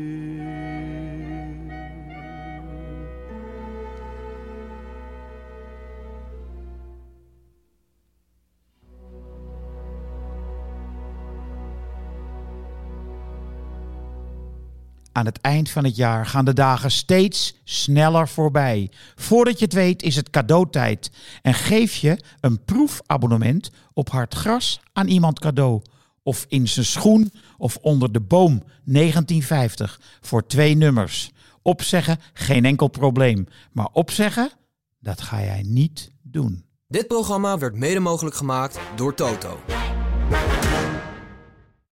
[SPEAKER 7] Aan het eind van het jaar gaan de dagen steeds sneller voorbij. Voordat je het weet is het cadeautijd. En geef je een proefabonnement op hard gras aan iemand cadeau. Of in zijn schoen of onder de boom 1950 voor twee nummers. Opzeggen geen enkel probleem. Maar opzeggen, dat ga jij niet doen.
[SPEAKER 1] Dit programma werd mede mogelijk gemaakt door Toto.